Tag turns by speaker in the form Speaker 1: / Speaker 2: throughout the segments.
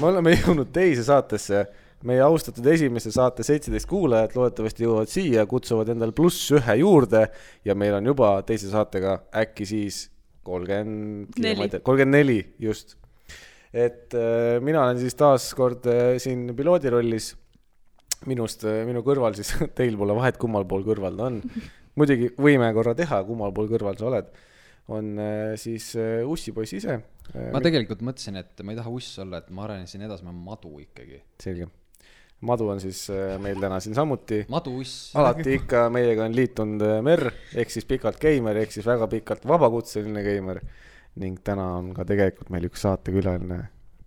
Speaker 1: me oleme jõudnud teise saatesse, meie austatud esimese saate seitseteist kuulajat loodetavasti jõuavad siia, kutsuvad endale pluss ühe juurde ja meil on juba teise saatega äkki siis kolmkümmend ,
Speaker 2: Neli.
Speaker 1: kolmkümmend neli , just . et äh, mina olen siis taas kord äh, siin piloodi rollis . minust , minu kõrval siis , teil pole vahet , kummal pool kõrval ta on . muidugi võime korra teha , kummal pool kõrval sa oled . on äh, siis äh, ussipoiss ise . Äh,
Speaker 3: ma tegelikult mõtlesin , et ma ei taha uss olla , et ma arenesin edasi , ma olen madu ikkagi .
Speaker 1: selge . madu on siis äh, meil täna siin samuti .
Speaker 3: madu uss .
Speaker 1: alati ikka meiega on liitunud äh, Merr ehk siis pikalt geimer ehk siis väga pikalt vabakutseline geimer ning täna on ka tegelikult meil üks saatekülaline ,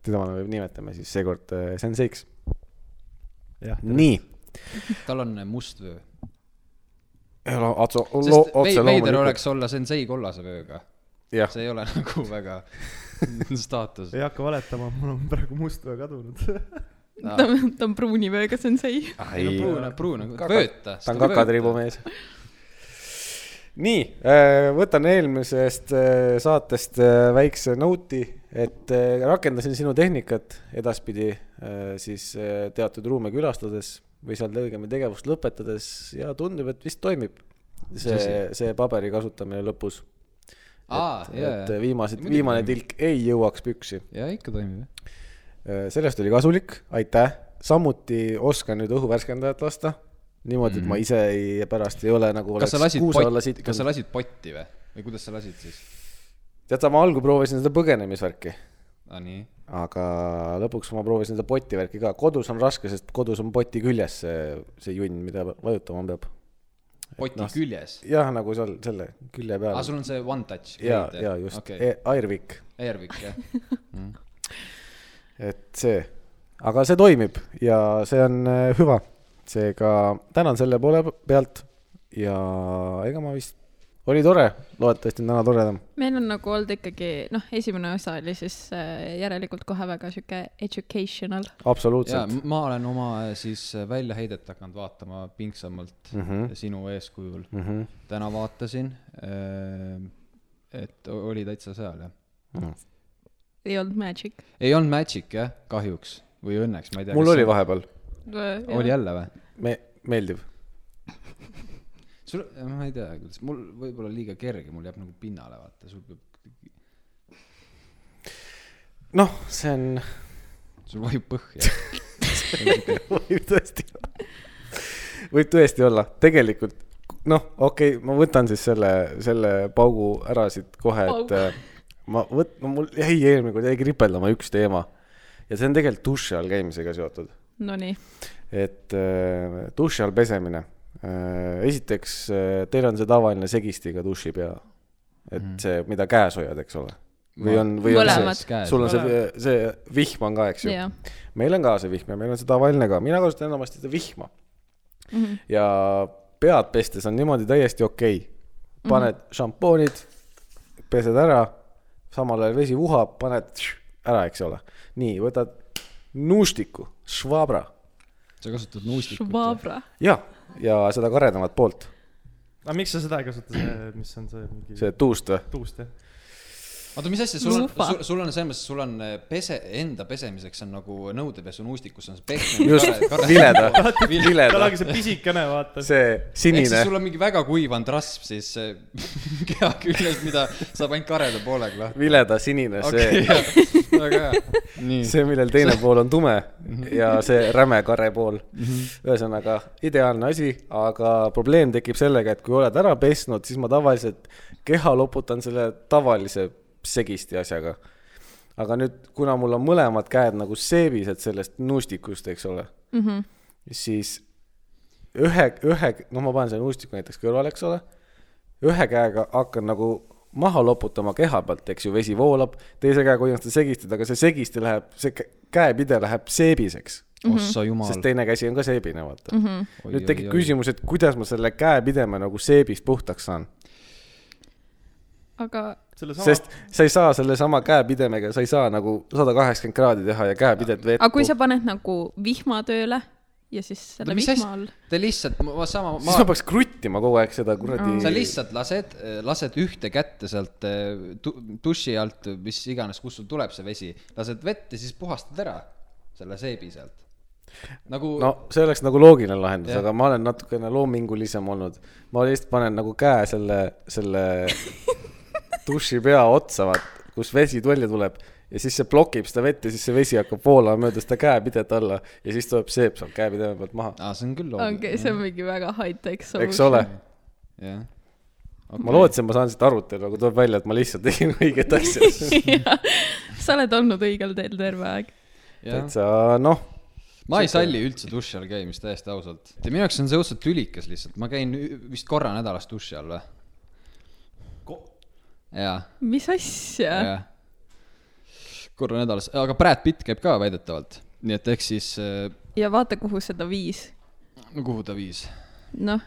Speaker 1: teda me nimetame siis seekord äh, Senseiks .
Speaker 4: jah ,
Speaker 1: nii .
Speaker 3: tal on must vöö .
Speaker 1: otse ,
Speaker 3: sest vei-
Speaker 1: otse
Speaker 3: veider
Speaker 1: loomulikult .
Speaker 3: oleks olla sensei kollase vööga .
Speaker 1: jah ,
Speaker 3: see ei ole nagu väga staatus .
Speaker 4: ei hakka valetama , mul on praegu must väga kadunud .
Speaker 2: ta on , ta on pruuni vööga sensei .
Speaker 3: ei no pruun , pruun on ,
Speaker 1: Kaka-
Speaker 3: vööta .
Speaker 1: ta on kakatribu . mees . nii , võtan eelmisest äh, saatest äh, väikse note'i , et äh, rakendasin sinu tehnikat edaspidi äh, siis äh, teatud ruume külastades või seal õigemini tegevust lõpetades ja tundub , et vist toimib see ,
Speaker 3: Tõsi.
Speaker 1: see paberi kasutamine lõpus .
Speaker 3: aa ,
Speaker 1: et,
Speaker 3: jaa ,
Speaker 1: et
Speaker 3: jaa .
Speaker 1: viimased ,
Speaker 3: Muidugi
Speaker 1: viimane
Speaker 3: toimib.
Speaker 1: tilk ei jõuaks püksi .
Speaker 3: jaa , ikka toimib , jah .
Speaker 1: Äh, sellest oli kasulik , aitäh . samuti oskan nüüd õhuvärskendajat lasta . niimoodi , et ma ise ei , pärast ei ole nagu
Speaker 3: Mhm. kas sa
Speaker 1: oleks
Speaker 3: lasid
Speaker 1: kuuse alla
Speaker 3: potti , kas sa
Speaker 1: sittunud .
Speaker 3: lasid potti või ? või kuidas sa lasid siis ?
Speaker 1: tead , ma algul proovisin seda põgenemisvärki ,
Speaker 3: aa , Ah, nii .
Speaker 1: aga lõpuks ma proovisin seda poti värki ka . kodus on raske , sest kodus on poti küljes see , see junn , mida vajutama peab .
Speaker 3: poti
Speaker 1: noh,
Speaker 3: no, küljes .
Speaker 1: jah , nagu seal selle külje
Speaker 3: aa ,
Speaker 1: peal .
Speaker 3: sul on see one touch .
Speaker 1: ja , ja just E-
Speaker 3: okei okay. ,
Speaker 1: okay. , Airwick ,
Speaker 3: Airwick , jah .
Speaker 1: et see , aga see toimib ja see on äh, hüva . seega tänan selle poole pealt ja ega ma vist , oli tore , loodetavasti on täna toredam .
Speaker 2: meil on nagu olnud ikkagi , noh , esimene osa oli siis äh, järelikult kohe väga sihuke educational .
Speaker 3: jaa
Speaker 1: absoluutselt ,.
Speaker 3: ma olen oma eh, siis väljaheidet hakanud vaatama pingsamalt mm
Speaker 1: Mhm.
Speaker 3: -hmm. sinu eeskujul mm .
Speaker 1: Mhm.
Speaker 3: -hmm. täna vaatasin , et o- oli täitsa seal , jah .
Speaker 2: ei olnud magic .
Speaker 3: ei olnud Magic , jah , kahjuks või õnneks , ma ei tea .
Speaker 1: mul oli . vahepeal ,
Speaker 2: Äh,
Speaker 3: oli . jälle või ?
Speaker 1: me , meeldiv .
Speaker 3: sul , ma ei tea , kuidas , mul võib-olla liiga kerge , mul jääb nagu pinnale , vaata , sul peab ,
Speaker 1: noh , see on ,
Speaker 3: sul vajub põhja .
Speaker 1: võib tõesti , võib tõesti olla , tegelikult noh , okei okay, , ma võtan siis selle , selle paugu ära siit kohe , et
Speaker 2: Paugu.
Speaker 1: äh, ma võt- , no mul jäi eelmine kord jäi kripeldama üks teema ja see on tegelikult duši all käimisega seotud ,
Speaker 2: Nonii ,
Speaker 1: et äh, duši all pesemine . esiteks , teil on see tavaline segistiga dušipea , et see , mida käes hoiad , eks ole , või on , või on
Speaker 2: Mõlemad.
Speaker 1: see , sul on see , see vihm on ka , eks ju
Speaker 2: jaa .
Speaker 1: meil on ka see vihm ja meil on see tavaline ka , mina kasutan enamasti seda vihma mm . -hmm. ja pead pestes on niimoodi täiesti okei okay. . paned mm -hmm. šampoonid , pesed ära , samal ajal vesi vuhab , paned ära , eks ole . nii , võtad nuustiku , švabra
Speaker 3: sa kasutad nuustikut .
Speaker 2: Švabra .
Speaker 1: ja , ja seda karedamat poolt ,
Speaker 4: aga miks sa seda ei kasuta , see , mis on see mingi see...
Speaker 1: see tuust või ?
Speaker 4: tuust jah ?
Speaker 3: oota , mis asja , sul on ,
Speaker 2: Luupa.
Speaker 3: sul, sul on selles mõttes , sul on eh, pese , enda pesemiseks on nagu nõudepesu nuustikus on see
Speaker 1: Just,
Speaker 3: pehme .
Speaker 1: vileda.
Speaker 4: tal
Speaker 1: vileda
Speaker 4: ongi , see pisikene , vaata .
Speaker 1: see
Speaker 3: ehk siis
Speaker 1: sinine ,
Speaker 3: sul on mingi väga kuivanud rasv siis eh, keha küljes , mida saab ainult kareda poolega lahti .
Speaker 1: vileda sinine , see ,
Speaker 3: väga hea . nii ,
Speaker 1: see , millel teine pool on tume ja see räme kare pool . ühesõnaga ideaalne asi , aga probleem tekib sellega , et kui oled ära pesnud , siis ma tavaliselt keha loputan selle tavalise segisti asjaga . aga nüüd , kuna mul on mõlemad käed nagu seebised sellest nuustikust , eks ole mm , -hmm. siis ühe , ühe , noh , ma panen selle nuustiku näiteks kõrvale , eks ole . ühe käega hakkan nagu maha loputama keha pealt , eks ju , vesi voolab , teise käega hoian seda segistit , aga see segisti läheb , see kä- käepide läheb seebiseks ,
Speaker 3: ossa jumal
Speaker 1: sest . teine käsi on ka seebine , vaata mm .
Speaker 2: Mhm.
Speaker 1: -hmm.
Speaker 3: Oi,
Speaker 1: nüüd
Speaker 3: oi,
Speaker 1: tekib
Speaker 3: oi.
Speaker 1: küsimus , et kuidas ma selle käepideme nagu seebist puhtaks saan ,
Speaker 2: aga
Speaker 4: selle sama
Speaker 1: sest sa ei saa sellesama käepidemega , sa ei saa nagu sada kaheksakümmend kraadi teha ja käepidet
Speaker 2: aga kui
Speaker 1: veeta .
Speaker 2: sa paned nagu vihma tööle ja siis selle
Speaker 3: oota , mis
Speaker 2: vihma
Speaker 3: asja
Speaker 2: all ,?
Speaker 3: Te lihtsalt , ma sama ,
Speaker 1: siis ma
Speaker 3: ma ,
Speaker 1: peaks kruttima kogu aeg seda kuradi .
Speaker 3: sa lihtsalt lased , lased ühte kätte sealt eh, tu- duši alt , mis iganes , kust sul tuleb see vesi , lased vett ja siis puhastad ära selle seebi sealt . nagu
Speaker 1: no see oleks nagu loogiline lahendus ,
Speaker 3: Jah.
Speaker 1: aga ma olen natukene loomingulisem olnud . ma lihtsalt panen nagu käe selle , selle dušipea otsa , vaat , kus vesi välja tuleb ja siis see blokib seda vett ja siis see vesi hakkab voolama mööda seda käepidet alla ja siis tuleb seep sealt käepideme pealt maha .
Speaker 3: aa , see on küll
Speaker 2: ongi , see
Speaker 3: jah.
Speaker 2: on mingi väga high-tech
Speaker 1: eks . ole ,
Speaker 3: jah .
Speaker 1: ma lootsin , ma saan siit arutelu , aga tuleb välja , et ma lihtsalt tegin õiget asja .
Speaker 2: sa oled olnud õigel teel terve aeg .
Speaker 3: jah ,
Speaker 1: täitsa noh ,
Speaker 3: ma ei salli üldse duši all käimist , täiesti ausalt . ja minu jaoks on see õudselt tülikas lihtsalt , ma käin ü- vist korra nädalas duši all või ? jaa ,
Speaker 2: mis asja ?
Speaker 3: jah . korra nädalas , aga Brad Pitt käib ka väidetavalt , nii et eks siis ,
Speaker 2: ja vaata , kuhu seda viis .
Speaker 3: kuhu ta viis ?
Speaker 2: noh ,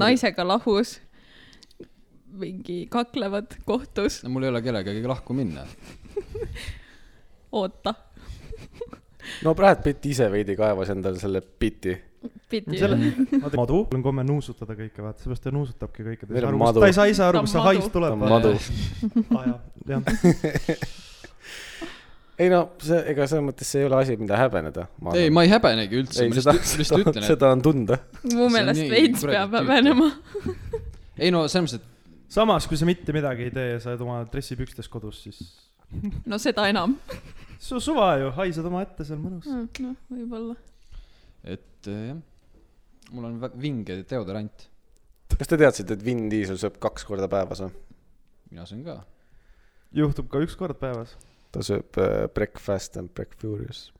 Speaker 2: naisega lahus , mingi kaklevad kohtus ,
Speaker 3: no mul ei ole kellegagi lahku minna .
Speaker 2: oota ,
Speaker 1: no Brad Pitt ise veidi kaevas endale selle biti .
Speaker 2: pidi .
Speaker 4: selle , madu , mul on komme nuusutada kõike , vaata , seepärast ta nuusutabki kõike .
Speaker 1: Meil on madu.
Speaker 4: ta ei saa ise
Speaker 2: Ta
Speaker 4: aru ,
Speaker 2: on
Speaker 4: mis see
Speaker 2: madu.
Speaker 4: hais tuleb .
Speaker 1: madu .
Speaker 4: jah ,
Speaker 1: ei no see , ega selles mõttes see ei ole asi , mida häbeneda .
Speaker 3: ei , ma ei häbenegi üldse ,
Speaker 1: ei ,
Speaker 3: ma
Speaker 1: seda
Speaker 3: lihtsalt , lihtsalt ütlen , et
Speaker 1: seda on tunda .
Speaker 2: mu
Speaker 3: on
Speaker 2: meelest
Speaker 3: nii
Speaker 2: veits
Speaker 3: kuradi
Speaker 2: peab
Speaker 3: tüütu.
Speaker 2: häbenema .
Speaker 3: ei no selles mõttes , et
Speaker 4: samas kui sa mitte midagi ei tee ja sa oled oma dressipükstes kodus , siis
Speaker 2: no seda enam .
Speaker 4: su suva ju , haised omaette seal mõnus .
Speaker 2: noh , võib-olla .
Speaker 3: et eh, jah , mul on vä- vinge deodorant ,
Speaker 1: kas te teadsite , et Vin Diesel sööb kaks korda päevas või ?
Speaker 3: mina söön ka .
Speaker 4: juhtub ka üks kord päevas .
Speaker 1: ta sööb äh, Breakfast and Break Furious .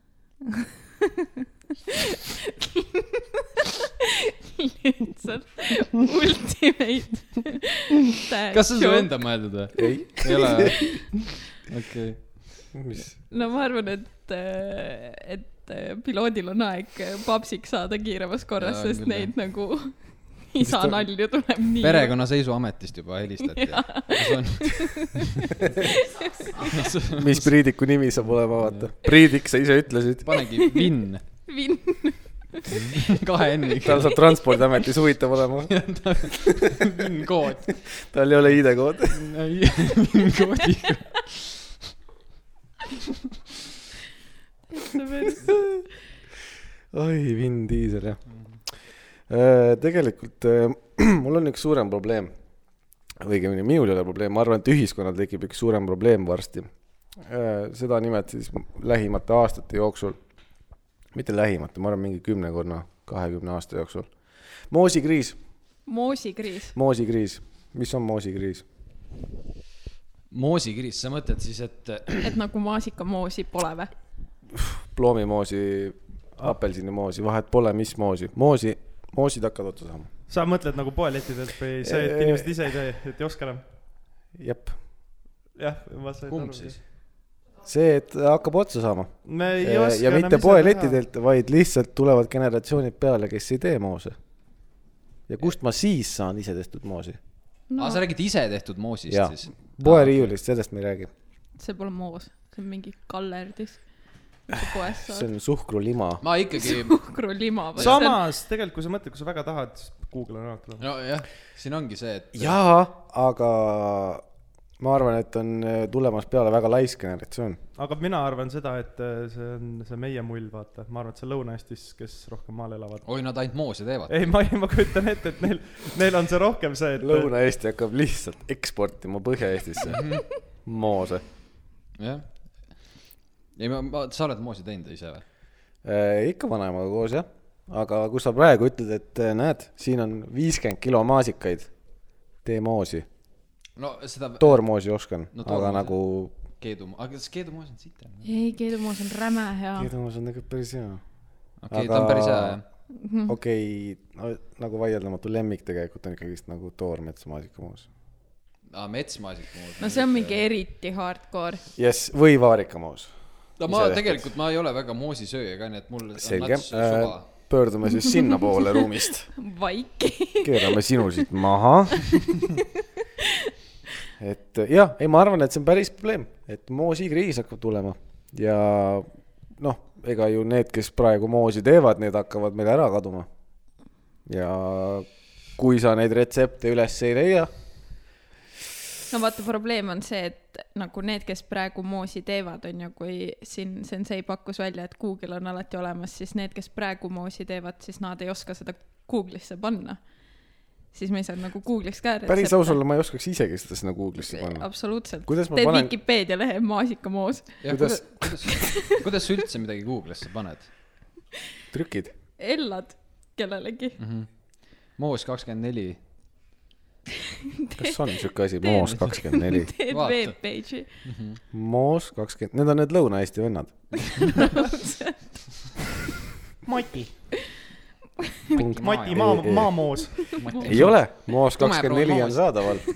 Speaker 2: lihtsalt ultimate .
Speaker 3: kas see on su ? enda mõeldud või ?
Speaker 1: ei ,
Speaker 3: ei ole või ? okei ,
Speaker 1: mis ?
Speaker 2: no ma arvan , et , et äh, piloodil on aeg äh, papsiks saada kiiremas korras ,
Speaker 3: Jaa,
Speaker 2: sest
Speaker 3: küll,
Speaker 2: neid
Speaker 3: jah.
Speaker 2: nagu isa
Speaker 1: ta-
Speaker 2: nalju tuleb nii .
Speaker 3: perekonnaseisuametist juba helistati . see on ,
Speaker 1: mis Priidiku nimi saab olema , vaata . Priidik , sa ise ütlesid .
Speaker 3: panegi Vinn
Speaker 2: Vin- ,
Speaker 3: kahe N-iga
Speaker 1: tal . saab Transpordiametis huvitav olema .
Speaker 3: Vinn kood .
Speaker 1: tal ei ole ID-koodi .
Speaker 3: Vinn koodiga .
Speaker 1: oi , Vin Diesel , jah . tegelikult äh, mul on üks suurem probleem . õigemini minul ei ole probleem , ma arvan , et ühiskonnal tekib üks suurem probleem varsti . seda nimelt siis lähimate aastate jooksul . mitte lähimate , ma arvan , mingi kümnekonna , kahekümne aasta jooksul . moosikriis
Speaker 2: moosikriis .
Speaker 1: moosikriis , mis on moosikriis ?
Speaker 3: moosikiris , sa mõtled siis , et äh,
Speaker 2: et nagu maasikapoosi pole või ?
Speaker 1: ploomimoosi , apelsinimoosi , vahet pole , mis moosi , moosi , moosid hakkavad otsa saama .
Speaker 4: sa mõtled nagu poelettidelt või see , et inimesed ise ei tee , et ei oska enam ?
Speaker 1: jep ,
Speaker 4: jah , ma sain
Speaker 3: kumb siis ??
Speaker 1: see , et hakkab otsa saama
Speaker 4: me ei oska .
Speaker 1: Äh, ja mitte poelettidelt , vaid lihtsalt tulevad generatsioonid peale , kes ei tee moose . ja kust ma siis saan ise tehtud moosi ?
Speaker 3: aa , sa räägid ise tehtud moosist
Speaker 1: jaa
Speaker 3: siis ?,
Speaker 1: poeriiulist , sellest me ei räägi ,
Speaker 2: see pole moos , see on mingi kallerdis . poes
Speaker 1: see
Speaker 2: saad
Speaker 1: on suhkrulima .
Speaker 3: ma ikkagi ,
Speaker 2: suhkrulima või ?
Speaker 4: samas tegelikult , kui sa mõtled , kui sa väga tahad , siis Google on alati olemas .
Speaker 3: nojah , siin ongi see , et
Speaker 1: jaa , aga ma arvan , et on äh, tulemas peale väga laisk generatsioon
Speaker 4: aga mina arvan seda , et äh, see on see meie mull , vaata , ma arvan , et see Lõuna-Eestis , kes rohkem maal elavad .
Speaker 3: oi , nad ainult moose teevad .
Speaker 4: ei , ma , ma kujutan ette , et neil , neil on see rohkem see , et .
Speaker 1: Lõuna-Eesti hakkab lihtsalt eksportima Põhja-Eestisse moose .
Speaker 3: jah . ei , ma, ma , sa oled moosi teinud ise või ?
Speaker 1: Äh, ikka vanaemaga koos jah , aga kui sa praegu ütled , et eh, näed , siin on viiskümmend kilo maasikaid , tee moosi ,
Speaker 3: no seda to
Speaker 1: toormoosi oskan
Speaker 3: No
Speaker 1: no, ,
Speaker 3: toormoosi.
Speaker 1: aga nagu .
Speaker 3: keedu , aga kas keedumoos on sitem ?
Speaker 2: ei , keedumoos on räme hea .
Speaker 1: keedumoos on tegelikult päris hea .
Speaker 3: okei okay, , ta on päris hea jah .
Speaker 1: okei no, , nagu vaieldamatu lemmik tegelikult on ikkagist nagu toormetsamaasikamoos .
Speaker 3: aa , metsmaasikamoos .
Speaker 2: no see on mingi . eriti hardcore .
Speaker 1: jess , või vaarikamoos .
Speaker 3: no ma
Speaker 1: ise tehtud.
Speaker 3: tegelikult , ma ei ole väga moosisööja ka , nii et mul on
Speaker 1: selge Äh,
Speaker 3: nats suva ..
Speaker 1: pöördume siis sinnapoole ruumist .
Speaker 2: vaiki .
Speaker 1: keerame sinu siit maha . et jah , ei , ma arvan , et see on päris probleem , et moosikriis hakkab tulema ja noh , ega ju need , kes praegu moosi teevad , need hakkavad meil ära kaduma . ja kui sa neid retsepte üles ei leia ,
Speaker 2: no vaata , probleem on see , et nagu need , kes praegu moosi teevad , on ju , kui siin sensei pakkus välja , et Google on alati olemas , siis need , kes praegu moosi teevad , siis nad ei oska seda Google'isse panna . siis me ei saa nagu Google'is ka .
Speaker 1: päris aus . olla , ma ei oskaks isegi seda sinna Google'isse panna .
Speaker 2: absoluutselt .
Speaker 1: Kuidas ma
Speaker 2: teed
Speaker 1: panen-
Speaker 2: Vikipeedia lehe maasikamoos .
Speaker 3: kuidas , kuidas , kuidas sa üldse midagi Google'isse paned
Speaker 1: trükid .
Speaker 2: ellad kellelegi .
Speaker 3: mm ? -hmm. moos kakskümmend neli .
Speaker 1: kas on siuke asi , Moos kakskümmend neli ?
Speaker 2: teed
Speaker 3: Vaata.
Speaker 2: webpage'i .
Speaker 1: Moos kakskümmend , need on need Lõuna-Eesti vennad .
Speaker 4: Mati , Mati maa
Speaker 1: Ei, , ei.
Speaker 4: maamoos .
Speaker 1: ei ole , Moos
Speaker 3: Tume
Speaker 1: kakskümmend neli on
Speaker 3: prognoos.
Speaker 1: saadaval .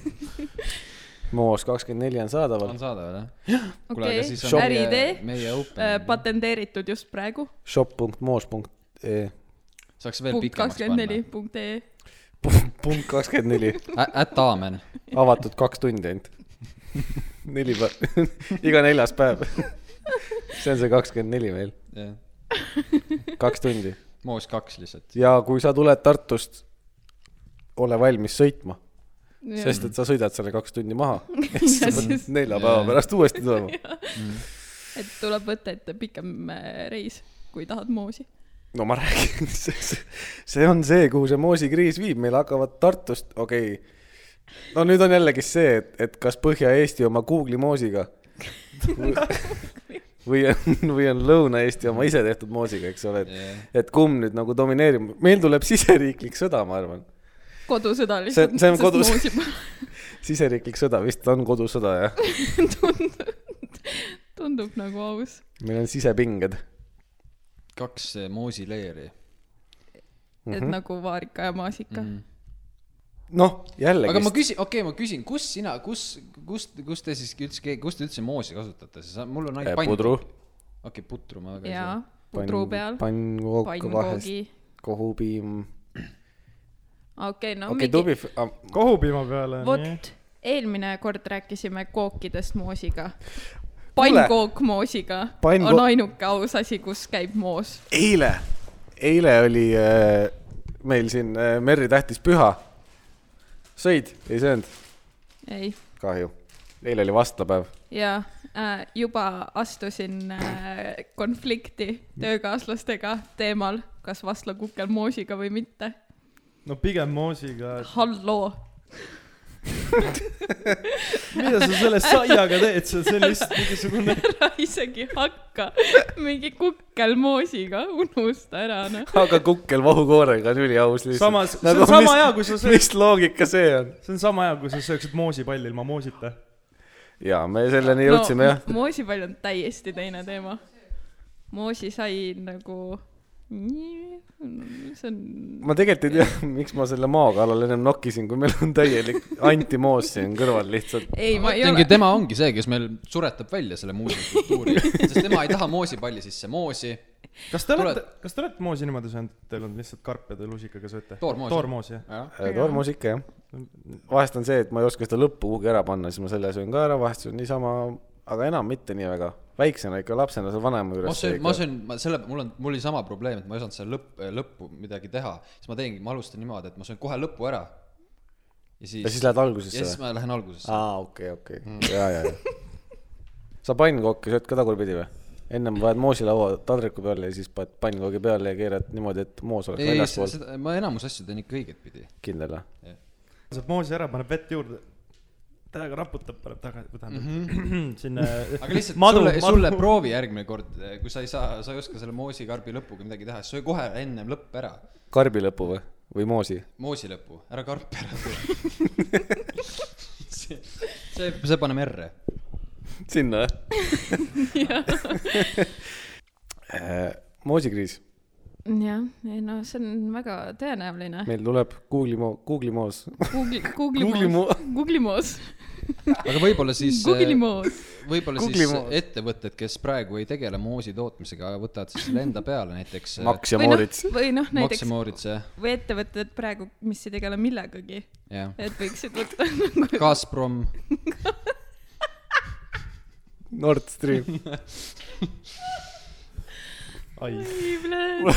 Speaker 1: Moos kakskümmend neli on saadaval
Speaker 3: on . saadaval jah ? Kuule, aga
Speaker 2: okei
Speaker 3: siis
Speaker 1: on ,
Speaker 2: äriidee
Speaker 3: meie- . meie open-
Speaker 2: Äh, patenteeritud just praegu .
Speaker 1: shop.moos.ee
Speaker 3: saaks veel
Speaker 2: punkt
Speaker 3: pikemaks
Speaker 2: kakskümmend
Speaker 3: panna
Speaker 2: neli . punkt ee .
Speaker 1: punkt kakskümmend neli ,
Speaker 3: At Amen .
Speaker 1: avatud kaks tundi ainult . neli päeva , iga neljas päev . see on see kakskümmend neli meil ,
Speaker 3: jah ,
Speaker 1: kaks tundi .
Speaker 3: moos kaks lihtsalt .
Speaker 1: ja kui sa tuled Tartust , ole valmis sõitma , sest et sa sõidad selle kaks tundi maha . nelja päeva pärast uuesti tulema .
Speaker 2: et tuleb võtta ette pikem äh, reis , kui tahad moosi .
Speaker 1: no ma räägin , see on see , kuhu see moosikriis viib , meil hakkavad Tartust , okei okay. . no nüüd on jällegi see , et , et kas Põhja-Eesti oma Google'i moosiga või on , või on Lõuna-Eesti oma isetehtud moosiga , eks ole , et , et kumb nüüd nagu domineerib , meil tuleb siseriiklik sõda , ma arvan .
Speaker 2: kodusõda
Speaker 1: See-
Speaker 2: lihtsalt .
Speaker 1: see on kodus- siseriiklik sõda vist on kodusõda jah ,
Speaker 2: tundub , tundub nagu aus .
Speaker 1: meil on sisepinged .
Speaker 3: kaks eh, moosileeri .
Speaker 2: et
Speaker 1: Mhm.
Speaker 2: nagu vaarika ja maasika .
Speaker 1: noh ,
Speaker 3: aga ma
Speaker 1: jällegi ,
Speaker 3: küsin , okei okay, , ma küsin , kus sina , kus , kus , kus te siis üldse , kus te üldse moosi kasutate , sest sa- mul on ainult pann .
Speaker 1: eh, pudru .
Speaker 3: okei , putru ma väga ei
Speaker 2: jaa
Speaker 3: saa .,
Speaker 2: pudru peal ,
Speaker 1: pannkook vahest ,
Speaker 2: pannkoogi .
Speaker 1: kohupiim .
Speaker 2: Ah, okei , no
Speaker 1: okei ,
Speaker 2: mingi ,
Speaker 1: tubli ,
Speaker 4: kohupiima peale .
Speaker 2: vot , eelmine kord rääkisime kookidest moosiga . pannkook moosiga
Speaker 1: Pannko-
Speaker 2: on ainuke aus asi , kus käib moos .
Speaker 1: eile , eile oli äh, meil siin äh, Merri tähtis püha . sõid , ei söönud ?
Speaker 2: ei
Speaker 1: kahju . eile oli vastlapäev .
Speaker 2: jaa äh, , juba astusin äh, konflikti töökaaslastega teemal , kas vastla kukel moosiga või mitte .
Speaker 4: no pigem moosiga ,
Speaker 2: halloo ,
Speaker 4: et mida sa selle saiaga teed , see on sellist mingisugune ,
Speaker 2: ära isegi hakka , mingi kukkel moosiga , unusta ära noh .
Speaker 1: aga kukkel vahukoorega on üliaus lihtsalt .
Speaker 4: samas , see on sama hea , kui sa
Speaker 1: mis,
Speaker 4: sööd ,
Speaker 1: mis loogika see on ?
Speaker 4: see on sama hea , kui sa sööksid moosipalli ilma moosita .
Speaker 1: ja me selleni jõudsime no, jah .
Speaker 2: moosipall on täiesti teine teema . moosi sai nagu , see on ,
Speaker 1: ma tegelikult ei tea , miks ma selle maa kallal ennem nokkisin , kui meil on täielik antimoos siin kõrval lihtsalt .
Speaker 2: ei ma ei
Speaker 3: ütlengi ,
Speaker 2: ole ,
Speaker 3: tema ongi see , kes meil suretab välja selle muusikakultuuri , sest tema ei taha moosipalli sisse moosi .
Speaker 4: kas te olete
Speaker 3: Tuled- ,
Speaker 4: kas te olete moosi niimoodi söönud , et teil on lihtsalt karp ja te lusikaga sööte ?
Speaker 3: Toormoos.
Speaker 4: toormoos jah .
Speaker 1: tormus ikka Äh, jah . vahest on see , et ma ei oska seda lõppu kuhugi ära panna , siis ma selle söön ka ära , vahest söön niisama , aga enam mitte nii väga . väiksena ikka lapsena seal vanema
Speaker 3: ma
Speaker 1: juures .
Speaker 3: söön , ma söön , ma selle , mul on , mul oli sama probleem , et ma ei osanud selle lõpp , lõppu midagi teha , siis ma teengi , ma alustan niimoodi , et ma söön kohe lõpu ära . ja siis ,
Speaker 1: ja siis lähed algusesse
Speaker 3: ja siis
Speaker 1: või ?
Speaker 3: ma Mm. lähen algusesse .
Speaker 1: aa , okei , okei , ja , ja , ja . sa pannkooki sööd ka tagurpidi või ? ennem paned moosilaua taldriku peale ja siis paned pannkoogi peale ja keerad niimoodi , et moos oleks
Speaker 3: ei ,
Speaker 1: väljaspool .
Speaker 3: seda , ma enamus asju teen ikka õigetpidi .
Speaker 1: kindel või ?
Speaker 4: saab moosi ära , paneb vett juurde , täiega raputab , paneb tagasi , või tähendab mm
Speaker 1: Mhm.
Speaker 4: -hmm. sinna .
Speaker 3: aga lihtsalt madu, sulle , sulle . proovi järgmine kord , kui sa ei saa , sa ei oska selle moosikarbi lõpuga midagi teha , söö kohe ennem lõpp ära ,
Speaker 1: karbi lõpu või , või moosi ?
Speaker 3: moosi lõpu , ära karp ära tee . see , see , see paneme R-e .
Speaker 1: sinna või ? Äh, moosikriis ,
Speaker 2: jah , ei no see on väga tõenäoline .
Speaker 1: meil tuleb Google'i moo- , Google'i moos .
Speaker 2: Google'i ,
Speaker 1: Google'i
Speaker 2: Google'i moos , Google'i moos ,
Speaker 3: aga võib-olla siis , äh,
Speaker 2: Google'i moos .
Speaker 3: võib-olla
Speaker 1: Google'i
Speaker 3: siis
Speaker 1: moos.
Speaker 3: ettevõtted , kes praegu ei tegele moosi tootmisega , võtavad siis selle enda peale näiteks . äh,
Speaker 1: Max ja
Speaker 2: või noh
Speaker 1: Moorits .,
Speaker 2: või noh , näiteks
Speaker 3: maksimooritse ,
Speaker 2: või ettevõtted praegu , mis ei tegele millegagi ,
Speaker 3: jah .
Speaker 2: et võiksid võtta nagu
Speaker 3: Gazprom ,
Speaker 1: Nord Stream .
Speaker 4: ai ,
Speaker 2: Liivle-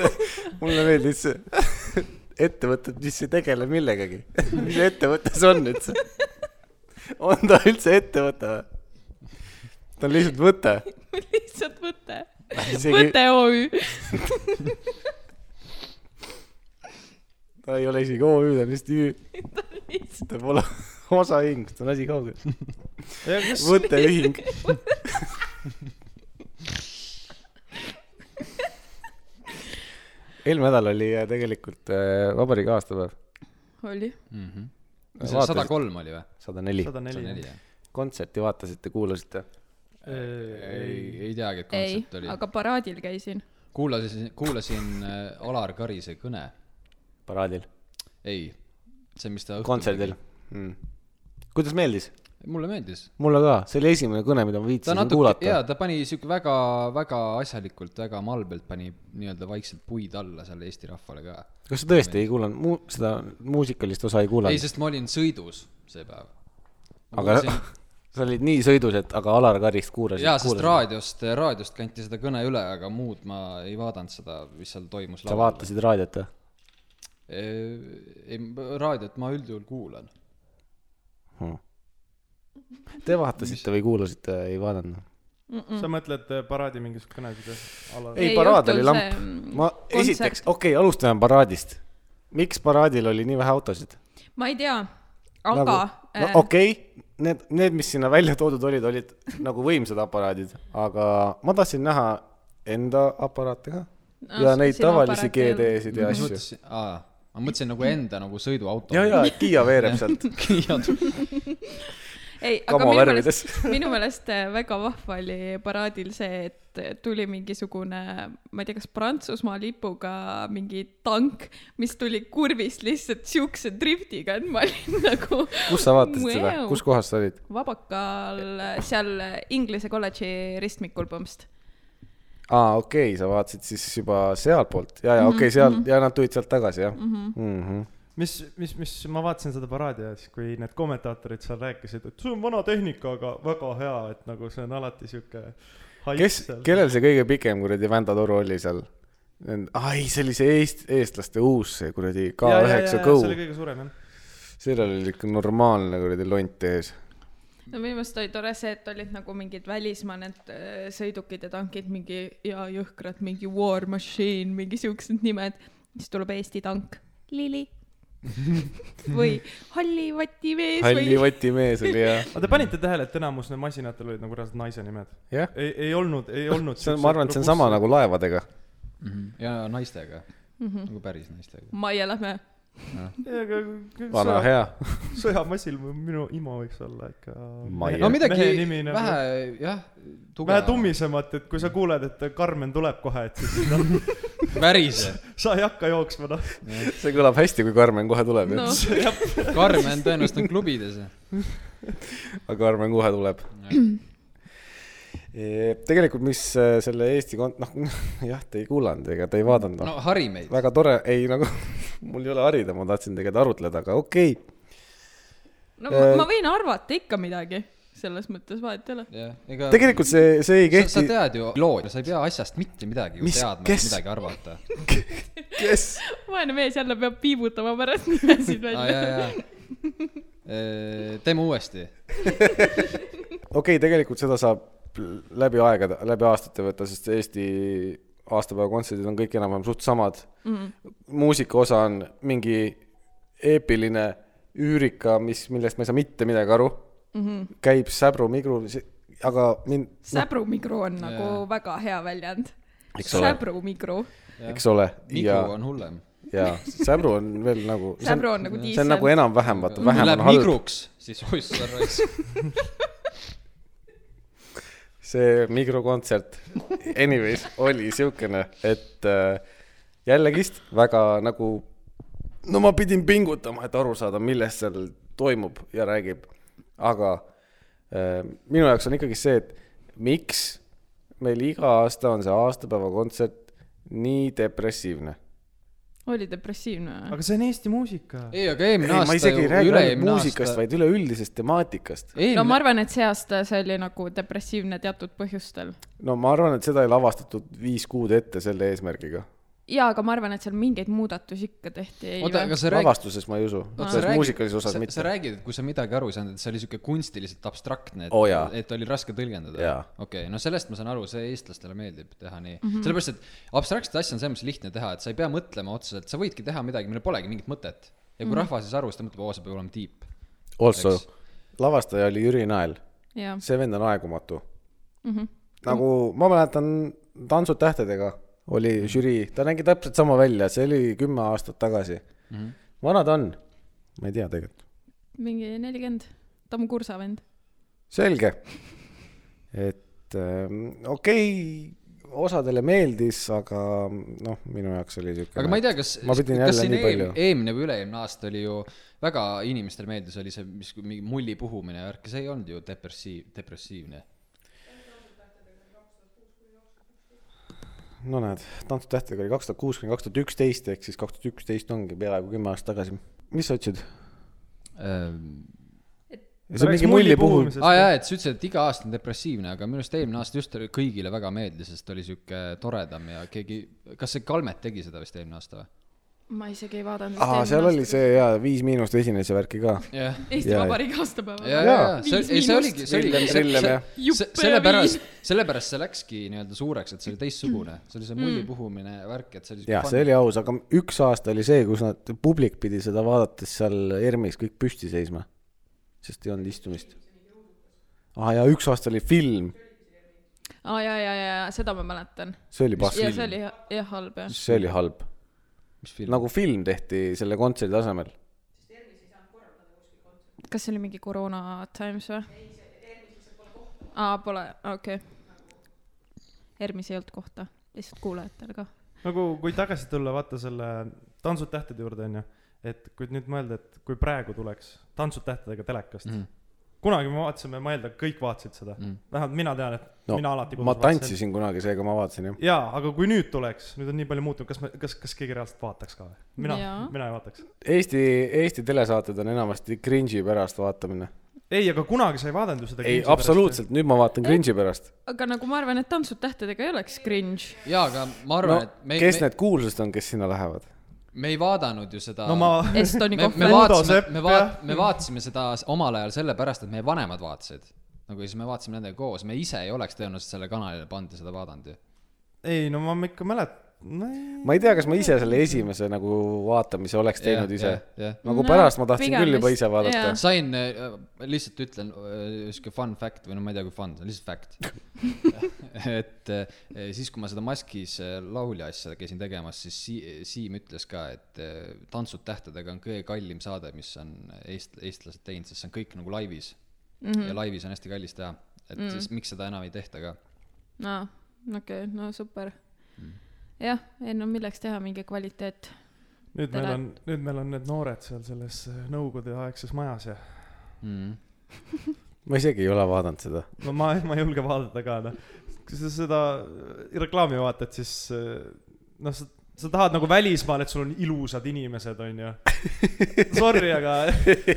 Speaker 1: mulle meeldis see ettevõtted , mis ei tegele millegagi . mis ettevõte see on üldse ? on ta üldse ettevõte või ? ta on lihtsalt võte .
Speaker 2: lihtsalt võte ,
Speaker 1: isegi ,
Speaker 2: võte OÜ .
Speaker 1: ta ei ole isegi OÜ , ta on lihtsalt Ü , ta pole osaühing , ta on asi kaugel . võtteühing . eelmine nädal oli äh, tegelikult äh, vabariigi aastapäev ,
Speaker 2: oli ,
Speaker 3: Mhm. see
Speaker 1: Vaatasid-
Speaker 3: sada kolm oli või ?
Speaker 1: sada neli .
Speaker 4: sada
Speaker 3: sada neli
Speaker 4: neli .
Speaker 3: jah ?
Speaker 1: kontserti vaatasite , kuulasite ?
Speaker 3: ei
Speaker 4: ei ,,
Speaker 3: ei teagi , et
Speaker 2: ei
Speaker 3: kontsept , oli .
Speaker 2: aga paraadil käisin .
Speaker 3: kuulasin , kuulasin äh, Alar Karise kõne .
Speaker 1: paraadil ,
Speaker 3: ei , see , mis ta õhtul
Speaker 1: kontserdil mm. . kuidas meeldis ?
Speaker 3: tegi. mulle meeldis .
Speaker 1: mulle ka , see oli esimene kõne , mida ma
Speaker 3: ta
Speaker 1: viitsisin
Speaker 3: natuke ,
Speaker 1: kuulata .
Speaker 3: jaa , ta pani sihuke väga , väga asjalikult , väga malbelt pani nii-öelda vaikselt puid alla seal Eesti rahvale ka .
Speaker 1: kas sa tõesti ei kuulanud mu- , seda muusikalist osa ei
Speaker 3: ei ,
Speaker 1: kuulanud ?
Speaker 3: sest ma olin sõidus see päev .
Speaker 1: aga sa olid nii sõidus , et aga Alar Karist kuulasid .
Speaker 3: jaa , sest . raadiost , raadiost kanti seda kõne üle , aga muud ma ei vaadanud seda , mis seal toimus
Speaker 1: sa . vaatasid raadiot või ?
Speaker 3: ei , raadiot ma üldjuhul kuulan .
Speaker 1: Hm. Te vaatasite või kuulasite , ei vaadanud ?
Speaker 4: sa mõtled äh, paraadi mingisuguseid kõnesid jah ? Alar ,
Speaker 1: ei ,
Speaker 2: Ei,
Speaker 1: paraad
Speaker 2: õhtul
Speaker 1: oli lamp
Speaker 2: see, .
Speaker 1: ma
Speaker 2: kontsert.
Speaker 1: esiteks , okei okay, , alustame paraadist . miks paraadil oli nii vähe autosid ?
Speaker 2: ma ei tea , aga
Speaker 1: Nagu- no
Speaker 2: äh,
Speaker 1: okei okay, , need , need , mis sinna välja toodud olid , olid nagu võimsad aparaadid , aga ma tahtsin näha enda aparaate ka
Speaker 2: No,
Speaker 1: ja
Speaker 2: s-
Speaker 1: neid
Speaker 2: sinu
Speaker 1: tavalisi
Speaker 2: aparaate ei olnud.
Speaker 1: GD-sid ja
Speaker 3: mis
Speaker 1: asju .
Speaker 3: mõttes , aa , ma mõtlesin nagu enda nagu sõiduauto .
Speaker 1: ja , ja , et Kiia veereb sealt
Speaker 2: ei , aga
Speaker 1: kama
Speaker 2: minu meelest ,
Speaker 1: värvides .
Speaker 2: minu meelest äh, väga vahva oli paraadil see , et äh, tuli mingisugune , ma ei tea , kas Prantsusmaa lipuga mingi tank , mis tuli kurvist lihtsalt siukse driftiga , et ma olin nagu
Speaker 1: kus sa vaatasid seda ,
Speaker 2: Wow.
Speaker 1: kus kohas sa olid ?
Speaker 2: vabakal äh, seal Inglise kolledži ristmikul põhimõtteliselt .
Speaker 1: aa , okei okay, , sa vaatasid siis juba sealtpoolt ja , ja okei okay, ,
Speaker 2: Mhm.
Speaker 1: seal ja nad tulid sealt tagasi jah mm ? -hmm.
Speaker 4: mis , mis , mis , ma vaatasin seda paraadi ja siis , kui need kommentaatorid seal rääkisid , et see on vana tehnika , aga väga hea , et nagu see on alati sihuke .
Speaker 1: kes , kellel see kõige pikem kuradi vändatoru oli seal ? ai , see oli see eest- , eestlaste uus see kuradi K9 Go
Speaker 4: see , oli kõige suurem jah .
Speaker 1: sellel oli ikka normaalne kuradi lont ees .
Speaker 2: no minu meelest oli tore see , et olid nagu mingid välismaa need äh, sõidukid ja tankid mingi ja jõhkrad , mingi war machine , mingi siuksed nimed , siis tuleb Eesti tank , lili või hallivati mees
Speaker 1: halli
Speaker 2: või
Speaker 1: vati mees oli ja ,
Speaker 4: aga te panite tähele , et enamus need masinatel olid nagu reaalselt naise nimed ?
Speaker 1: jah .
Speaker 4: ei , ei olnud , ei olnud .
Speaker 1: see on , ma arvan , et see on sama . nagu laevadega .
Speaker 3: ja mm-hmm. naistega mm , -hmm. nagu päris naistega .
Speaker 2: Maie Mhm. Lähme .
Speaker 1: vana
Speaker 4: vana
Speaker 1: hea .
Speaker 4: sõjamasil mu- minu ima võiks olla ikka .
Speaker 1: Ma ei
Speaker 3: no
Speaker 1: Jah.
Speaker 3: midagi
Speaker 4: mehe nimi nagu-
Speaker 3: vähe , jah ,
Speaker 4: vähe . tummisemat , et kui sa kuuled , et Karmen tuleb kohe , et siis noh ,
Speaker 3: värise .
Speaker 4: sa ei hakka jooksma noh .
Speaker 1: see kõlab hästi , kui Karmen kohe tuleb
Speaker 2: no
Speaker 1: no. ,
Speaker 3: Karmen tõenäoliselt on klubides .
Speaker 1: aga Karmen kohe tuleb . tegelikult , mis äh, selle Eesti kont- , noh jah , te ei kuulanud ega te ei vaadanud
Speaker 3: no hari meid .
Speaker 1: Noh. väga tore , ei nagu mul ei ole harida , ma tahtsin tegelikult arutleda , aga okei okay. .
Speaker 2: no
Speaker 1: Äh.
Speaker 2: ma, ma võin arvata ikka midagi , selles mõttes vahet ei ole .
Speaker 3: jah , ega .
Speaker 1: tegelikult see , see ei
Speaker 3: sa, sa
Speaker 1: kehti .
Speaker 3: tead ju lood , sa ei pea asjast mitte midagi ju
Speaker 1: Mis-
Speaker 3: teadma ,
Speaker 1: kes-
Speaker 3: et midagi arvata .
Speaker 1: kes ?
Speaker 2: vaene mees jälle peab piibutama pärast nimesid
Speaker 3: aa ,
Speaker 2: välja .
Speaker 3: jaa , jaa . teeme uuesti .
Speaker 1: okei okay, , tegelikult seda saab läbi aegade , läbi aastate võtta , sest Eesti aastapäeva kontserdid on kõik enam-vähem suht samad
Speaker 2: Mhm,
Speaker 1: mm. . muusika osa on mingi eepiline üürika , mis , millest ma ei saa mitte midagi aru mm .
Speaker 2: mhm.
Speaker 1: -hmm. käib säbru-migru , aga mind , noh,
Speaker 2: säbrumikro on nagu väga hea väljend .
Speaker 1: Eks ole.
Speaker 2: säbrumikro ,
Speaker 1: eks ole , ja ,
Speaker 3: migru on hullem .
Speaker 1: ja säbru on veel nagu .
Speaker 2: säbru on nagu
Speaker 1: see on nagu
Speaker 2: diisel .
Speaker 1: enam-vähem , vaata ,
Speaker 3: kui
Speaker 1: vähem
Speaker 3: läheb
Speaker 1: on halb .
Speaker 3: migruks , siis oissar raisk .
Speaker 1: see mikrokontsert , anyways , oli siukene , et äh, jällegist väga nagu , no ma pidin pingutama , et aru saada , millest seal toimub ja räägib . aga äh, minu jaoks on ikkagi see , et miks meil iga aasta on see aastapäevakontsert nii depressiivne .
Speaker 2: oli depressiivne või ?
Speaker 4: aga see on Eesti muusika .
Speaker 3: ei , aga eelmine
Speaker 1: ei , ma
Speaker 3: aasta
Speaker 1: isegi
Speaker 3: ju
Speaker 1: ei , räägi ainult
Speaker 3: üle-eelmine
Speaker 1: muusikast ,
Speaker 3: aasta .
Speaker 1: vaid üleüldisest temaatikast .
Speaker 2: no ma
Speaker 3: eelmine ,
Speaker 2: arvan , et see aasta see oli nagu depressiivne teatud põhjustel .
Speaker 1: no ma arvan , et seda ei lavastatud viis kuud ette selle eesmärgiga .
Speaker 2: jaa , aga ma arvan , et seal mingeid muudatusi ikka tehti .
Speaker 3: oota , aga sa räägid ,
Speaker 1: lavastuses ma ei usu ,
Speaker 2: Aa.
Speaker 1: selles muusikalises osas
Speaker 3: sa, sa
Speaker 1: mitte .
Speaker 3: räägid , et kui sa midagi aru ei saanud , et see oli siuke kunstiliselt abstraktne , et
Speaker 1: Oo Oh, jaa.
Speaker 3: et oli raske tõlgendada
Speaker 1: Jaa. .
Speaker 3: okei , no sellest ma saan aru , see eestlastele meeldib teha nii mm -hmm. , sellepärast et abstraktset asja on selles mõttes lihtne teha , et sa ei pea mõtlema otseselt , sa võidki teha midagi , millel polegi mingit mõtet . ja kui mm -hmm. rahvas ei saa aru , siis ta mõtleb , oo , see peab olema deep .
Speaker 1: Also
Speaker 3: Eks. ,
Speaker 1: lavastaja oli Jüri Nael ,
Speaker 2: jaa , mhm.
Speaker 1: see vend on aegumatu .
Speaker 2: mhmh ,
Speaker 1: nagu ma mäletan , Tantsud tähtedega oli žürii , ta nägi täpselt sama välja , see oli kümme aastat tagasi mm . -hmm. vana ta on ? ma ei tea tegelikult .
Speaker 2: mingi nelikümmend , ta on mu kursa vend .
Speaker 1: selge . et ähm, okei okay, , osadele meeldis , aga noh , minu jaoks oli siuke .
Speaker 3: aga ma ei tea , kas ,
Speaker 1: ma pidin
Speaker 3: kas
Speaker 1: jälle
Speaker 3: siin
Speaker 1: nii
Speaker 3: eem,
Speaker 1: palju .
Speaker 3: eelmine või üle-eelmine aasta oli ju väga inimestele meeldis , oli see , mis mingi mulli puhumine ja värk ja see ei olnud ju depressiiv , depressiivne .
Speaker 1: no näed , Tantsud tähtedega oli kaks tuhat kuus kuni kaks tuhat üksteist ehk siis kaks tuhat üksteist ongi peaaegu kümme aastat tagasi . mis sa ütlesid ? Äh, see on mingi mulli puhul .
Speaker 3: aa jaa , et sa ütlesid , et iga aasta on depressiivne , aga minu arust eelmine aasta just oli- kõigile väga meeldis , sest oli sihuke toredam ja keegi , kas see Kalmet tegi seda vist eelmine aasta või ?
Speaker 2: ma isegi ei vaadanud .
Speaker 1: aa , seal oli . see jaa , Viis Miinust esines ja värki ka .
Speaker 3: jah ,
Speaker 2: Eesti
Speaker 1: jaa,
Speaker 2: Vabariigi aastapäeval .
Speaker 3: ja , ja , ja see , ei see oligi , see oligi
Speaker 1: Trillem, trillem, jah.
Speaker 3: see- see ,
Speaker 2: Juppe ja
Speaker 3: sellepärast , sellepärast see läkski nii-öelda suureks , et see oli teistsugune , see oli see mulli puhumine värk , et see oli
Speaker 1: jah , see oli aus , aga üks aasta oli see , kus nad , publik pidi seda vaadates seal ERM-is kõik püsti seisma , sest ei olnud istumist . aa jaa , üks aasta oli film ,
Speaker 2: aa , jaa , jaa , jaa , seda ma mäletan .
Speaker 1: see oli pass ,
Speaker 2: ja see oli jah- jah halb jah .
Speaker 1: see oli halb .
Speaker 3: mis film ?
Speaker 1: nagu film tehti selle kontserdi tasemel .
Speaker 2: kas see oli mingi koroona times või ? aa , pole , okei okay. . ERMis ei olnud kohta , lihtsalt kuulajatele ka .
Speaker 4: nagu kui tagasi tulla , vaata selle Tantsud tähtede juurde onju , et kui nüüd mõelda , et kui praegu tuleks Tantsud tähtedega telekast mm.
Speaker 3: Mhm. ,
Speaker 4: kunagi me vaatasime , ma eeldan , kõik vaatasid seda mm.
Speaker 3: Mhm. ,
Speaker 4: vähemalt mina tean , et
Speaker 1: No,
Speaker 4: no, mina alati .
Speaker 1: ma . tantsisin kunagi , seega ma vaatasin jah .
Speaker 4: jaa , aga kui nüüd tuleks , nüüd on nii palju muutunud , kas me , kas , kas keegi reaalselt vaataks ka või ? mina
Speaker 2: Jaa. ,
Speaker 4: mina ei vaataks .
Speaker 1: Eesti , Eesti telesaated on enamasti cringe'i pärast vaatamine .
Speaker 4: ei , aga kunagi sa ei vaadanud ju seda .
Speaker 1: ei , absoluutselt , nüüd ma vaatan cringe'i pärast .
Speaker 2: aga nagu ma arvan , et Tantsud tähtedega ei oleks cringe .
Speaker 3: jaa , aga ma
Speaker 1: no
Speaker 3: arvan , et me ,
Speaker 1: kes
Speaker 3: me,
Speaker 1: need kuulsused on , kes sinna lähevad ?
Speaker 3: me ei vaadanud ju seda
Speaker 4: no ma ,
Speaker 2: Estoni
Speaker 3: me ,
Speaker 2: kohta .
Speaker 3: me
Speaker 4: vaat-
Speaker 3: vaatasime ,
Speaker 4: Sepp,
Speaker 3: me vaat- ,
Speaker 4: jah.
Speaker 3: me vaatasime seda s- omal ajal sellepärast , et meie vanemad vaatasid . nagu ja siis me vaatasime nendega koos , me ise ei oleks tõenäoliselt sellele kanalile pannud ja seda vaadanud ju .
Speaker 4: ei no ma ikka mäletan ,
Speaker 1: ma ei tea , kas ma ise selle esimese nagu vaatamise oleks teinud ise .
Speaker 3: jah .
Speaker 1: nagu
Speaker 2: No,
Speaker 1: pärast ma tahtsin
Speaker 2: pigem
Speaker 1: küll juba
Speaker 2: vist-
Speaker 1: ise vaadata
Speaker 2: jaa. .
Speaker 3: sain , lihtsalt ütlen äh, sihuke fun fact või no ma ei tea , kui fun , see on lihtsalt fact . et äh, siis , kui ma seda maskis äh, laulja asja käisin tegemas , siis Si- Siim ütles ka , et äh, Tantsud tähtedega on kõige kallim saade , mis on eest- , eestlased teinud , sest see on kõik nagu laivis mm .
Speaker 2: Mhm.
Speaker 3: -hmm. ja laivis on hästi kallis teha , et mm -hmm. siis miks seda enam ei tehta ka .
Speaker 2: aa , okei , no super . jah , ei no milleks teha mingi kvaliteet .
Speaker 4: nüüd meil
Speaker 2: Tere.
Speaker 4: on , nüüd meil on need noored seal selles nõukogudeaegses majas ja
Speaker 3: Mm.
Speaker 1: ma isegi ei ole vaadanud seda .
Speaker 4: no ma , ma ei julge vaadata ka noh . kui sa seda reklaami vaatad , siis äh, noh , sa , sa tahad nagu välismaal , et sul on ilusad inimesed , onju . Sorry , aga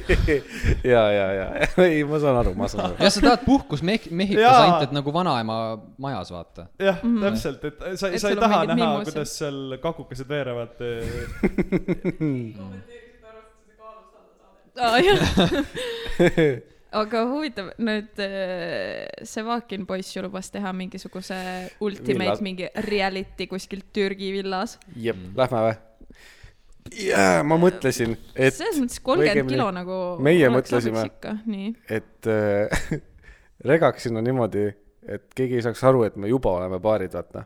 Speaker 1: ja , ja , ja , ei , ma saan aru , ma saan aru .
Speaker 3: jah , sa tahad puhkus Mehh- , Mehhikos
Speaker 4: Jaa.
Speaker 3: ainult , et nagu vanaema majas , vaata .
Speaker 4: jah , täpselt , et sa
Speaker 2: Mhm. Et ,
Speaker 4: sa
Speaker 2: sul
Speaker 4: ei
Speaker 2: on
Speaker 4: taha
Speaker 2: mingid
Speaker 4: näha ,
Speaker 2: mimosed.
Speaker 4: kuidas seal kakukesed äh, veerevad .
Speaker 2: aa jah . aga huvitav , nüüd äh, see Vaakin poiss ju lubas teha mingisuguse ultimate
Speaker 1: Villas.
Speaker 2: Villas. mingi reality kuskil Türgi villas .
Speaker 1: jep , Mm. lähme või ? jaa , ma mõtlesin , et ,
Speaker 2: selles mõttes kolmkümmend
Speaker 1: õigemini
Speaker 2: kilo nagu .
Speaker 1: meie mõtlesime-
Speaker 2: ikka , nii .
Speaker 1: et äh, regaks sinna niimoodi , et keegi ei saaks aru , et me juba oleme paarid , vaata .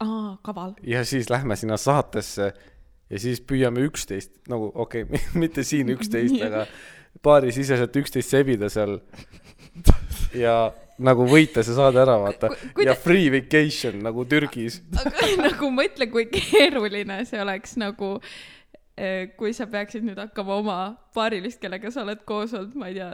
Speaker 2: aa , kaval .
Speaker 1: ja siis lähme sinna saatesse ja siis püüame üksteist , nagu okei okay, , mitte siin üksteist , aga paarisiseselt üksteist sebida seal . ja nagu võita see saade ära , vaata
Speaker 2: Ku- . kuida-
Speaker 1: ja free vacation nagu Türgis .
Speaker 2: aga nagu mõtle , kui keeruline see oleks nagu , kui sa peaksid nüüd hakkama oma paarilist , kellega sa oled koos olnud , ma ei tea ,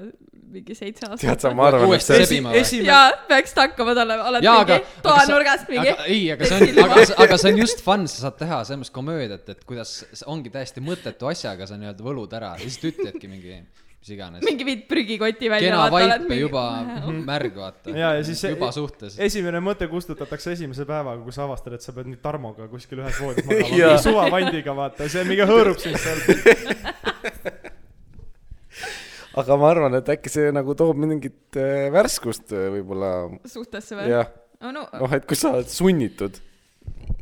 Speaker 2: mingi seitse aastat .
Speaker 1: tead sa , ma arvan , et
Speaker 3: Uuesti
Speaker 1: see
Speaker 3: sebi-
Speaker 2: jaa , peaksid hakkama talle , oled
Speaker 3: jaa , aga
Speaker 2: mingi . toanurgast mingi .
Speaker 3: ei , aga see on , aga , aga see on just fun , sa saad teha selles mõttes komöödiat , et kuidas see ongi täiesti mõttetu asjaga , sa nii-öelda võlud ära ja siis ta ütlebki mingi , mis iganes .
Speaker 2: mingi viid prügikoti välja .
Speaker 3: kena vaipe juba
Speaker 2: Oh,
Speaker 3: märg , vaata .
Speaker 4: ja , ja siis see e-
Speaker 3: juba suhtes .
Speaker 4: esimene mõte kustutatakse esimese päevaga , kui sa avastad , et sa pead nüüd Tarmoga kuskil ühes voodis magama ,
Speaker 1: Jaa.
Speaker 4: mingi suvavandiga , vaata , see mingi hõõrub sind seal .
Speaker 1: aga ma arvan , et äkki see nagu toob mingit äh, värskust äh, võib-olla ,
Speaker 2: suhtesse või ?
Speaker 1: jah .
Speaker 2: no, no
Speaker 1: noh , et kui sa oled sunnitud .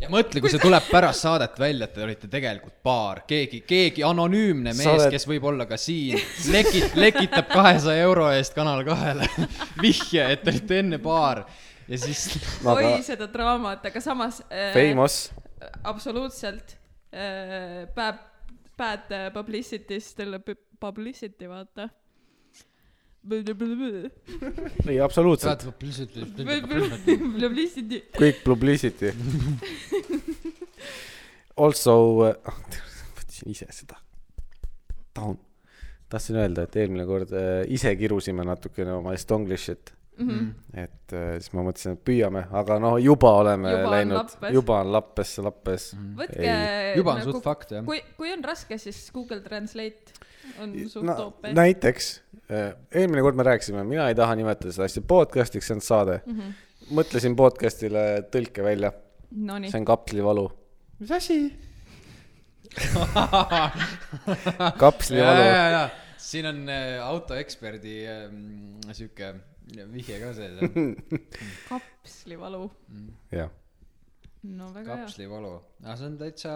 Speaker 3: ja mõtle , kui see tuleb pärast saadet välja , et te olite tegelikult paar , keegi , keegi anonüümne
Speaker 1: Sa
Speaker 3: mees
Speaker 1: oled-
Speaker 3: oled... , kes võib olla ka siin , lekit- , lekitab kahesaja euro eest Kanal kahele vihje , et te olite enne paar ja siis
Speaker 1: No,
Speaker 2: oi
Speaker 1: aga-
Speaker 2: seda draamat , aga samas äh,
Speaker 1: Famous .
Speaker 2: absoluutselt äh, bad , bad publicity still a pu- publicity , vaata .
Speaker 1: ei , absoluutselt .
Speaker 3: tead , lihtsalt
Speaker 2: Publicity ,
Speaker 1: kõik publicity . Also äh, , võtsin ise seda . Down . tahtsin öelda , et eelmine kord äh, ise kirusime natukene oma Estonglishit .
Speaker 2: Mhm.
Speaker 1: et äh, siis ma mõtlesin , et püüame , aga no juba oleme
Speaker 2: Juba on
Speaker 1: läinud
Speaker 2: lappes. ,
Speaker 1: juba on lappes , lappes .
Speaker 2: võtke .
Speaker 3: juba on suht fakt jah .
Speaker 2: nagu kui , kui on raske , siis Google Translate on suht
Speaker 1: no,
Speaker 2: top .
Speaker 1: näiteks , eelmine kord me rääkisime , mina ei taha nimetada seda asja podcast'iks , see on saade mm .
Speaker 2: Mhm.
Speaker 1: -hmm. mõtlesin podcast'ile tõlke välja ,
Speaker 2: Nonii
Speaker 1: see , on kapslivalu .
Speaker 4: mis asi ?
Speaker 2: Ah.
Speaker 3: ja ,
Speaker 1: kapslivalu
Speaker 3: ja , ja siin on äh, autoeksperdi äh, m, sihuke vihje ka sees ,
Speaker 2: kapslivalu ,
Speaker 1: jah ,
Speaker 2: no väga hea .
Speaker 3: kapslivalu , aga see on täitsa ,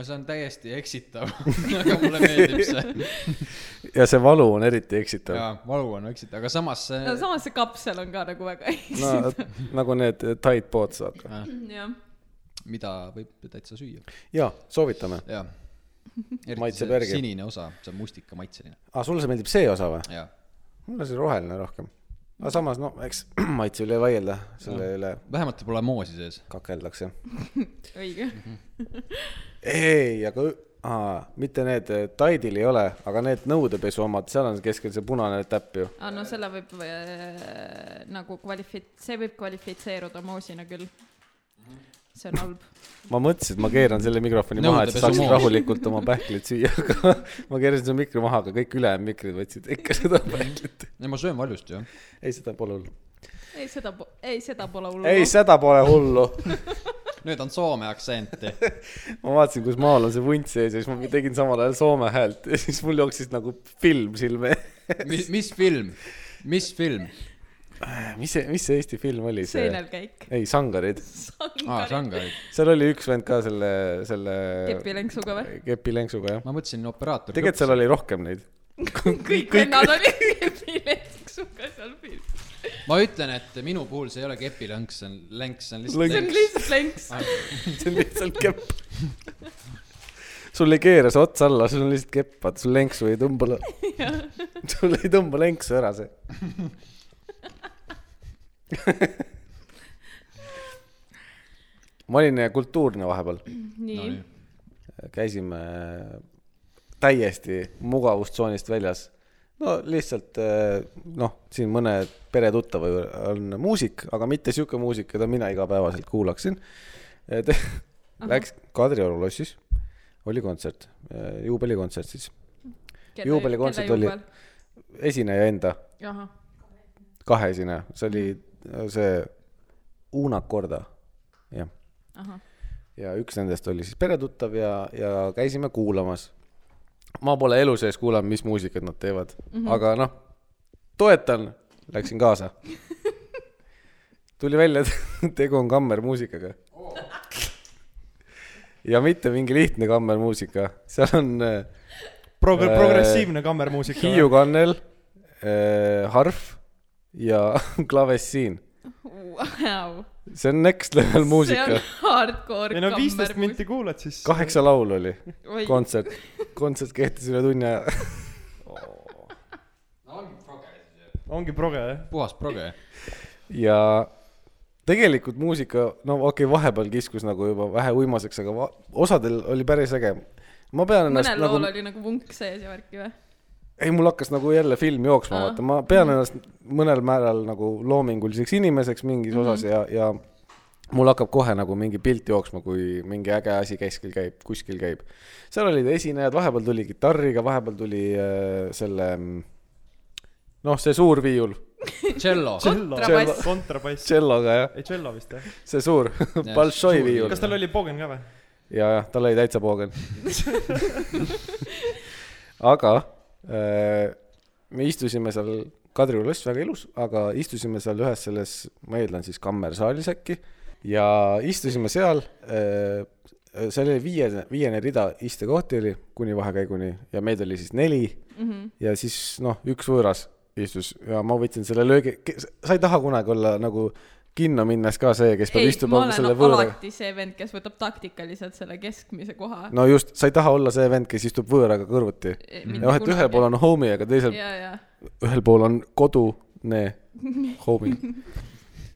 Speaker 3: see on täiesti eksitav , aga mulle meeldib see
Speaker 1: ja see valu on eriti eksitav .
Speaker 3: jaa , valu on eksitav , aga samas see
Speaker 2: no samas see kapsel on ka nagu väga
Speaker 1: No,
Speaker 2: eksitav ,
Speaker 1: nagu need tight pood saad .
Speaker 2: jah .
Speaker 3: mida võib täitsa süüa .
Speaker 1: ja soovitame .
Speaker 3: jaa .
Speaker 1: Maitseb
Speaker 3: see
Speaker 1: järgi.
Speaker 3: sinine osa , see on mustikamaitseline ,
Speaker 1: aga Ah, sulle see meeldib see osa või ?
Speaker 3: jaa .
Speaker 1: mulle see roheline rohkem . aga samas no eks maitse üle ei vaielda , selle üle
Speaker 3: vähemalt pole moosi sees .
Speaker 1: kakeldakse .
Speaker 2: õige .
Speaker 1: ei , aga ü- aa, mitte need , Tide'il ei ole , aga need nõudepesu omad , seal on keskel see punane täpp ju .
Speaker 2: aa , Ah, no selle võib äh, nagu kvalifi- , see võib kvalifitseeruda moosina küll . see on halb .
Speaker 1: ma mõtlesin , et ma keeran selle mikrofoni maha , et sa
Speaker 3: Nõudepesu
Speaker 1: saaksid
Speaker 3: moos.
Speaker 1: rahulikult oma pähklit süüa , aga ma keerasin selle mikri maha , aga kõik ülejäänud mikrid võtsid ikka seda pähklit .
Speaker 3: ei , ma söön valjust ju .
Speaker 1: ei , seda pole hullu .
Speaker 2: ei , seda , ei , seda pole
Speaker 1: ei ,
Speaker 2: hullu .
Speaker 1: seda pole hullu .
Speaker 3: nüüd on soome aktsenti .
Speaker 1: ma vaatasin , kus maal on see vunt sees ja siis ma tegin samal ajal soome häält ja siis mul jooksis nagu film silme .
Speaker 3: mis , mis film , mis film ?
Speaker 1: mis see , mis see Eesti film oli see ? Ah,
Speaker 2: seenelkäik .
Speaker 1: ei , Sangarid .
Speaker 3: aa , Shanghai .
Speaker 1: seal oli üks vend ka selle , selle .
Speaker 2: kepilenksuga või ?
Speaker 1: kepilenksuga jah .
Speaker 3: ma mõtlesin operaator .
Speaker 1: tegelikult seal oli rohkem neid .
Speaker 2: kõik vennad olid kepilenksuga seal filmis .
Speaker 3: ma ütlen , et minu puhul see ei ole kepilõnks , see on länks , see on lihtsalt Ah,
Speaker 1: Lõnks.
Speaker 2: see on
Speaker 3: länks .
Speaker 2: lihtsalt lenks .
Speaker 1: see on lihtsalt kepp . sul ei keera see ots alla , sul on lihtsalt kepp , vaata sul lenksu ei tõmba . sul ei tõmba lenksu ära see . ma olin äh, kultuurne vahepeal ,
Speaker 2: nii ,
Speaker 1: käisime täiesti mugavustsoonist väljas . no lihtsalt eh, noh , siin mõne peretuttava ju- on muusik , aga mitte sihuke muusik , keda mina igapäevaselt kuulaksin . Läks Kadrioru lossis , oli kontsert , juubelikontsert siis , Juubelikontsert oli- esineja enda ,
Speaker 2: ahah ,
Speaker 1: kahe esineja , see oli eh, see Uuna Korda , jah .
Speaker 2: ahah ,
Speaker 1: ja üks nendest oli siis peretuttav ja , ja käisime kuulamas . ma pole elu sees kuulanud , mis muusikat nad teevad mm ,
Speaker 2: Mhm.
Speaker 1: -hmm. aga noh , toetan , läksin kaasa . tuli välja , et tegu on kammermuusikaga . ja mitte mingi lihtne kammermuusika , seal on äh,
Speaker 4: Prog- ,
Speaker 1: Äh,
Speaker 4: progressiivne kammermuusika .
Speaker 1: Hiiu kannel äh, , harf ja klavessiin .
Speaker 2: vau .
Speaker 1: see on next level
Speaker 2: see
Speaker 1: muusika
Speaker 2: on . hardcore
Speaker 4: ei no viisteist
Speaker 2: kammermuusika.
Speaker 4: minti kuulad , siis .
Speaker 1: kaheksa laulu oli
Speaker 2: Oi.
Speaker 1: kontsert , kontsert kehtis üle tunni aja .
Speaker 4: ongi proge , jah .
Speaker 3: puhas proge .
Speaker 1: ja tegelikult muusika , no okei okay, , vahepeal kiskus nagu juba vähe uimaseks , aga va- osadel oli päris äge . ma pean ennast
Speaker 2: mõnel
Speaker 1: nagu
Speaker 2: lool , oli nagu vunk sees ja värki või ?
Speaker 1: ei mul hakkas nagu jälle film jooksma ,
Speaker 2: Aa.
Speaker 1: vaata , ma pean ennast mõnel määral nagu loominguliseks inimeseks mingis mm -hmm. osas ja , ja mul hakkab kohe nagu mingi pilt jooksma , kui mingi äge asi keskel käib , kuskil käib . seal olid esinejad , vahepeal tuli kitarriga , vahepeal tuli äh, selle , noh , see suur viiul ,
Speaker 3: tšello .
Speaker 2: Kontrabass.
Speaker 4: kontrabass ,
Speaker 1: tšelloga jah ,
Speaker 4: ei tšello vist jah .
Speaker 1: see suur
Speaker 3: Jah,
Speaker 1: Balšoi
Speaker 3: suur
Speaker 1: viiul
Speaker 4: kas . tal oli poogen ka või ?
Speaker 1: ja , jah , tal oli täitsa poogen . aga äh, me istusime seal , Kadrioru loss väga ilus , aga istusime seal ühes selles , ma eeldan siis kammersaalis äkki ja istusime seal äh, , seal oli viiene , viiene rida istekohti oli kuni vahekäiguni ja meid oli siis neli mm -hmm.
Speaker 2: Mhm.
Speaker 1: ja siis noh , üks võõras istus ja ma võtsin selle löögi , sa ei taha kunagi olla nagu kinno minnes ka see , kes peab
Speaker 2: ei , ma
Speaker 1: istuma
Speaker 2: olen
Speaker 1: selle
Speaker 2: no,
Speaker 1: võõraga .
Speaker 2: alati see vend , kes võtab taktikaliselt selle keskmise koha .
Speaker 1: no just , sa ei taha olla see vend , kes istub võõraga kõrvuti . jah , et ühel pool on homie , aga teisel ,
Speaker 2: ja , ja
Speaker 1: ühel pool on kodune homie ,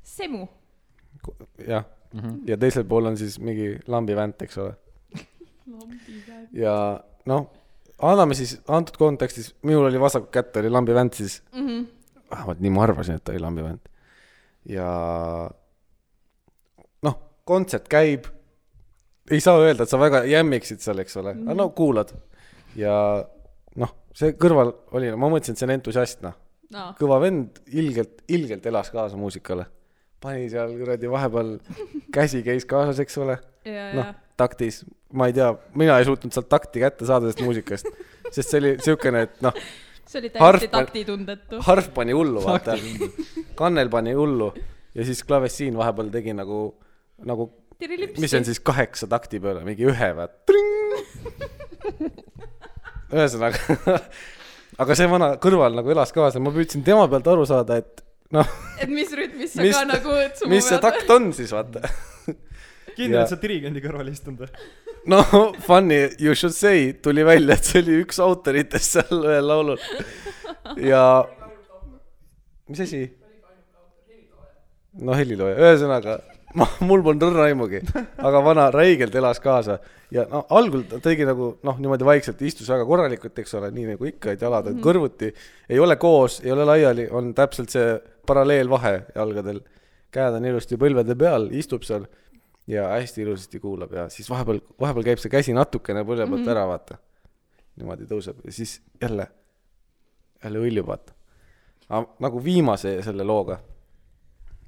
Speaker 2: semu .
Speaker 1: jah . ja teisel pool on siis mingi lambivänt , eks ole . ja noh , anname siis antud kontekstis , minul oli vasak kätt oli lambivänt siis mm . -hmm. vähemalt nii ma arvasin , et ta oli lambivänt . ja noh , kontsert käib . ei saa öelda , et sa väga jämmiksid seal , eks ole , aga no kuulad ja noh , see kõrval oli , ma mõtlesin , et see on entusiast , noh .
Speaker 2: No.
Speaker 1: kõva vend ilgelt , ilgelt elas kaasa muusikale . pani seal kuradi vahepeal käsi käis kaasas , eks ole .
Speaker 2: ja , ja
Speaker 1: noh , taktis , ma ei tea , mina ei suutnud sealt takti kätte saada sellest muusikast , sest see oli siukene , et noh ,
Speaker 2: see oli
Speaker 1: Harf-
Speaker 2: täiesti taktitundetu .
Speaker 1: harf pani hullu , vaata . kannel pani hullu ja siis klavessiin vahepeal tegi nagu , nagu , mis see on siis kaheksa takti peale , mingi ühe või ? ühesõnaga , aga see vana kõrval nagu elas kaasa , ma püüdsin tema pealt aru saada , et noh ,
Speaker 2: et mis rütmis sa
Speaker 1: Mis-
Speaker 2: ka nagu sumu
Speaker 1: mis see takt on siis , vaata .
Speaker 4: kindel ,
Speaker 1: Ja.
Speaker 4: et sa dirigendi kõrval ei istunud või ?
Speaker 1: no funny you should say tuli välja , et see oli üks autoritest seal ühel laulul ja . mis asi ? no helilooja , ühesõnaga ma , mul polnud õrna aimugi , aga vana räigelt elas kaasa ja no algul ta tegi nagu noh , niimoodi vaikselt istus väga korralikult , eks ole , nii nagu ikka , et jalad on kõrvuti , ei ole koos , ei ole laiali , on täpselt see paralleelvahe jalgadel . käed on ilusti põlvede peal , istub seal ja hästi ilusasti kuulab ja siis vahepeal , vahepeal käib see käsi natukene põlve pealt ära , vaata . niimoodi tõuseb ja siis jälle , jälle õljub , vaata . nagu viimase selle looga ,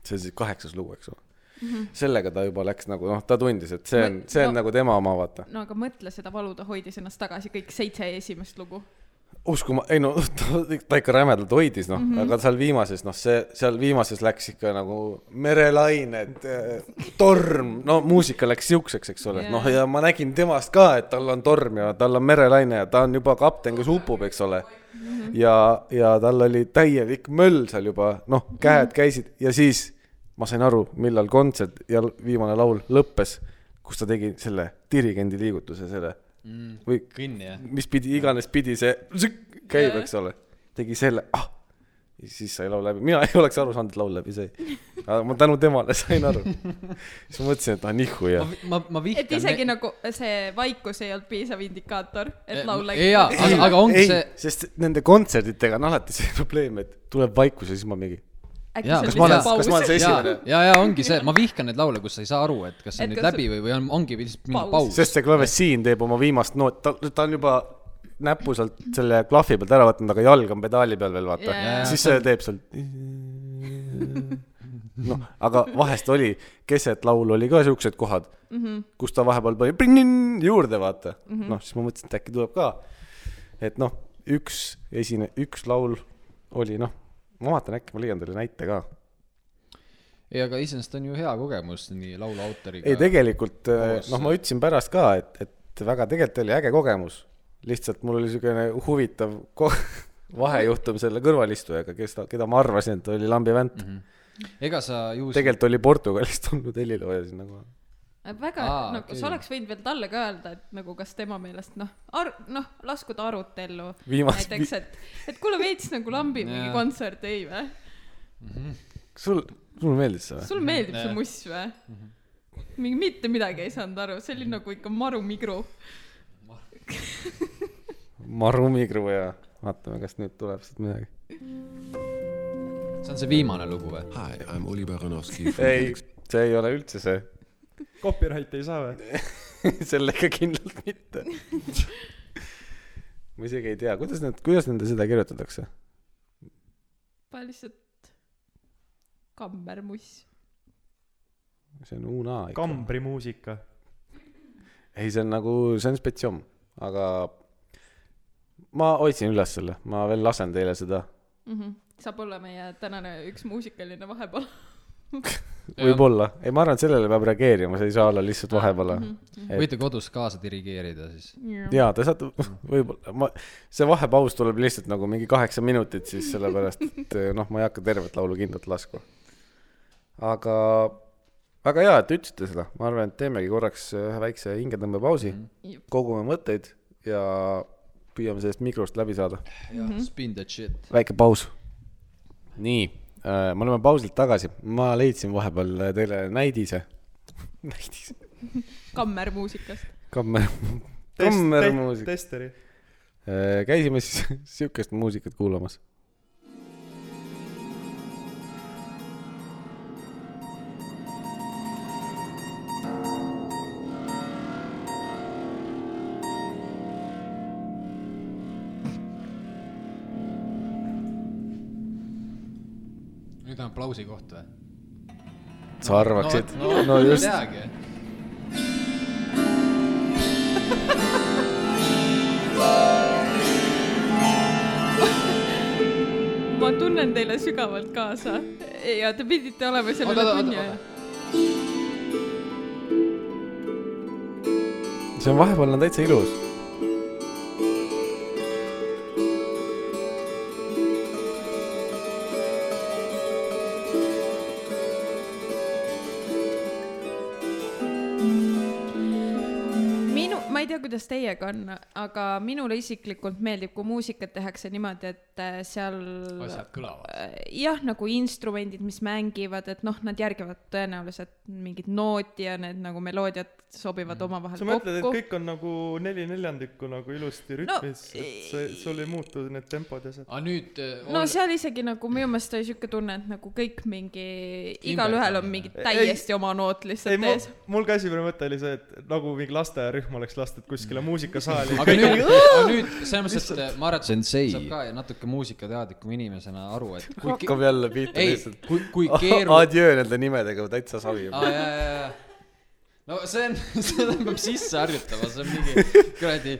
Speaker 1: see on siis kaheksas lugu , eks ole mm . -hmm. sellega ta juba läks nagu noh , ta tundis , et see on
Speaker 2: Mõ- ,
Speaker 1: see on no.
Speaker 2: no-
Speaker 1: nagu tema oma , vaata .
Speaker 2: no aga mõtle seda valu , ta hoidis ennast tagasi kõik seitse esimest lugu .
Speaker 1: uskuma , ei no ta, ta ikka rämedalt hoidis , noh mm , -hmm. aga seal viimases , noh , see seal viimases läks ikka nagu merelained , torm , no muusika läks siukseks , eks ole
Speaker 2: Jaa.
Speaker 1: yeah. , noh ja ma nägin temast ka , et tal on torm ja tal on merelaine ja ta on juba kapten , kes upub , eks ole mm . -hmm. ja , ja tal oli täielik möll seal juba , noh , käed käisid ja siis ma sain aru , millal kontsert ja l- viimane laul lõppes , kus ta tegi selle dirigendi liigutuse , selle või
Speaker 3: Mm, kõnni jah .
Speaker 1: mis pidi iganes pidi see zõkk käib ,
Speaker 2: Jaa.
Speaker 1: eks ole , tegi selle ah, , ja siis sai laul läbi , mina ei oleks aru saanud , et laul läbi sai . aga ma tänu temale sain aru . siis ma mõtlesin , et ah nihu ja
Speaker 3: ma , ma , ma vihkan .
Speaker 2: et isegi nagu see vaikus ei olnud piisav indikaator ,
Speaker 4: Eh,
Speaker 2: et laul läks .
Speaker 3: jaa , aga , aga ongi
Speaker 1: ei
Speaker 3: see ,,
Speaker 1: sest nende kontsertidega on alati see probleem , et tuleb vaikus ja siis ma mingi ,
Speaker 2: äkki
Speaker 3: jaa,
Speaker 2: see
Speaker 3: kas
Speaker 2: oli
Speaker 3: ma
Speaker 2: lihtsalt
Speaker 1: olen- kas ma olen
Speaker 2: paus
Speaker 1: see- .
Speaker 3: ja
Speaker 1: esimene. ,
Speaker 3: ja , ja ongi see , ma vihkan neid laule , kus sa ei saa aru , et kas see
Speaker 2: Et
Speaker 3: on nüüd
Speaker 2: kas-
Speaker 3: läbi või , või on , ongi lihtsalt mingi
Speaker 2: Paus.
Speaker 3: paus .
Speaker 1: sest see klavessiin teeb oma viimast noot , ta , ta on juba näpu sealt selle klahvi pealt ära võtnud , aga jalg on pedaali peal veel , vaata
Speaker 2: Jaa.
Speaker 1: yeah. . siis see teeb seal . noh , aga vahest oli , keset laulu oli ka siuksed kohad mm , -hmm. kus ta vahepeal pani prinnin juurde , vaata mm -hmm. . noh , siis ma mõtlesin , et äkki tuleb ka . et noh , üks esine , üks laul oli noh , ma vaatan , äkki ma leian teile näite ka .
Speaker 3: ei , aga iseenesest on ju hea kogemus nii laulu autoriga .
Speaker 1: ei , tegelikult äh,
Speaker 3: koos-
Speaker 1: noh , ma ütlesin pärast ka , et , et väga tegelikult oli äge kogemus . lihtsalt mul oli niisugune huvitav ko- vahejuhtum selle kõrvalistujaga , kes , keda ma arvasin , et oli lambivänt mm . -hmm.
Speaker 3: ega sa ju .
Speaker 1: tegelikult oli Portugalist tulnud helilooja sinna kohe .
Speaker 2: väga
Speaker 3: Aa, ,
Speaker 2: nagu
Speaker 3: okei.
Speaker 2: sa oleks võinud veel talle ka öelda , et nagu kas tema meelest noh , ar- , noh , laskuda arutellu
Speaker 1: Viimast-
Speaker 2: näiteks , et , et kuule veits nagu lambi mingi
Speaker 3: Jaa.
Speaker 2: kontsert , ei vä ?
Speaker 1: sul , sulle meeldis see või ?
Speaker 2: sulle meeldib see
Speaker 3: Jaa. Mhm.
Speaker 2: muss vä ? mingi mitte midagi ei saanud aru , see oli nagu ikka maru migru .
Speaker 1: Maru Migru ja vaatame , kas nüüd tuleb sealt midagi .
Speaker 3: see on see viimane lugu või ?
Speaker 5: Hi, I'm Oli Baranowski from
Speaker 1: ei
Speaker 5: Felix- ,
Speaker 1: see ei ole üldse see .
Speaker 4: Copyright ei saa või ?
Speaker 1: sellega kindlalt mitte . ma isegi ei tea , kuidas need , kuidas nende seda kirjutatakse ?
Speaker 2: ma lihtsalt , kammermuss .
Speaker 1: see on Una ikka .
Speaker 4: kambrimuusika .
Speaker 1: ei , see on nagu , see on spetsiom , aga ma hoidsin üles selle , ma veel lasen teile seda .
Speaker 2: Mhm. saab olla meie tänane üks muusikaline vahepeal .
Speaker 1: võib-olla , ei , ma arvan , et sellele peab reageerima , see ei saa olla lihtsalt vahepeal .
Speaker 3: võite kodus kaasa dirigeerida siis .
Speaker 1: jaa , te saate , võib-olla , ma , see vahepaus tuleb lihtsalt nagu mingi kaheksa minutit siis sellepärast , et noh , ma ei hakka tervet laulu kindlalt laskma . aga väga hea , et te ütlesite seda , ma arvan , et teemegi korraks ühe väikse hingetõmbepausi mm ,
Speaker 2: Jep.
Speaker 1: -hmm. kogume mõtteid ja püüame sellest mikrost läbi saada .
Speaker 3: jah , spin that shit .
Speaker 1: väike paus . nii , me oleme pausilt tagasi , ma leidsin vahepeal äh, teile näidise . näidise ,
Speaker 2: kammermuusikast .
Speaker 1: kammer , kammermuusika .
Speaker 4: testeri .
Speaker 1: Äh, käisime siis siukest muusikat kuulamas .
Speaker 3: nüüd on aplausi koht või ?
Speaker 1: sa arvaksid ?
Speaker 3: no,
Speaker 1: no just ,
Speaker 3: ei teagi .
Speaker 2: ma tunnen teile sügavalt kaasa ja te pidite olema
Speaker 3: Oota,
Speaker 2: sellele
Speaker 3: oota,
Speaker 2: tunni
Speaker 3: oota,
Speaker 2: ajal .
Speaker 1: see on vahepeal on täitsa ilus .
Speaker 2: minu , ma ei tea , kuidas teiega on , aga minule isiklikult meeldib , kui muusikat tehakse niimoodi , et äh, seal
Speaker 3: asjad kõlavad .
Speaker 2: Äh, jah , nagu instrumendid , mis mängivad , et noh , nad järgivad tõenäoliselt mingit nooti ja need nagu meloodiad sobivad omavahel
Speaker 4: sa mõtled , et
Speaker 2: kokku .
Speaker 4: kõik on nagu neli neljandikku nagu ilusti rütmis no, , et see , sul ei muutu need tempod ja see .
Speaker 3: aga nüüd äh,
Speaker 2: no
Speaker 3: ol-
Speaker 2: seal isegi nagu minu meelest oli siuke tunne , et nagu kõik mingi , igalühel on mingi
Speaker 4: Ei-
Speaker 2: täiesti oma noot
Speaker 4: ei ,
Speaker 2: lihtsalt
Speaker 4: mul
Speaker 2: ees .,
Speaker 4: mul ka esimene mõte oli see , et nagu mingi lasteaiarühm oleks lastud kuskile muusikasaali .
Speaker 3: aga nüüd , aga nüüd selles mõttes , et äh, ma arvan , et
Speaker 5: Sensei.
Speaker 3: saab ka natuke muusikateadliku inimesena aru , et kui
Speaker 1: hakkab jälle pihta
Speaker 3: ei , kui , kui keeru- .
Speaker 1: Adjöö nende nimedega täitsa savi .
Speaker 3: aa , jaa , jaa , jaa . no see on , seda peab sisse harjutama , see on mingi kuradi ,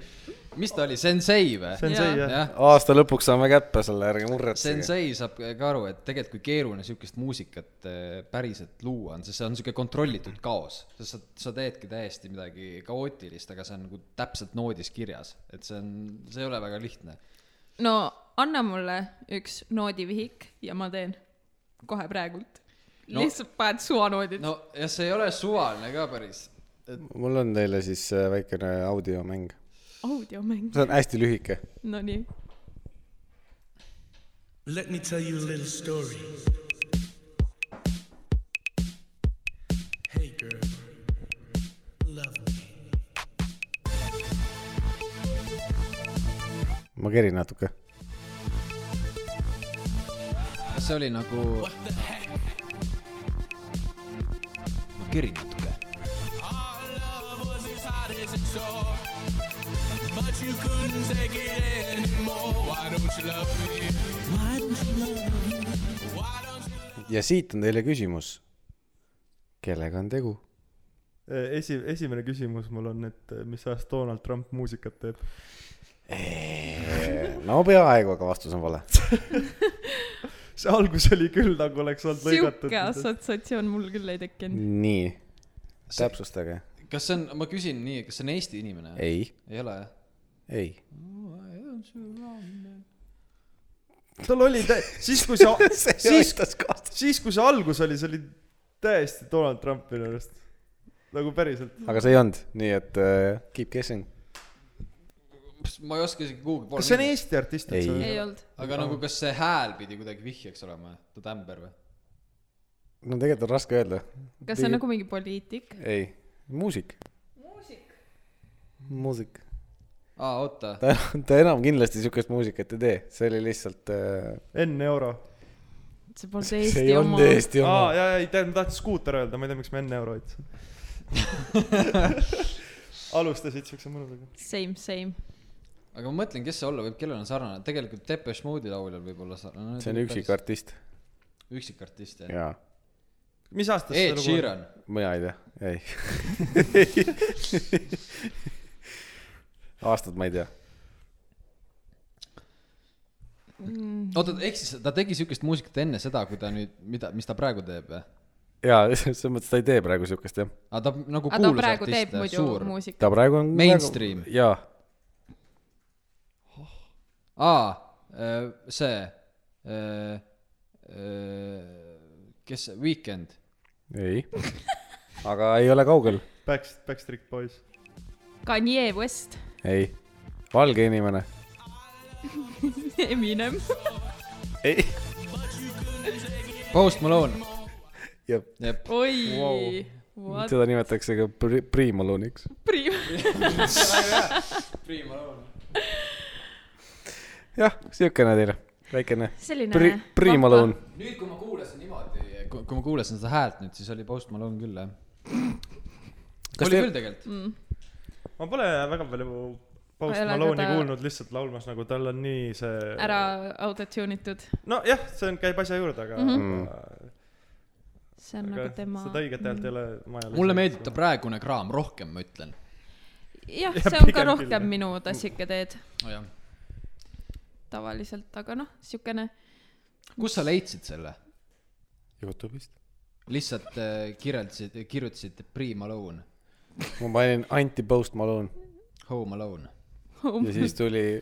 Speaker 3: mis ta oli , sensei või ?
Speaker 4: see on see
Speaker 2: Jaa.
Speaker 4: jah .
Speaker 3: jah ,
Speaker 1: aasta lõpuks saame kätte selle , ärge muretsege .
Speaker 3: sensei saab ka aru , et tegelikult kui keeruline sihukest muusikat eh, päriselt luua on , sest see on sihuke kontrollitud kaos , sest sa , sa teedki täiesti midagi kaootilist , aga see on nagu täpselt noodis kirjas , et see on , see ei ole väga lihtne .
Speaker 2: no anna mulle üks noodivihik ja ma teen kohe praegult
Speaker 3: No-
Speaker 2: no. . lihtsalt paned suvanoodid no. .
Speaker 3: no ja see ei ole suvaline ka päris .
Speaker 1: mul on teile siis äh, väikene audiomäng ,
Speaker 2: audiomäng ,
Speaker 1: see on hästi lühike .
Speaker 2: nonii .
Speaker 6: Let me tell you a little story. Hey, girl. Love me.
Speaker 1: ma kerin natuke .
Speaker 3: kas see oli nagu ? ma kerin natuke .
Speaker 1: ja siit on teile küsimus . kellega on tegu ?
Speaker 4: esi- , esimene küsimus mul on , et äh, mis ajast Donald Trump muusikat teeb ?
Speaker 1: Eh, no peaaegu , aga vastus on vale .
Speaker 4: see algus oli küll nagu oleks olnud lõigatud .
Speaker 2: sihuke assotsiatsioon mul küll ei tekkinud .
Speaker 1: nii , täpsustage .
Speaker 3: kas see on , ma küsin nii , kas see on Eesti inimene ?
Speaker 1: ei ,
Speaker 3: ei ole jah ?
Speaker 1: ei .
Speaker 4: tal oli tä- , siis kui see , siis ,
Speaker 1: ka .
Speaker 4: siis kui see algus oli , see oli täiesti Donald Trump minu arust . nagu päriselt .
Speaker 1: aga see ei olnud , nii et uh, keep guessing .
Speaker 3: ma ei oska isegi Google poole
Speaker 4: kas see on
Speaker 3: minna.
Speaker 4: Eesti artist
Speaker 1: Ei.
Speaker 4: üldse
Speaker 2: ei ? olnud .
Speaker 3: aga nagu kas see hääl pidi kuidagi vihjeks olema , ta tämber või ?
Speaker 1: no tegelikult on raske öelda .
Speaker 2: kas see on nagu mingi poliitik ?
Speaker 1: ei , muusik . muusik .
Speaker 3: aa , oota .
Speaker 1: ta , ta enam kindlasti siukest muusikat ei tee , see oli lihtsalt uh,
Speaker 4: Enn Euro .
Speaker 2: see polnud
Speaker 1: eh, see
Speaker 2: Eesti
Speaker 1: ei
Speaker 2: oma
Speaker 1: olnud . Eesti
Speaker 4: aa ,
Speaker 1: oma .
Speaker 4: ja , ja ei tea , ma tahtsin skuuter öelda , ma ei tea , miks ma enne euro ütlesin . alustasid siukse mõnusaga .
Speaker 2: Same , same .
Speaker 3: aga ma mõtlen , kes see olla võib , kellel on sarnane , tegelikult Depeche Mode'i lauljal võib olla sarnane .
Speaker 1: see on üksik . artist .
Speaker 3: üksik artist jah .
Speaker 1: jaa ,
Speaker 4: mis aastast
Speaker 3: Ed ? Sheeran ,
Speaker 1: mina ei tea , ei . aastat ma ei tea .
Speaker 2: Mhm.
Speaker 3: oota , ehk siis ta tegi siukest muusikat enne seda , kui ta nüüd , mida , mis ta praegu teeb või ?
Speaker 1: jaa , selles mõttes ta ei tee praegu siukest jah .
Speaker 3: aga ta nagu
Speaker 2: aga ta
Speaker 3: kuulus
Speaker 2: praegu
Speaker 3: artist
Speaker 2: teeb
Speaker 3: ja
Speaker 2: muidu
Speaker 3: suur .
Speaker 2: muusikat .
Speaker 1: ta praegu on .
Speaker 3: Mainstream.
Speaker 1: jaa ,
Speaker 3: aa , see , kes see , Weekend ,
Speaker 1: ei . aga ei ole kaugel ,
Speaker 4: Back , Backstreet Boys .
Speaker 2: Kanye West ,
Speaker 1: ei . valge inimene .
Speaker 2: Eminem ,
Speaker 1: ei .
Speaker 3: Post Malone ,
Speaker 1: jah ,
Speaker 3: jep ,
Speaker 2: oi
Speaker 4: Wow.
Speaker 2: wow. , what
Speaker 1: teda nimetatakse ka pri- , priimalooniks .
Speaker 2: prim- .
Speaker 1: jah , siukene teile , väikene
Speaker 2: selline
Speaker 1: pri- , priimaloon .
Speaker 3: nüüd , kui ma kuulasin niimoodi , kui ma kuulasin seda häält nüüd , siis oli Post Malone küll jah . Mm.
Speaker 1: Kas
Speaker 3: oli
Speaker 1: teil-
Speaker 3: küll tegelikult ,
Speaker 4: ma pole väga palju
Speaker 2: Ma ei
Speaker 4: Post
Speaker 2: ole ka
Speaker 4: Malone'i
Speaker 2: ta-
Speaker 4: kuulnud lihtsalt laulmas , nagu tal on nii see .
Speaker 2: ära autotune itud ,
Speaker 4: nojah , see on , käib asja juurde , aga mm . -hmm.
Speaker 2: see on Mhm. nagu tema .
Speaker 4: seda õiget häält ei ole maja .
Speaker 3: mulle meeldib ta . praegune kraam rohkem , ma ütlen
Speaker 2: jah ,
Speaker 4: Ja
Speaker 2: see on ka
Speaker 4: pigem küll, jah.
Speaker 2: rohkem minu tassiketeed
Speaker 3: oh, .
Speaker 2: tavaliselt , aga noh , siukene
Speaker 3: kus sa leidsid selle ?
Speaker 1: Youtube'ist .
Speaker 3: lihtsalt äh, kirjeldasid , kirjutasid Pre Malone ,
Speaker 1: ma panin anti-post Malone
Speaker 3: Home Alone .
Speaker 1: ja siis tuli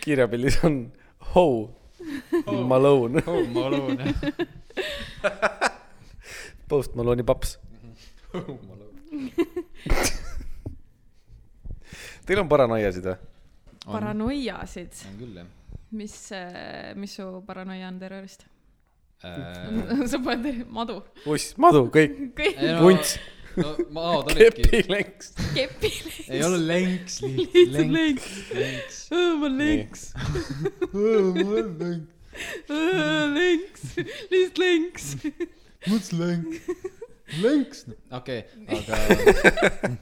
Speaker 1: kirjapildis on ho Malone ,
Speaker 3: Home Alone .
Speaker 1: post Malone'i paps .
Speaker 3: Home Alone .
Speaker 1: Teil on paranoiasid või ?
Speaker 3: on
Speaker 2: paranoiasid ,
Speaker 3: on küll jah
Speaker 2: mis , mis su paranoia on terrorist ?
Speaker 3: äh, .
Speaker 2: sa paned madu ,
Speaker 1: uss , madu , kõik ,
Speaker 2: kõik
Speaker 3: ei no-
Speaker 1: vunts ,
Speaker 3: no ma , aa , ta olidki ,
Speaker 1: kepi lenks .
Speaker 2: kepile .
Speaker 3: ei ole lenks ,
Speaker 2: lihtsalt
Speaker 3: lenks ,
Speaker 2: lenks ,
Speaker 3: lenks .
Speaker 2: ma lenks , lenks , lihtsalt lenks .
Speaker 3: mõts lenk , lenks . okei , aga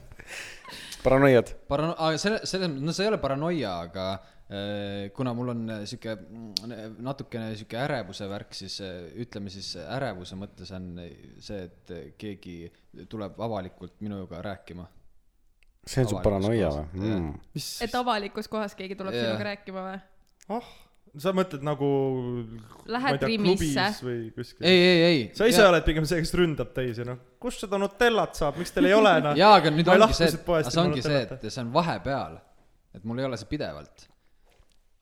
Speaker 1: paranoiad ,
Speaker 3: parano- , aga selle , selles mõttes , no see ei ole paranoia , aga äh, kuna mul on äh, sihuke mm, natukene sihuke ärevuse värk , siis äh, ütleme siis ärevuse mõttes on see , et äh, keegi tuleb avalikult minuga rääkima .
Speaker 1: see on su
Speaker 3: Avalikus
Speaker 1: paranoia
Speaker 3: kohas.
Speaker 1: või mm. ?
Speaker 4: mis ,
Speaker 2: et avalikus kohas keegi tuleb
Speaker 3: Jaa.
Speaker 2: yeah. sinuga rääkima või ?
Speaker 4: ah , sa mõtled nagu .
Speaker 2: Lähed Rimisse.
Speaker 4: või kuskil .
Speaker 3: ei , ei , ei .
Speaker 4: sa ise . oled pigem see , kes ründab teisi , noh . kus seda Nutellat saab , miks teil ei ole , noh ?
Speaker 3: jaa , aga nüüd
Speaker 4: Ma ei
Speaker 3: ongi
Speaker 4: lahku
Speaker 3: see ,
Speaker 4: siit poest
Speaker 3: et , see
Speaker 4: ilma
Speaker 3: ongi see ,
Speaker 4: nutellata.
Speaker 3: et see on vahepeal . et mul ei ole see pidevalt .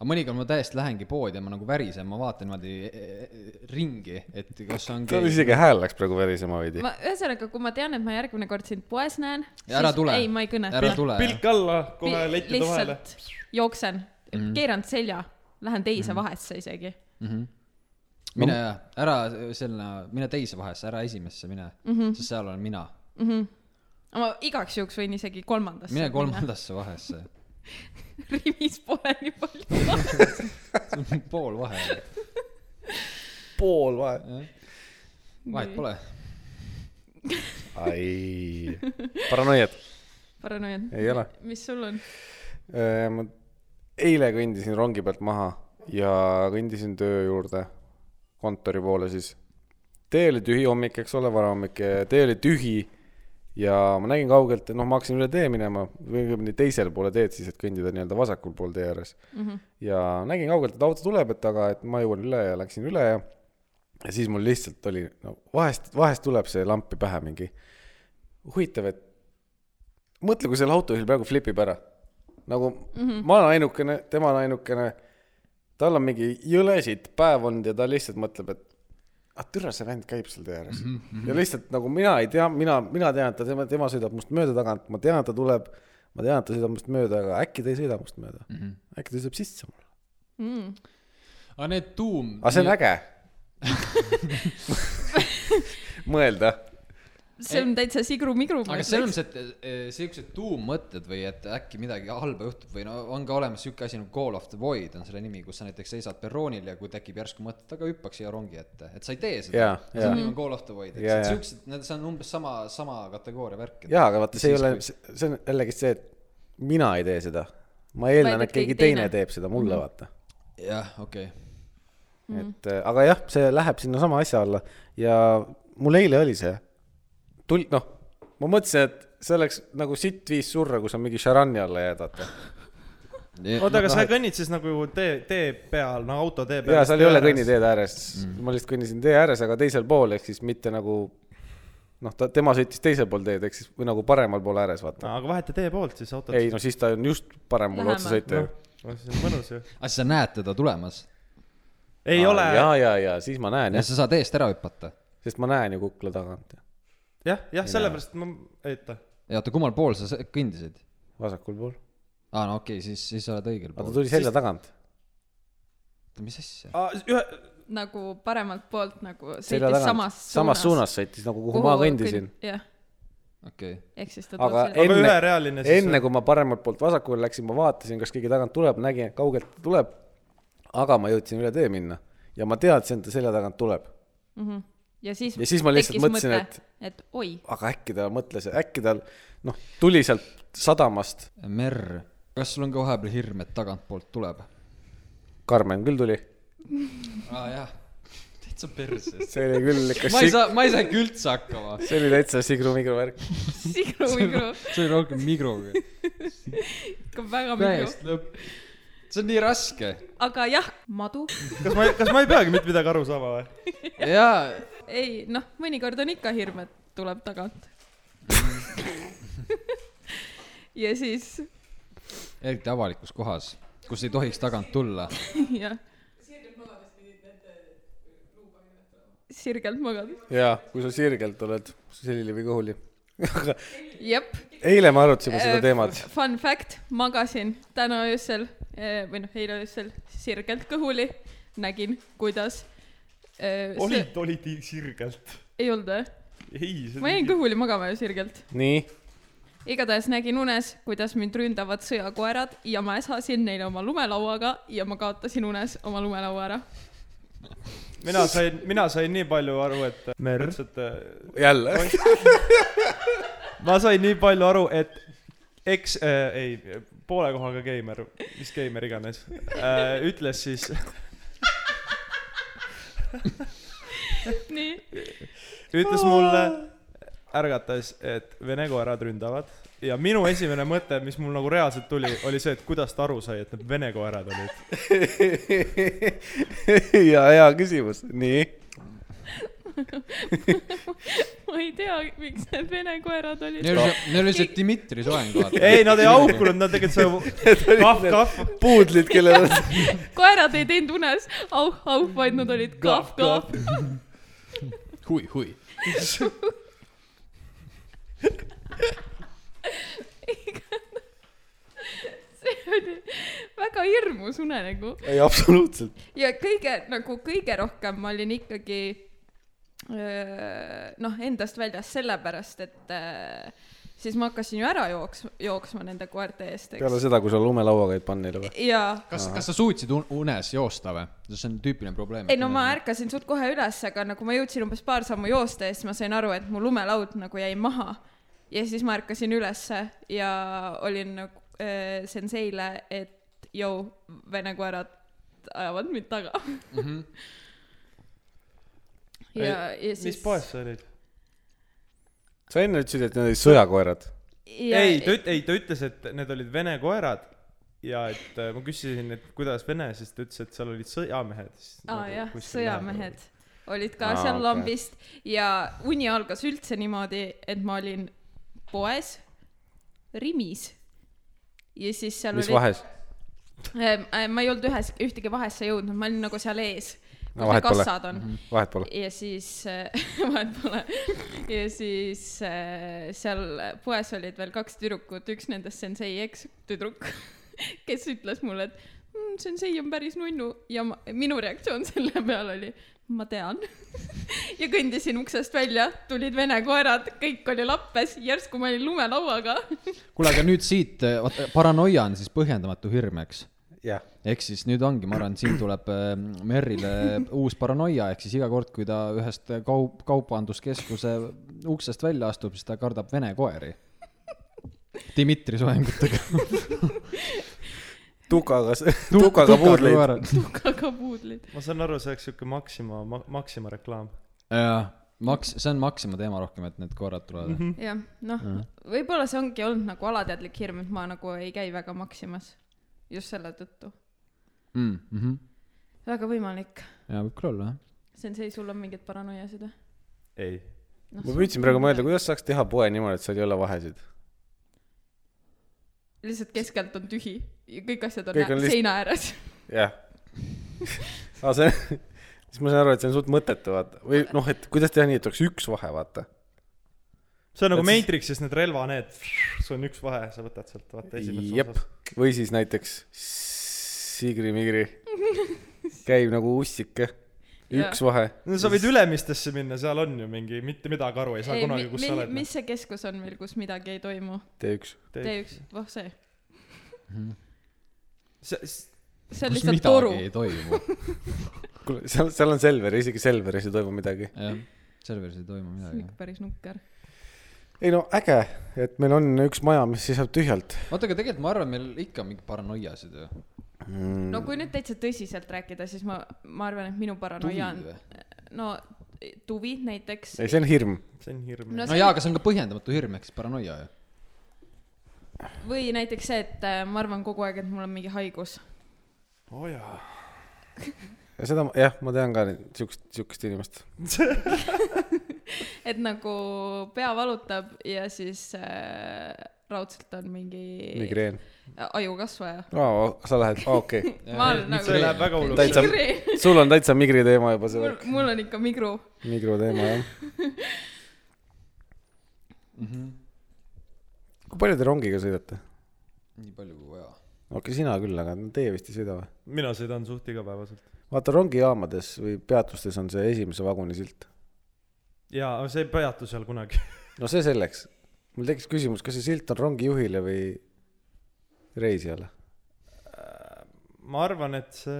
Speaker 3: aga mõnikord ma täiesti lähengi poodi ja ma nagu värisen , ma vaatan niimoodi eh, eh, ringi , et kas on
Speaker 1: tal
Speaker 3: keegi .
Speaker 1: isegi hääl läks praegu verisema veidi .
Speaker 2: ma , ühesõnaga , kui ma tean , et ma järgmine kord sind poes näen ,
Speaker 3: Ja ära tule.
Speaker 2: ei , ma ei
Speaker 3: ära
Speaker 2: kõneta .
Speaker 3: tule .
Speaker 4: pilk alla , kohe
Speaker 2: Pi-
Speaker 4: lettide vahele .
Speaker 2: lihtsalt jooksen
Speaker 3: Mhm.
Speaker 2: mm. , keeran selja , lähen teise mm. vahesse isegi .
Speaker 3: mine no. ära sinna , mine teise vahesse , ära esimesse mine mm , -hmm. sest seal olen mina .
Speaker 2: ma igaks juhuks võin isegi kolmandasse .
Speaker 3: mine . kolmandasse vahesse ,
Speaker 2: Rimis pole nii palju .
Speaker 3: pool vahe ,
Speaker 1: pool vahe .
Speaker 3: vahet pole .
Speaker 1: ai , paranoiad
Speaker 2: paranoiad .
Speaker 1: ei ole ?
Speaker 2: mis sul on ?
Speaker 1: Äh, ma eile kõndisin rongi pealt maha ja kõndisin töö juurde , kontori poole siis . tee oli tühi hommik , eks ole , varahommik , tee oli tühi ja ma nägin kaugelt , noh , ma hakkasin üle tee minema , või õigemini teisele poole teed siis , et kõndida nii-öelda vasakul pool tee ääres mm . -hmm. ja nägin kaugelt , et auto tuleb , et aga , et ma jõuan üle ja läksin üle ja ja siis mul lihtsalt oli , no vahest , vahest tuleb see lampi pähe mingi , huvitav , et mõtle , kui selle autojuhil praegu flipib ära . nagu mm -hmm. ma olen ainukene , tema on ainukene , tal on mingi jõle siit päev olnud ja ta lihtsalt mõtleb , et ah türa , see vend käib seal tee ääres mm . -hmm. ja lihtsalt nagu mina ei tea , mina , mina tean , et ta , tema , tema sõidab must mööda tagant , ma tean , et ta tuleb , ma tean , et ta sõidab must mööda , aga äkki ta ei sõida must mööda mm . -hmm. äkki ta sõidab sisse mulle . Ah,
Speaker 3: aga need tuum .
Speaker 1: aga see on äge . mõelda
Speaker 2: see on täitsa sigru-migru .
Speaker 3: aga selles mõttes , et eh, siuksed tuummõtted või et äkki midagi halba juhtub või no on ka olemas siuke asi nagu Call of the Void on selle nimi , kus sa näiteks seisad perroonil ja kui tekib järsku mõte , et aga hüppaks siia rongi ette , et sa ei tee seda
Speaker 1: Jaa, jaa.
Speaker 3: see nimi on Call of the Void , eks
Speaker 1: Jaa,
Speaker 3: yeah, , et
Speaker 1: jaa.
Speaker 3: siuksed , need , see on umbes sama , sama kategooria värk .
Speaker 1: jaa , aga vaata , see ei ole , see on jällegist see , et mina ei tee seda . ma eeldan ,
Speaker 2: Vaid
Speaker 1: et keegi teine teeb seda mulle , vaata .
Speaker 3: jah , okei okay. .
Speaker 1: et äh, aga jah , see läheb sinnasama asja alla ja mul eile oli see . tul- , noh , ma mõtlesin , et see oleks nagu sitt viis surra , kui sa mingi šaranni alla jääd , vaata .
Speaker 4: oota , aga sa kõnnid siis nagu tee , tee peal , no autotee peal .
Speaker 1: jaa , seal ei ole . kõnniteed ääres mm. , ma lihtsalt kõndisin tee ääres , aga teisel pool , ehk siis mitte nagu noh , ta , tema sõitis teisel pool teed , ehk siis või nagu paremal pool ääres , vaata .
Speaker 4: aga vaheta tee poolt siis autot .
Speaker 1: ei , no siis ta on just parem mulle otsa
Speaker 2: Lähemal.
Speaker 1: sõita ju .
Speaker 4: no siis on mõnus ju .
Speaker 3: aga siis sa näed teda tulemas
Speaker 4: ei ole ,
Speaker 1: ja
Speaker 4: jah ,,
Speaker 1: ja , ja siis ma näen
Speaker 3: ja
Speaker 1: jah ,
Speaker 3: sa saad eest ära hüpata .
Speaker 1: sest ma näen ju kukla tagant ja
Speaker 4: jah , sellepärast ma , oota .
Speaker 3: ja oota , kummal pool sa s- kõndisid ?
Speaker 1: vasakul pool .
Speaker 3: aa , no okei okay, , siis , siis sa oled õigel
Speaker 1: aga ta
Speaker 3: pool .
Speaker 1: tuli selja tagant ,
Speaker 3: oota , mis asja ?
Speaker 4: ühe ,
Speaker 2: nagu paremalt poolt nagu
Speaker 1: selja
Speaker 2: sõitis
Speaker 1: tagant ,
Speaker 2: samas
Speaker 1: samas suunas sõitis nagu kuhu ma kõndisin ..
Speaker 2: jah ,
Speaker 3: okei okay. .
Speaker 2: ehk siis ta
Speaker 1: aga
Speaker 2: toob
Speaker 4: Aga
Speaker 1: enne ,
Speaker 4: ülerealine siis-
Speaker 1: enne kui ma paremalt poolt vasakule läksin , ma vaatasin , kas keegi tagant tuleb , nägin , et kaugelt ta tuleb . aga ma jõudsin üle tee minna ja ma teadsin , et ta selja tagant tuleb .
Speaker 2: ja siis
Speaker 1: ja siis ma lihtsalt
Speaker 2: tekkis
Speaker 1: mõtlesin,
Speaker 2: mõte, et oi ,
Speaker 1: aga äkki ta mõtles , äkki tal noh , tuli sealt sadamast ,
Speaker 3: Merr , kas sul on ka vahepeal hirm , et tagantpoolt tuleb ?
Speaker 1: Karmen küll tuli ,
Speaker 3: aa Ah, jah , täitsa perses .
Speaker 1: see oli küll ikka
Speaker 3: ma ei
Speaker 1: sig- ,
Speaker 3: saa , ma ei saa ikka üldse hakkama .
Speaker 1: see oli täitsa sigru-migru värk .
Speaker 2: sigru-migru ,
Speaker 3: see oli rohkem migruga .
Speaker 2: ikka väga migru .
Speaker 3: täiesti lõpp . see on nii raske .
Speaker 2: aga jah , madu ,
Speaker 4: kas ma , kas ma ei peagi mitte midagi aru saama või ?
Speaker 3: jaa ,
Speaker 2: ei noh , mõnikord on ikka hirm , et tuleb tagant . ja siis
Speaker 3: eriti avalikus kohas , kus ei tohiks tagant tulla .
Speaker 2: jah . sirgelt magades
Speaker 1: jaa , kui sa sirgelt oled , selili või kõhuli . aga
Speaker 2: pidid need luupaninad olema . sirgelt magades , jep .
Speaker 1: eile me arutasime
Speaker 2: Äh,
Speaker 1: seda teemat .
Speaker 2: Fun fact , magasin täna öösel eh, või noh , eile öösel sirgelt kõhuli , nägin , kuidas . See...
Speaker 4: olid , olid nii sirgelt .
Speaker 2: ei olnud või ?
Speaker 4: ei , see
Speaker 2: ma jäin kõhuli magama ju sirgelt .
Speaker 1: nii ,
Speaker 2: igatahes nägin unes , kuidas mind ründavad sõjakoerad ja ma äsasin neile oma lumelauaga ja ma kaotasin unes oma lumelaua ära .
Speaker 4: mina sain , mina sain nii palju aru , et . ütles , et äh,
Speaker 1: jälle .
Speaker 4: ma sain nii palju aru , et eks äh, , ei , poole kohaga geimer , mis geimer iganes äh, , ütles siis ,
Speaker 2: nii ,
Speaker 4: ütles mulle ärgates , et vene koerad ründavad ja minu esimene mõte , mis mul nagu reaalselt tuli , oli see , et kuidas ta aru sai , et need vene koerad olid .
Speaker 1: ja hea küsimus , nii .
Speaker 2: ma ei tea , miks need vene koerad olid .
Speaker 3: Neil oli , neil oli see Dmitri soeng , vaata .
Speaker 4: ei , nad ei . haukunud , nad tegid seda kahv , kahv ,
Speaker 1: puudlid , kellel on ,
Speaker 2: koerad ei teinud unes auh , auh , vaid nad olid kahv , kahv .
Speaker 3: hui , hui .
Speaker 2: see oli väga hirmus nagu. unenägu
Speaker 1: ei absoluutselt .
Speaker 2: ja kõige nagu kõige rohkem ma olin ikkagi öö, noh , endast väljas sellepärast , et öö, siis ma hakkasin ju ära jooks- , jooksma nende koerte eest ,
Speaker 1: peale
Speaker 2: eks .
Speaker 1: seda , kui sa lumelauaga jäid pannile või ?
Speaker 2: jaa
Speaker 3: kas , kas sa suutsid un- unes joosta või ? see on tüüpiline probleem .
Speaker 2: ei no ma . ärkasin suht kohe üles , aga nagu ma jõudsin umbes paar sammu joosta ja siis ma sain aru , et mu lumelaud nagu jäi maha . ja siis ma ärkasin ülesse ja olin nagu äh, senseile , et jõu , vene koerad ajavad mind taga mm . -hmm. ja , ja siis .
Speaker 4: mis poes see oli ?
Speaker 1: sa enne ütlesid , et need olid sõjakoerad .
Speaker 4: ei , ta üt- , ei ta ütles , et need olid vene koerad ja et äh, ma küsisin , et kuidas vene , siis ta ütles , et seal olid sõjamehed .
Speaker 1: Nagu
Speaker 4: nagu
Speaker 2: aa jah , sõjamehed olid ka
Speaker 1: Aa,
Speaker 2: seal
Speaker 1: okei.
Speaker 2: lambist ja uni algas üldse niimoodi , et ma olin poes , Rimis ja siis seal
Speaker 1: mis
Speaker 2: oli
Speaker 1: vahes ?
Speaker 2: ma ei olnud ühes , ühtegi vahesse jõudnud , ma olin nagu seal ees , kus
Speaker 1: No
Speaker 2: no,
Speaker 1: vahet
Speaker 2: need
Speaker 1: pole.
Speaker 2: kassad on mm . -hmm
Speaker 1: vahet pole .
Speaker 2: ja siis äh, , vahet pole , ja siis äh, seal poes olid veel kaks tüdrukut , üks nendest sensei eks tüdruk , kes ütles mulle , et mm, sensei on päris nunnu ja ma, minu reaktsioon selle peale oli , ma tean . ja kõndisin uksest välja , tulid vene koerad , kõik oli lappes , järsku ma olin lumelauaga .
Speaker 3: kuule , aga nüüd siit , vaata paranoia on siis põhjendamatu hirm , eks ?
Speaker 1: jah ,
Speaker 3: ehk siis nüüd ongi , ma arvan , siin tuleb äh, Merrile uus paranoia , ehk siis iga kord , kui ta ühest kaup , kaubanduskeskuse uksest välja astub , siis ta kardab vene koeri . Dmitri soengutega .
Speaker 1: tukaga , tukaga puudleid .
Speaker 2: tukaga puudlid .
Speaker 4: ma saan aru , see oleks siuke Maxima , Maxima reklaam .
Speaker 3: jaa , Max , see on Maxima teema rohkem , et need koerad tulevad mm .
Speaker 2: jah , noh , võib-olla see ongi olnud nagu alateadlik hirm , et ma nagu ei käi väga Maximas . just selle tõttu .
Speaker 3: -hmm. Mm -hmm.
Speaker 2: väga võimalik .
Speaker 3: jaa , võib küll olla , jah .
Speaker 2: sensei , sul on mingeid paranoiasid või ?
Speaker 4: ei .
Speaker 1: ma püüdsin praegu mõelda , kuidas saaks teha poe niimoodi , et seal ei ole vahesid .
Speaker 2: lihtsalt keskelt on tühi ja kõik asjad on,
Speaker 1: Kõik on
Speaker 2: on
Speaker 1: lihtsalt-
Speaker 2: seina ääres .
Speaker 1: jah . aga see , siis ma saan aru , et see on suht mõttetu , vaata . või noh , et kuidas teha nii , et oleks üks vahe , vaata .
Speaker 4: see on nagu
Speaker 1: Et siis-
Speaker 4: Matrixis need relva , need , sul on üks vahe , sa võtad sealt , vaata esimeses
Speaker 1: jep
Speaker 4: osas .,
Speaker 1: või siis näiteks Sigri-Migri käib nagu ussike ,
Speaker 2: Jaa.
Speaker 1: üks vahe .
Speaker 4: no sa võid Ülemistesse minna , seal on ju mingi , mitte midagi aru ei saa ei, kunagi , kus sa oled . noh.
Speaker 2: mis see keskus on meil , kus midagi ei toimu ?
Speaker 1: tee üks .
Speaker 2: T1 , voh see ,
Speaker 4: see ,
Speaker 2: see on lihtsalt toru .
Speaker 3: ei toimu .
Speaker 1: kuule , seal , seal on Selver , isegi Selveris ei toimu midagi .
Speaker 3: jah , serveris ei toimu
Speaker 2: see on
Speaker 3: midagi
Speaker 2: ikka . päris nukker .
Speaker 1: Mm. ei no äge , et meil on üks maja , mis seisab tühjalt
Speaker 3: oota , aga tegelikult ma arvan , meil ikka on mingi paranoiasid ju .
Speaker 1: mm. .
Speaker 2: no kui nüüd täitsa tõsiselt rääkida , siis ma , ma arvan , et minu
Speaker 3: tuvi
Speaker 2: paranoia on ,
Speaker 3: või ?
Speaker 2: no tuvi näiteks .
Speaker 1: ei , see on hirm .
Speaker 4: see on hirm
Speaker 2: No
Speaker 4: no. .
Speaker 3: no jaa , aga see on ka põhjendamatu hirm , ehk siis paranoia ju .
Speaker 2: või näiteks see , et äh, ma arvan kogu aeg , et mul on mingi haigus .
Speaker 4: oo oh, jaa .
Speaker 1: ja seda , jah , ma tean ka neid- siukest , siukest inimest .
Speaker 2: et nagu pea valutab ja siis äh, raudselt on mingi
Speaker 1: migreen .
Speaker 2: ajukasvaja .
Speaker 1: aa , sa lähed , aa okei okay. .
Speaker 2: ma olen
Speaker 4: see
Speaker 2: nagu
Speaker 4: läheb väga hulluks .
Speaker 1: Täitsa-
Speaker 2: migreen ,
Speaker 1: sul on täitsa migri teema juba see
Speaker 2: mul
Speaker 1: värk ,
Speaker 2: mul on ikka migru .
Speaker 1: migro teema jah .
Speaker 3: Mhm.
Speaker 1: kui palju te rongiga sõidate ?
Speaker 3: nii palju kui vaja .
Speaker 1: okei , sina küll , aga teie vist ei sõida või ?
Speaker 4: mina sõidan suht igapäevaselt .
Speaker 1: vaata rongijaamades või peatustes on see esimese vaguni silt .
Speaker 4: jaa , aga see ei peatu seal kunagi .
Speaker 1: no see selleks . mul tekkis küsimus , kas see silt on rongijuhile või reisijale ?
Speaker 4: ma arvan , et see ,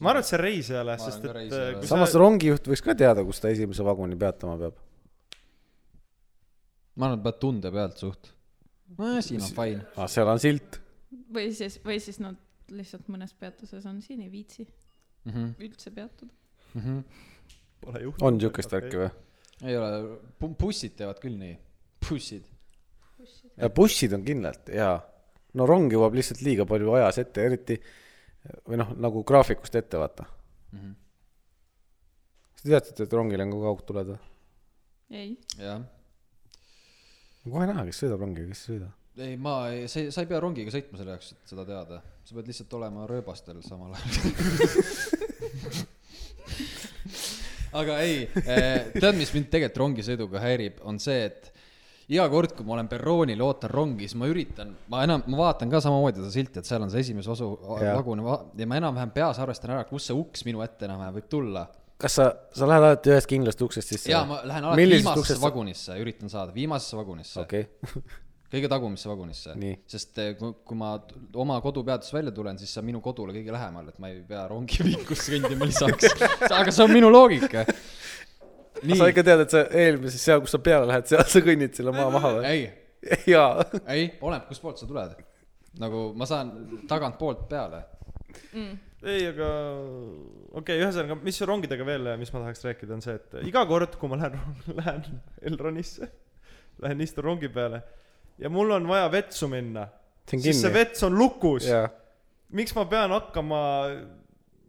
Speaker 4: ma arvan , et see reisijale ,
Speaker 3: Ma
Speaker 4: sest
Speaker 3: arvan ka
Speaker 4: et
Speaker 3: reisijale.
Speaker 4: äh, kui
Speaker 1: samas
Speaker 4: sa ,
Speaker 1: rongijuht võiks ka teada , kus ta esimese vaguni peatama peab .
Speaker 3: ma arvan , et pead tunde pealt suht . nojah , siin on fine .
Speaker 1: aa , Ah, seal on silt .
Speaker 2: või siis , või siis nad lihtsalt mõnes peatuses on siin , ei viitsi
Speaker 3: Mhm,
Speaker 2: üldse peatuda .
Speaker 4: pole juhtunud .
Speaker 1: on siukest värki või ?
Speaker 3: ei ole , bussid teevad küll nii . bussid .
Speaker 1: ja bussid on kindlalt jaa . no rong jõuab lihtsalt liiga palju ajas ette , eriti või noh , nagu graafikust ette vaata mm .
Speaker 3: Mhm,
Speaker 1: -hmm. kas te teadsite , et rongil on ka kaugtuled või ?
Speaker 2: ei ,
Speaker 3: jah .
Speaker 1: kohe näha , kes sõidab rongiga , kes ei sõida .
Speaker 3: ei , ma ei , sa ei , sa ei pea rongiga sõitma selle jaoks , et seda teada . sa pead lihtsalt olema rööbastel samal ajal . aga ei , tead , mis mind tegelikult rongisõiduga häirib , on see , et iga kord , kui ma olen perroonil , ootan rongi , siis ma üritan , ma enam , ma vaatan ka samamoodi seda silti , et seal on see esimese osu
Speaker 1: Jaa.
Speaker 3: vagune va- ja ma enam-vähem peas arvestan ära , kus see uks minu ette enam-vähem võib tulla .
Speaker 1: kas sa , sa lähed alati ühest kindlast uksest sisse ?
Speaker 3: ja ma lähen alati viimasesse . vagunisse , üritan saada , viimasesse vagunisse
Speaker 1: okei ,
Speaker 3: kõige tagumisse vagunisse
Speaker 1: Nii. ,
Speaker 3: sest eh, kui, kui ma t- oma kodupeatusest välja tulen , siis see on minu kodule kõige lähemal , et ma ei pea rongi liiklusse kõndima lisaks . aga see on minu loogika .
Speaker 1: sa
Speaker 3: nii ,
Speaker 1: ikka tead , et sa eelmises , seal , kus sa peale lähed , seal sa kõnnid selle maa maha või ?
Speaker 3: ei ,
Speaker 1: jaa .
Speaker 3: ei , oleneb , kustpoolt sa tuled . nagu ma saan tagantpoolt peale .
Speaker 4: ei , aga okei okay, , ühesõnaga , mis rongidega veel , mis ma tahaks rääkida , on see , et iga kord , kui ma lähen , lähen Elronisse , lähen istun rongi peale ja mul on vaja vetsu minna ,
Speaker 1: see on
Speaker 4: siis see
Speaker 1: kinni .
Speaker 4: vets on lukus .
Speaker 1: jaa ,
Speaker 4: miks ma pean hakkama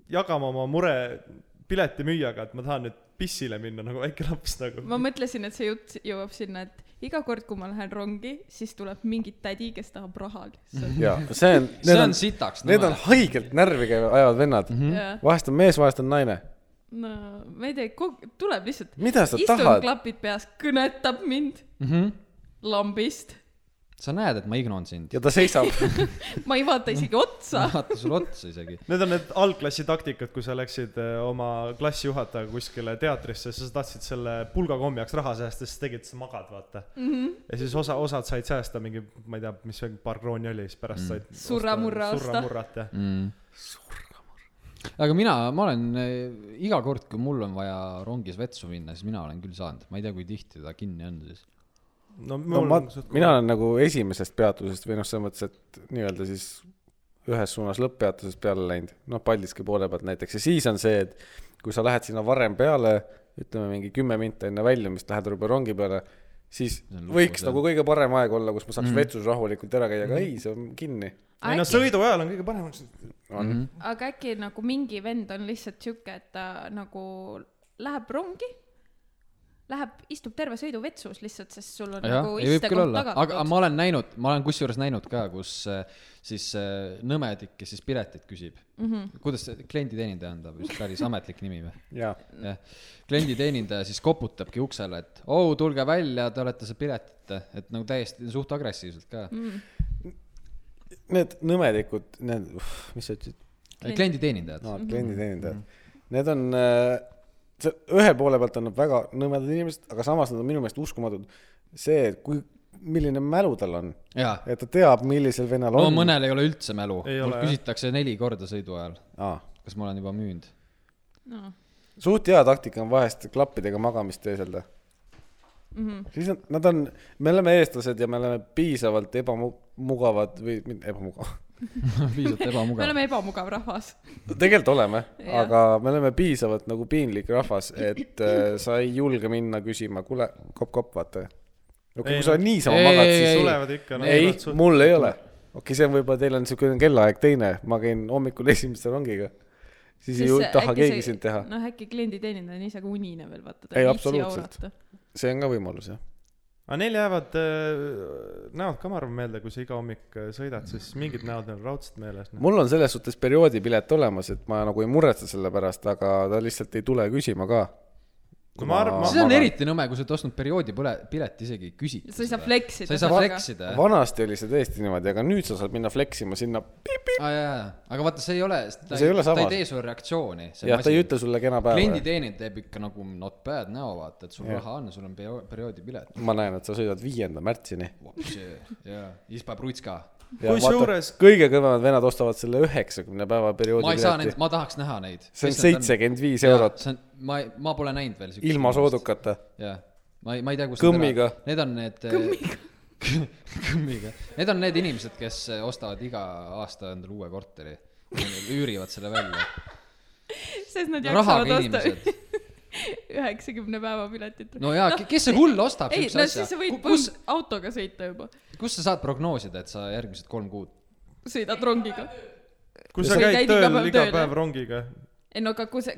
Speaker 4: jagama oma mure piletimüüjaga , et ma tahan nüüd pissile minna nagu väike laps nagu .
Speaker 2: ma mõtlesin , et see jutt jõuab sinna , et iga kord , kui ma lähen rongi , siis tuleb mingi tädi , kes tahab raha lihtsalt .
Speaker 1: jaa , see on ,
Speaker 3: see
Speaker 1: need on
Speaker 3: on , sitaks .
Speaker 1: need on haigelt närvi käivad , ajavad vennad .
Speaker 3: Mhm.
Speaker 2: ja
Speaker 1: vahest on mees , vahest on naine .
Speaker 2: no ma ei tea , kogu , tuleb lihtsalt .
Speaker 1: mida sa
Speaker 2: istun
Speaker 1: tahad ?
Speaker 2: klapid peas , kõnetab mind
Speaker 3: mm . -hmm.
Speaker 2: lambist .
Speaker 3: Mhm. sa näed , et ma ignon sind .
Speaker 1: ja ta seisab .
Speaker 2: ma ei vaata isegi otsa .
Speaker 3: vaata sulle otsa isegi .
Speaker 4: Need on need algklassi taktikad , kui sa läksid eh, oma klassijuhatajaga kuskile teatrisse , sa tahtsid selle pulgakombjaks raha säästa , siis tegid , sa magad , vaata mm .
Speaker 2: Mhm.
Speaker 4: -hmm. ja siis osa , osad said säästa mingi , ma ei tea , mis see paar krooni oli , siis pärast said mm.
Speaker 2: Surra-murra osta.
Speaker 4: surramurrat , jah .
Speaker 3: mm. . aga mina , ma olen äh, iga kord , kui mul on vaja rongis vetsu minna , siis mina olen küll saanud , ma ei tea , kui tihti ta kinni on siis .
Speaker 4: no
Speaker 1: no
Speaker 4: mul
Speaker 1: ma
Speaker 4: on , suht-
Speaker 1: mina olen nagu esimesest peatusest või noh , selles mõttes , et nii-öelda siis ühes suunas lõpppeatusest peale läinud , noh , Paldiski poole pealt näiteks ja siis on see , et kui sa lähed sinna varem peale , ütleme mingi kümme minti enne väljumist lähed juba rongi peale , siis
Speaker 3: See on lukus,
Speaker 1: võiks
Speaker 3: jah. Mhm.
Speaker 1: nagu kõige parem aeg olla , kus ma saaks mm. vetsus rahulikult ära käia , aga ei , see on kinni .
Speaker 4: ei no
Speaker 2: äkki ,
Speaker 4: sõidu ajal on kõige parem ,
Speaker 1: on
Speaker 3: Mhm.
Speaker 1: mm ,
Speaker 2: aga äkki nagu mingi vend on lihtsalt sihuke , et ta nagu läheb rongi , läheb , istub terve sõidu vetsus lihtsalt , sest sul on
Speaker 3: jah
Speaker 2: nagu ,
Speaker 3: ei võib küll
Speaker 2: istekoht
Speaker 3: olla , aga
Speaker 2: tagatud .
Speaker 3: ma olen näinud , ma olen kusjuures näinud ka , kus äh, siis äh, nõmedik , kes siis piletit küsib mm .
Speaker 2: Mhm.
Speaker 3: -hmm. kuidas see klienditeenindaja on ta vist päris ametlik nimi või ?
Speaker 1: -hmm. ja
Speaker 3: jah , klienditeenindaja siis koputabki uksele , et oo , tulge välja , te olete see piletit , et nagu täiesti suht agressiivselt ka mm. .
Speaker 1: need nõmedikud , need , mis sa ütlesid ,
Speaker 3: klienditeenindajad no. ,
Speaker 1: no, .
Speaker 3: Mhm.
Speaker 1: klienditeenindajad , need on äh, , see ühe poole pealt on nad väga nõmedad inimesed , aga samas nad on minu meelest uskumatud . see , et kui , milline mälu tal on ,
Speaker 3: jaa .
Speaker 1: et ta teab , millisel vennal
Speaker 3: no
Speaker 1: on .
Speaker 3: mõnel ei ole üldse mälu ,
Speaker 4: Ei
Speaker 3: mul
Speaker 4: ole, jah.
Speaker 3: küsitakse neli korda sõidu ajal ,
Speaker 1: Aa.
Speaker 3: kas ma olen juba müünud .
Speaker 2: No.
Speaker 1: suht hea taktika on vahest klappidega magamist teeselda mm .
Speaker 2: mhm.
Speaker 1: -hmm. siis nad, nad on , me oleme eestlased ja me oleme piisavalt ebamugavad või mitte ebamugavad ,
Speaker 3: piisavalt
Speaker 2: me
Speaker 3: ebamugav .
Speaker 2: oleme ebamugav rahvas .
Speaker 1: tegelikult oleme ,
Speaker 2: Jah.
Speaker 1: aga me oleme piisavalt nagu piinlik rahvas , et äh, sa ei julge minna küsima , kuule , kopp-kopp , vaata . no kui
Speaker 4: Ei,
Speaker 1: sa
Speaker 4: no-
Speaker 1: niisama
Speaker 3: ei,
Speaker 1: magad ,
Speaker 3: ei,
Speaker 1: siis
Speaker 3: ei.
Speaker 4: tulevad ikka .
Speaker 1: ei , mul ei ole . okei , see on võib-olla teil on niisugune kellaaeg teine , ma käin hommikul esimese rongiga . siis ei ju- taha keegi sind teha .
Speaker 2: noh , äkki klienditeenindaja on ise ka unine veel , vaata .
Speaker 1: Ei, absoluutselt. see on ka võimalus jah .
Speaker 4: aga neil jäävad äh, näod ka , ma arvan , meelde , kui sa iga hommik äh, sõidad , siis mingid näod on raudselt meeles . noh.
Speaker 1: mul on selles suhtes perioodipilet olemas , et ma nagu ei muretse selle pärast , aga ta lihtsalt ei tule küsima ka .
Speaker 4: No ma arvan- ma-
Speaker 3: see on eriti nõme , kui sa oled ostnud perioodi põle , pilet isegi ei küsita .
Speaker 2: sa ei saa . fleksida .
Speaker 3: sa ei saa fleksida , jah .
Speaker 1: vanasti oli see tõesti niimoodi , aga nüüd sa saad minna fleksima sinna .
Speaker 3: aa Ah, jaa , jaa , aga vaata , see ei ole , ta
Speaker 1: See ei ole
Speaker 3: ta
Speaker 1: samas.
Speaker 3: ei tee sulle reaktsiooni .
Speaker 1: jah , ta ei ütle sulle kena päeva .
Speaker 3: klienditeenindaja teeb ikka nagu not bad näo , vaata , et sul
Speaker 1: Jah.
Speaker 3: raha on , sul on peo- perioodi pilet .
Speaker 1: ma näen , et sa sõidad viienda märtsini .
Speaker 3: jaa , siis paneb rutska .
Speaker 4: Kusjuures-
Speaker 1: kõige kõvemad vennad ostavad selle üheksakümne päeva perioodi
Speaker 3: ma ei saa neid ,
Speaker 1: pileti .
Speaker 3: ma tahaks näha neid .
Speaker 1: see on seitsekümmend viis eurot
Speaker 3: see on , ma , ma pole näinud veel .
Speaker 1: ilma . soodukata .
Speaker 3: jah , ma ei , ma ei tea , kus
Speaker 1: Kõmmiga. .
Speaker 3: Need on need . kõmmiga . kõmmiga . Need on need inimesed , kes eh, ostavad iga aasta endale uue korteri . üürivad selle välja .
Speaker 2: sest nad jaksavad
Speaker 3: rahaga
Speaker 2: osta
Speaker 3: inimesed .
Speaker 2: üheksakümne päeva piletit .
Speaker 3: no jaa , kes see hull ostab
Speaker 2: ei ,
Speaker 3: siukse
Speaker 2: no siis sa
Speaker 3: asja
Speaker 2: võid ?
Speaker 3: kus ,
Speaker 2: kus... autoga sõita juba ,
Speaker 3: kus sa saad prognoosida , et sa järgmised kolm kuud .
Speaker 2: sõidad rongiga .
Speaker 4: kui
Speaker 2: sa
Speaker 4: sa käid
Speaker 2: käid iga
Speaker 4: tööl
Speaker 2: päev
Speaker 4: iga
Speaker 2: tööle.
Speaker 4: päev rongiga ,
Speaker 2: ei no aga kui sa ,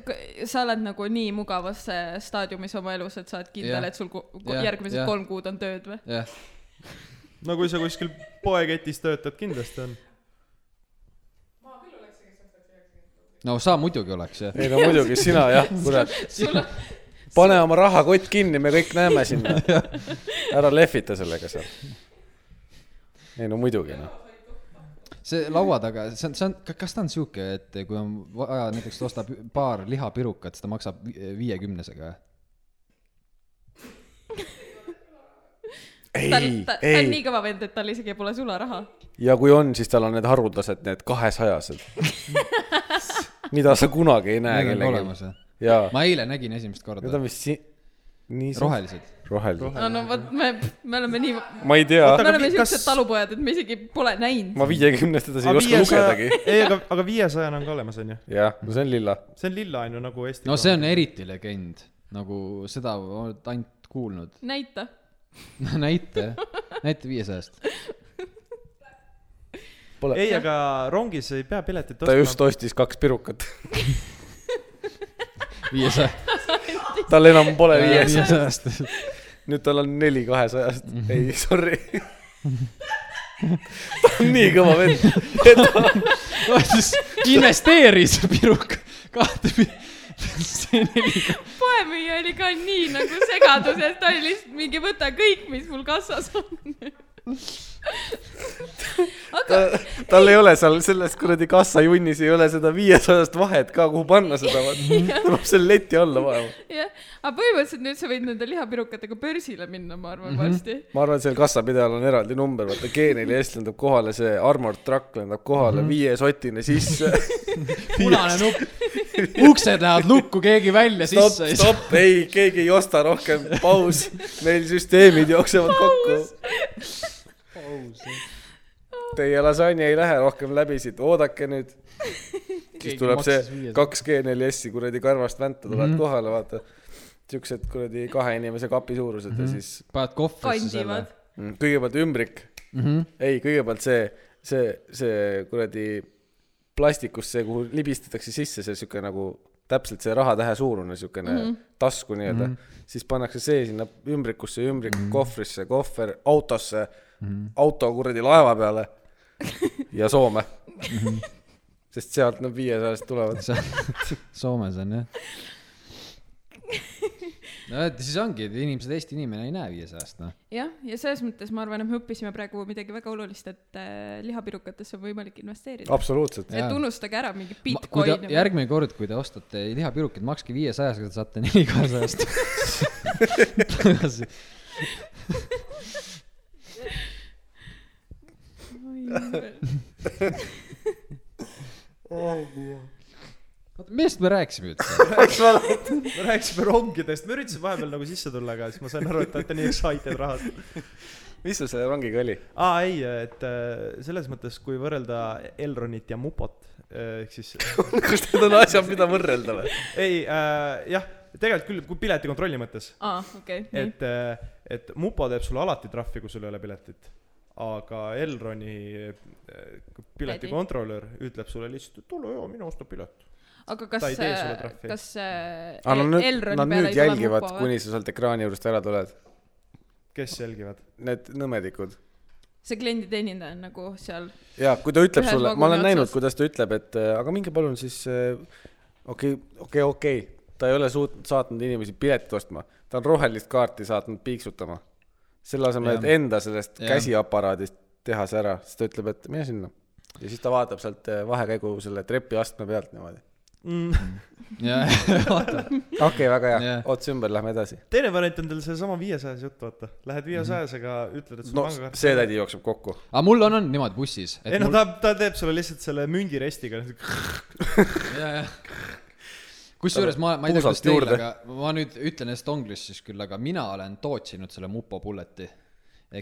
Speaker 2: sa oled nagu nii mugavas äh, staadiumis oma elus , et sa oled kindel
Speaker 3: Jah. ,
Speaker 2: et sul ko- ko-
Speaker 3: Jah,
Speaker 2: järgmised
Speaker 3: jah.
Speaker 2: kolm kuud on tööd või ?
Speaker 3: jah ,
Speaker 4: no kui sa kuskil poeketis töötad , kindlasti on .
Speaker 3: no sa muidugi oleks jah .
Speaker 1: ei no muidugi , sina jah , kurat .
Speaker 2: sul on ,
Speaker 1: pane oma rahakott kinni , me kõik näeme sinna . ära lehvita sellega seal . ei no muidugi noh .
Speaker 3: see laua taga , see on , see on , kas ta on sihuke , et kui on vaja , näiteks ta ostab paar lihapirukat , siis ta maksab vi- viiekümnesega ?
Speaker 1: ei
Speaker 2: ta on , ta , ta on
Speaker 1: ei
Speaker 2: nii , kõva vend , et tal isegi pole sularaha .
Speaker 1: ja kui on , siis tal on need haruldased , need kahesajased . mida sa kunagi ei näe
Speaker 3: Need on olemas
Speaker 1: kellelgi .
Speaker 3: jah ?
Speaker 1: jaa ,
Speaker 3: ma eile nägin esimest
Speaker 1: need
Speaker 3: korda
Speaker 1: on . vist si- , nii .
Speaker 3: rohelised .
Speaker 1: rohelised .
Speaker 2: no no vot , me , me oleme nii ,
Speaker 1: ma ei tea ,
Speaker 2: me
Speaker 4: aga
Speaker 2: oleme
Speaker 4: mi- kas-
Speaker 2: siuksed talupojad , et me isegi pole näinud .
Speaker 1: ma viiekümnest edasi ei oska lugedagi .
Speaker 4: ei , aga , aga viiesajane on ka olemas , onju .
Speaker 1: jah , no see on lilla .
Speaker 4: see on lilla , onju , nagu Eesti .
Speaker 3: no see on eriti legend , nagu seda oled ainult kuulnud .
Speaker 2: näita .
Speaker 3: näite , näite viiesajast .
Speaker 1: Pole ,
Speaker 4: ei , aga rongis ei pea piletit
Speaker 1: ta just
Speaker 4: ostma .
Speaker 1: ostis kaks pirukat .
Speaker 3: viiesaja ,
Speaker 1: tal enam pole viies ,
Speaker 3: viiesajast .
Speaker 1: nüüd tal on neli kahesajast . ei , sorry . ta on nii kõva vend .
Speaker 3: investeeris piruka , kahte pi- , see neli ,
Speaker 2: poemüüja oli ka nii nagu segaduses , ta oli lihtsalt mingi , võta kõik , mis mul kassas on . aga
Speaker 1: ta , tal ei ole seal selles kuradi kassajunnis ei ole seda viiesajast vahet ka , kuhu panna seda , ta peab selle leti alla vajama .
Speaker 2: jah , aga põhimõtteliselt nüüd sa võid nende lihapirukatega börsile minna , ma arvan varsti .
Speaker 1: ma arvan , et seal kassapidajal on eraldi number , vaata Geenil eest lendab kohale see armored truck lendab kohale mm -hmm. viiesotine sisse .
Speaker 3: punane nupp , uksed lähevad lukku , keegi välja ,
Speaker 1: stopp
Speaker 3: sisse , ei saa .
Speaker 1: stopp , ei , keegi ei osta rohkem , paus , meil süsteemid jooksevad kokku . Teie lasanje ei lähe rohkem läbi siit , oodake nüüd . siis tuleb see . kaks G4S-i kuradi karvast vänta tulevad mm -hmm. kohale , vaata . siuksed kuradi kahe inimese kapi suurused mm -hmm. ja siis
Speaker 3: paned kohvrisse selle .
Speaker 2: kandivad .
Speaker 1: mm, kõigepealt ümbrik mm . -hmm. ei , kõigepealt see , see , see kuradi plastikust , see , kuhu libistatakse sisse see sihuke nagu täpselt see rahatähe suurune siukene
Speaker 2: Mhm.
Speaker 1: mm -hmm. tasku nii-öelda mm , -hmm. siis pannakse see sinna ümbrikusse , ümbrik mm -hmm. kohvrisse , kohver autosse mm , -hmm. auto kuradi laeva peale ja Soome mm . -hmm. sest sealt nad viiesajast tulevad .
Speaker 3: Soomes on jah . no et siis ongi , et inimesed , Eesti inimene ei näe viiesajast noh .
Speaker 2: jah , ja selles mõttes ma arvan , et me õppisime praegu midagi väga olulist , et äh, lihapirukatesse on võimalik investeerida .
Speaker 1: absoluutselt .
Speaker 2: et
Speaker 3: jaa.
Speaker 2: unustage ära mingi
Speaker 3: kui te
Speaker 2: Bitcoini .
Speaker 3: järgmine kord , kui te ostate lihapirukaid , makske viiesajast , te saate neli kahesajast tagasi . oota , millest me rääkisime üldse ?
Speaker 4: me rääkisime rongidest , ma üritasin vahepeal nagu sisse tulla , aga siis ma sain aru , et te olete nii excited rahast .
Speaker 1: mis sul selle rongiga oli ?
Speaker 4: aa , ei , et äh, selles mõttes , kui võrrelda Elronit ja Mupot , ehk siis
Speaker 1: kas need on asjad , mida võrrelda või ?
Speaker 4: ei äh, , jah , tegelikult küll , kui piletikontrolli mõttes ,
Speaker 2: aa , okei , nii .
Speaker 4: et , et Mupo teeb sulle alati trahvi , kui sul ei ole piletit . aga Elroni äh, piletikontrolör ütleb sulle lihtsalt , et tule ja mine osta pilet .
Speaker 2: aga
Speaker 4: ta
Speaker 2: kas
Speaker 4: ei tee sulle , trahvi.
Speaker 2: kas äh,
Speaker 1: aga nad nüüd ,
Speaker 2: Elroni
Speaker 1: nad
Speaker 2: peale
Speaker 1: nüüd
Speaker 2: ei tule
Speaker 1: jälgivad
Speaker 2: mupo , või?
Speaker 1: kuni sa sealt ekraani juurest ära tuled .
Speaker 4: kes jälgivad ?
Speaker 1: Need nõmedikud .
Speaker 2: see klienditeenindaja on nagu seal ,
Speaker 1: ja kui ta ütleb
Speaker 2: Ühes
Speaker 1: sulle , ma
Speaker 2: vaguni
Speaker 1: olen näinud ,
Speaker 2: otsas.
Speaker 1: kuidas ta ütleb , et äh, aga minge palun siis äh, okei , okei , okei , ta ei ole suutnud , saatnud inimesi piletit ostma , ta on rohelist kaarti saatnud piiksutama . selle asemel , et
Speaker 3: Jah.
Speaker 1: enda sellest
Speaker 3: Jah.
Speaker 1: käsiaparaadist teha see ära , siis ta ütleb , et mine sinna . ja siis ta vaatab sealt äh, vahekäigu selle trepiastme pealt niimoodi .
Speaker 3: jah , vaata .
Speaker 1: okei okay, , väga hea
Speaker 3: Jah. ,
Speaker 1: ots ümber , lähme edasi .
Speaker 4: teine variant on teil seesama viiesajas jutt , vaata . Lähed viiesajasega , ütled , et sul
Speaker 1: Mhm. no
Speaker 4: pangakaart
Speaker 1: see tädi jookseb kokku .
Speaker 3: aga mul on , on niimoodi bussis .
Speaker 4: ei no ta , ta teeb sulle lihtsalt selle mündirestiga .
Speaker 3: kusjuures ma , ma ei tea ,
Speaker 1: Puusalt
Speaker 3: kuidas teil ,
Speaker 1: juurde.
Speaker 3: aga ma nüüd ütlen Estonglist siis küll , aga mina olen tootsinud selle mupo pulleti .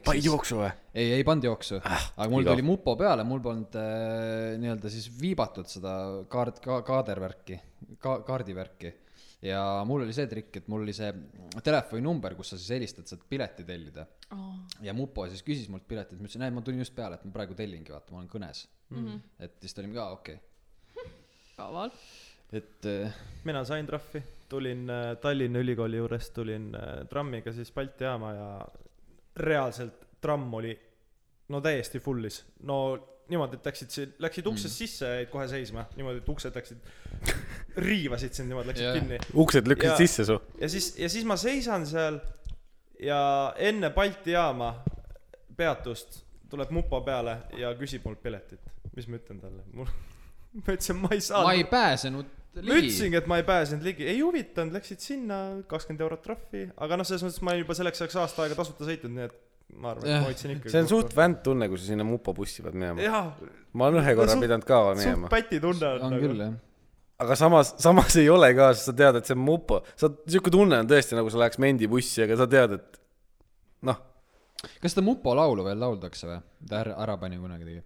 Speaker 1: panid jooksu või ?
Speaker 3: ei , ei pannud jooksu ah, , aga mul
Speaker 1: igav.
Speaker 3: tuli mupo peale , mul polnud äh, nii-öelda siis viibatud seda kaart , ka- , kaadervärki , ka- , kaardivärki . ja mul oli see trikk , et mul oli see telefoninumber , kus sa siis helistad , saad pileti tellida . ja mupo siis küsis mult piletit , ma ütlesin , ei , ma tulin just peale , et ma praegu tellingi , vaata , ma olen kõnes mm . -hmm. et siis ta oli , aa , okei okay. ,
Speaker 2: mhm. kaval .
Speaker 3: et äh,
Speaker 4: mina sain trahvi , tulin äh, Tallinna Ülikooli juurest , tulin äh, trammiga siis Balti jaama ja reaalselt tramm oli no täiesti full'is , no niimoodi , et läksid , läksid
Speaker 3: Mm.
Speaker 4: uksest sisse ja jäid kohe seisma , niimoodi , et uksed läksid , riivasid sind niimoodi , läksid
Speaker 3: Jah.
Speaker 4: yeah. kinni .
Speaker 1: uksed lükkasid
Speaker 4: Jaa.
Speaker 1: ja. sisse su .
Speaker 4: ja siis , ja siis ma seisan seal ja enne Balti jaama peatust tuleb mupo peale ja küsib mult piletit . mis ma ütlen talle ? mul , ma ütlesin , ma ei saa .
Speaker 3: ma ei pääsenud
Speaker 4: ma
Speaker 3: ligi .
Speaker 4: ütlesingi , et ma ei pääsenud ligi , ei huvitanud , läksid sinna , kakskümmend eurot trahvi , aga noh , selles mõttes ma olin juba selleks ajaks aasta aega tasuta sõitnud , nii et ma arvan , et
Speaker 3: Jah.
Speaker 4: ma hoidsin ikka .
Speaker 1: see on suht . vänt tunne , kui sa sinna mupobussi pead minema .
Speaker 4: jaa ,
Speaker 1: ma olen ühe korra
Speaker 4: suht-
Speaker 1: pidanud ka
Speaker 4: suht
Speaker 1: minema ,
Speaker 4: päti tunne on
Speaker 3: on küll
Speaker 4: nagu .
Speaker 3: jah .
Speaker 1: aga samas , samas ei ole ka , sest sa tead , et see on mupo . sa , sihuke tunne on tõesti nagu sa läheks mendibussi , aga sa tead , et noh ,
Speaker 3: kas seda mupo laulu veel lauldakse või ? ta ära , ära pani kunagi tegi .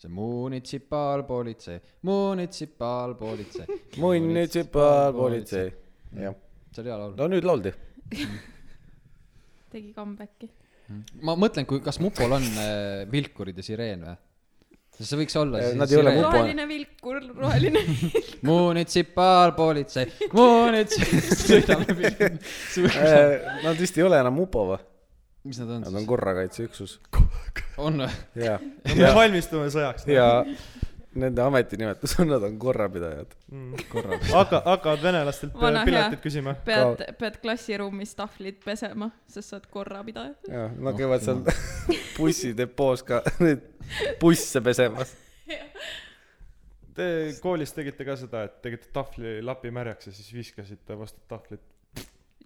Speaker 3: see munitsipaalpolitsei , munitsipaalpolitsei .
Speaker 1: munitsipaalpolitsei . jah ,
Speaker 3: see oli hea laul .
Speaker 1: no nüüd lauldi .
Speaker 2: tegi comeback'i .
Speaker 3: ma mõtlen , kui , kas mupol on äh, vilkurid ja sireen või ? see võiks olla
Speaker 1: Eh,
Speaker 3: siis
Speaker 1: nad ei ole
Speaker 3: sireen.
Speaker 1: mupo-
Speaker 2: roheline vilkur , roheline vilkur .
Speaker 3: munitsipaalpolitsei , munitsipaalpolitsei .
Speaker 1: Äh, Nad vist ei ole enam mupo või ?
Speaker 3: mis nad on
Speaker 1: Nad on nagu
Speaker 3: siis ?
Speaker 1: korrakaitseüksus .
Speaker 3: on või ?
Speaker 1: ja ,
Speaker 4: me valmistume sõjaks . noh.
Speaker 1: ja nende ametinimetus on , nad on korrapidajad . korra .
Speaker 4: Mm. hakka , hakkavad venelastelt äh,
Speaker 2: Vana hea.
Speaker 4: piletit küsima .
Speaker 2: pead , pead klassiruumis tahvlid pesema , sest sa oled korrapidaja .
Speaker 1: jah , nad käivad seal bussidepoos ka neid busse pesemas .
Speaker 4: Te koolis tegite ka seda , et tegite tahvli lapi märjaks ja siis viskasite vastu tahvlit .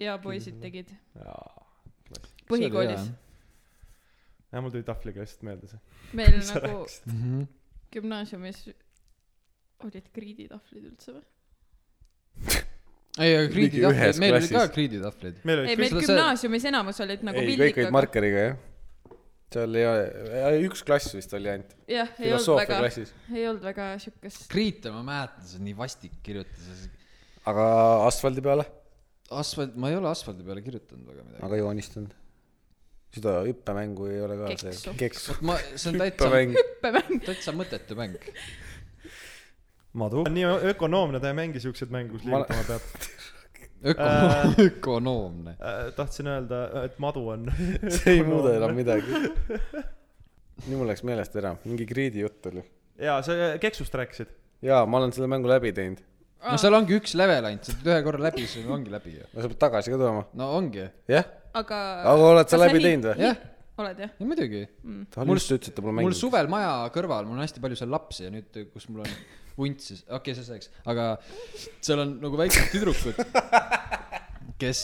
Speaker 2: ja poisid tegid .
Speaker 4: ja
Speaker 2: põhikoolis .
Speaker 4: mul tuli tahvliga lihtsalt meelde see .
Speaker 2: meil
Speaker 4: Sa
Speaker 2: nagu
Speaker 4: rääkisid.
Speaker 3: Mhm.
Speaker 2: gümnaasiumis olid kriiditahvlid üldse või ?
Speaker 3: ei , aga
Speaker 1: ühes
Speaker 3: kriiditahvlid , meil oli ka
Speaker 1: klassis.
Speaker 3: kriiditahvlid .
Speaker 4: meil
Speaker 2: ei ,
Speaker 4: olid
Speaker 2: meil
Speaker 4: kõik ,
Speaker 3: seda sa-
Speaker 2: gümnaasiumis enamus olid nagu
Speaker 1: ei , kõik olid
Speaker 2: pildikaga .
Speaker 1: markeriga , jah . seal ei ole , üks klass vist oli ainult ,
Speaker 2: jah , ei olnud
Speaker 1: filosoofia
Speaker 2: väga ,
Speaker 1: klassis .
Speaker 2: ei olnud väga siukest ,
Speaker 3: Kriita , ma mäletan , see on nii vastik kirjutas .
Speaker 1: aga asfaldi peale ?
Speaker 3: asfalt , ma ei ole asfaldi peale kirjutanud väga midagi .
Speaker 1: aga joonistanud . seda hüppemängu ei ole ka
Speaker 2: Keksu.
Speaker 1: see , keksu .
Speaker 3: ma , see on täitsa ,
Speaker 1: hüppemäng .
Speaker 2: hüppemäng .
Speaker 3: täitsa mõttetu mäng .
Speaker 4: madu . nii ökonoomne ta ei mängi siukseid mänge , kus
Speaker 1: Ma-
Speaker 4: liigutama peab .
Speaker 3: ökonoom , ökonoomne .
Speaker 4: Äh, tahtsin öelda , et madu on .
Speaker 1: see ei muuda enam midagi . nii mul läks meelest ära , mingi kriidi jutt oli .
Speaker 4: jaa , sa äh, keksust rääkisid .
Speaker 1: jaa , ma olen selle mängu läbi teinud .
Speaker 3: no seal ongi üks level ainult , sa ühe korra läbi , siis ongi läbi ju .
Speaker 1: no sa pead tagasi ka tulema .
Speaker 3: no ongi ,
Speaker 1: jah ,
Speaker 2: aga .
Speaker 1: aga oled sa läbi teinud või ?
Speaker 3: jah ,
Speaker 2: oled jah ?
Speaker 3: ja muidugi .
Speaker 1: ta
Speaker 3: Mul-
Speaker 1: just ütles , et ta pole
Speaker 3: mul
Speaker 1: mänginud .
Speaker 3: suvel maja kõrval , mul on hästi palju seal lapsi ja nüüd , kus mul on vunt siis , okei okay, , see selleks , aga seal on nagu väiksed tüdrukud , kes ,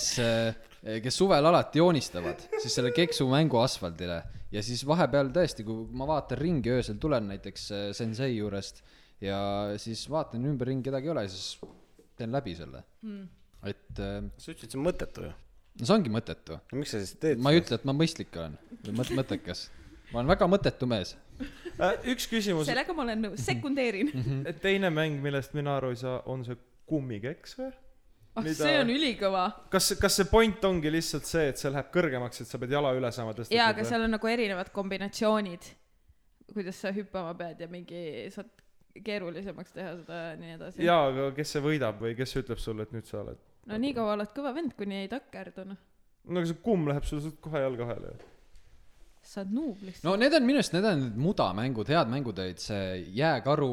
Speaker 3: kes suvel alati joonistavad siis selle keksumängu asfaldile ja siis vahepeal tõesti , kui ma vaatan ringi öösel , tulen näiteks äh, sensei juurest ja siis vaatan ümberringi , kedagi ei ole , siis teen läbi selle mm. . et äh,
Speaker 1: sa ütlesid , see on mõttetu ju .
Speaker 3: no see ongi mõttetu .
Speaker 1: miks sa siis teed ?
Speaker 3: ma ei ütle , et ma mõistlik olen või mõt- , mõttekas . ma olen väga mõttetu mees .
Speaker 4: Äh, üks küsimus ,
Speaker 2: sellega ma olen nõus , sekundeerin .
Speaker 1: Mm.
Speaker 4: teine mäng , millest mina aru ei saa , on see kummikeks või ?
Speaker 2: ah ,
Speaker 4: Mida-
Speaker 2: see on ülikõva .
Speaker 4: kas , kas see point ongi lihtsalt see , et see läheb kõrgemaks , et sa pead jala üle saama tõsta ?
Speaker 2: jaa , aga seal on nagu erinevad kombinatsioonid , kuidas sa hüppama pead ja mingi saad keerulisemaks teha seda ja nii edasi .
Speaker 4: jaa , aga kes see võidab või kes ütleb sulle , et nüüd sa oled ?
Speaker 2: no nii kaua oled kõva vend , kuni ei takerdu , noh .
Speaker 4: no aga see kumm läheb sul sealt kohe jalga vahele .
Speaker 2: sa oled nuublist no. .
Speaker 3: no need on minu arust , need on need mudamängud , head mängud olid see Jääkaru ,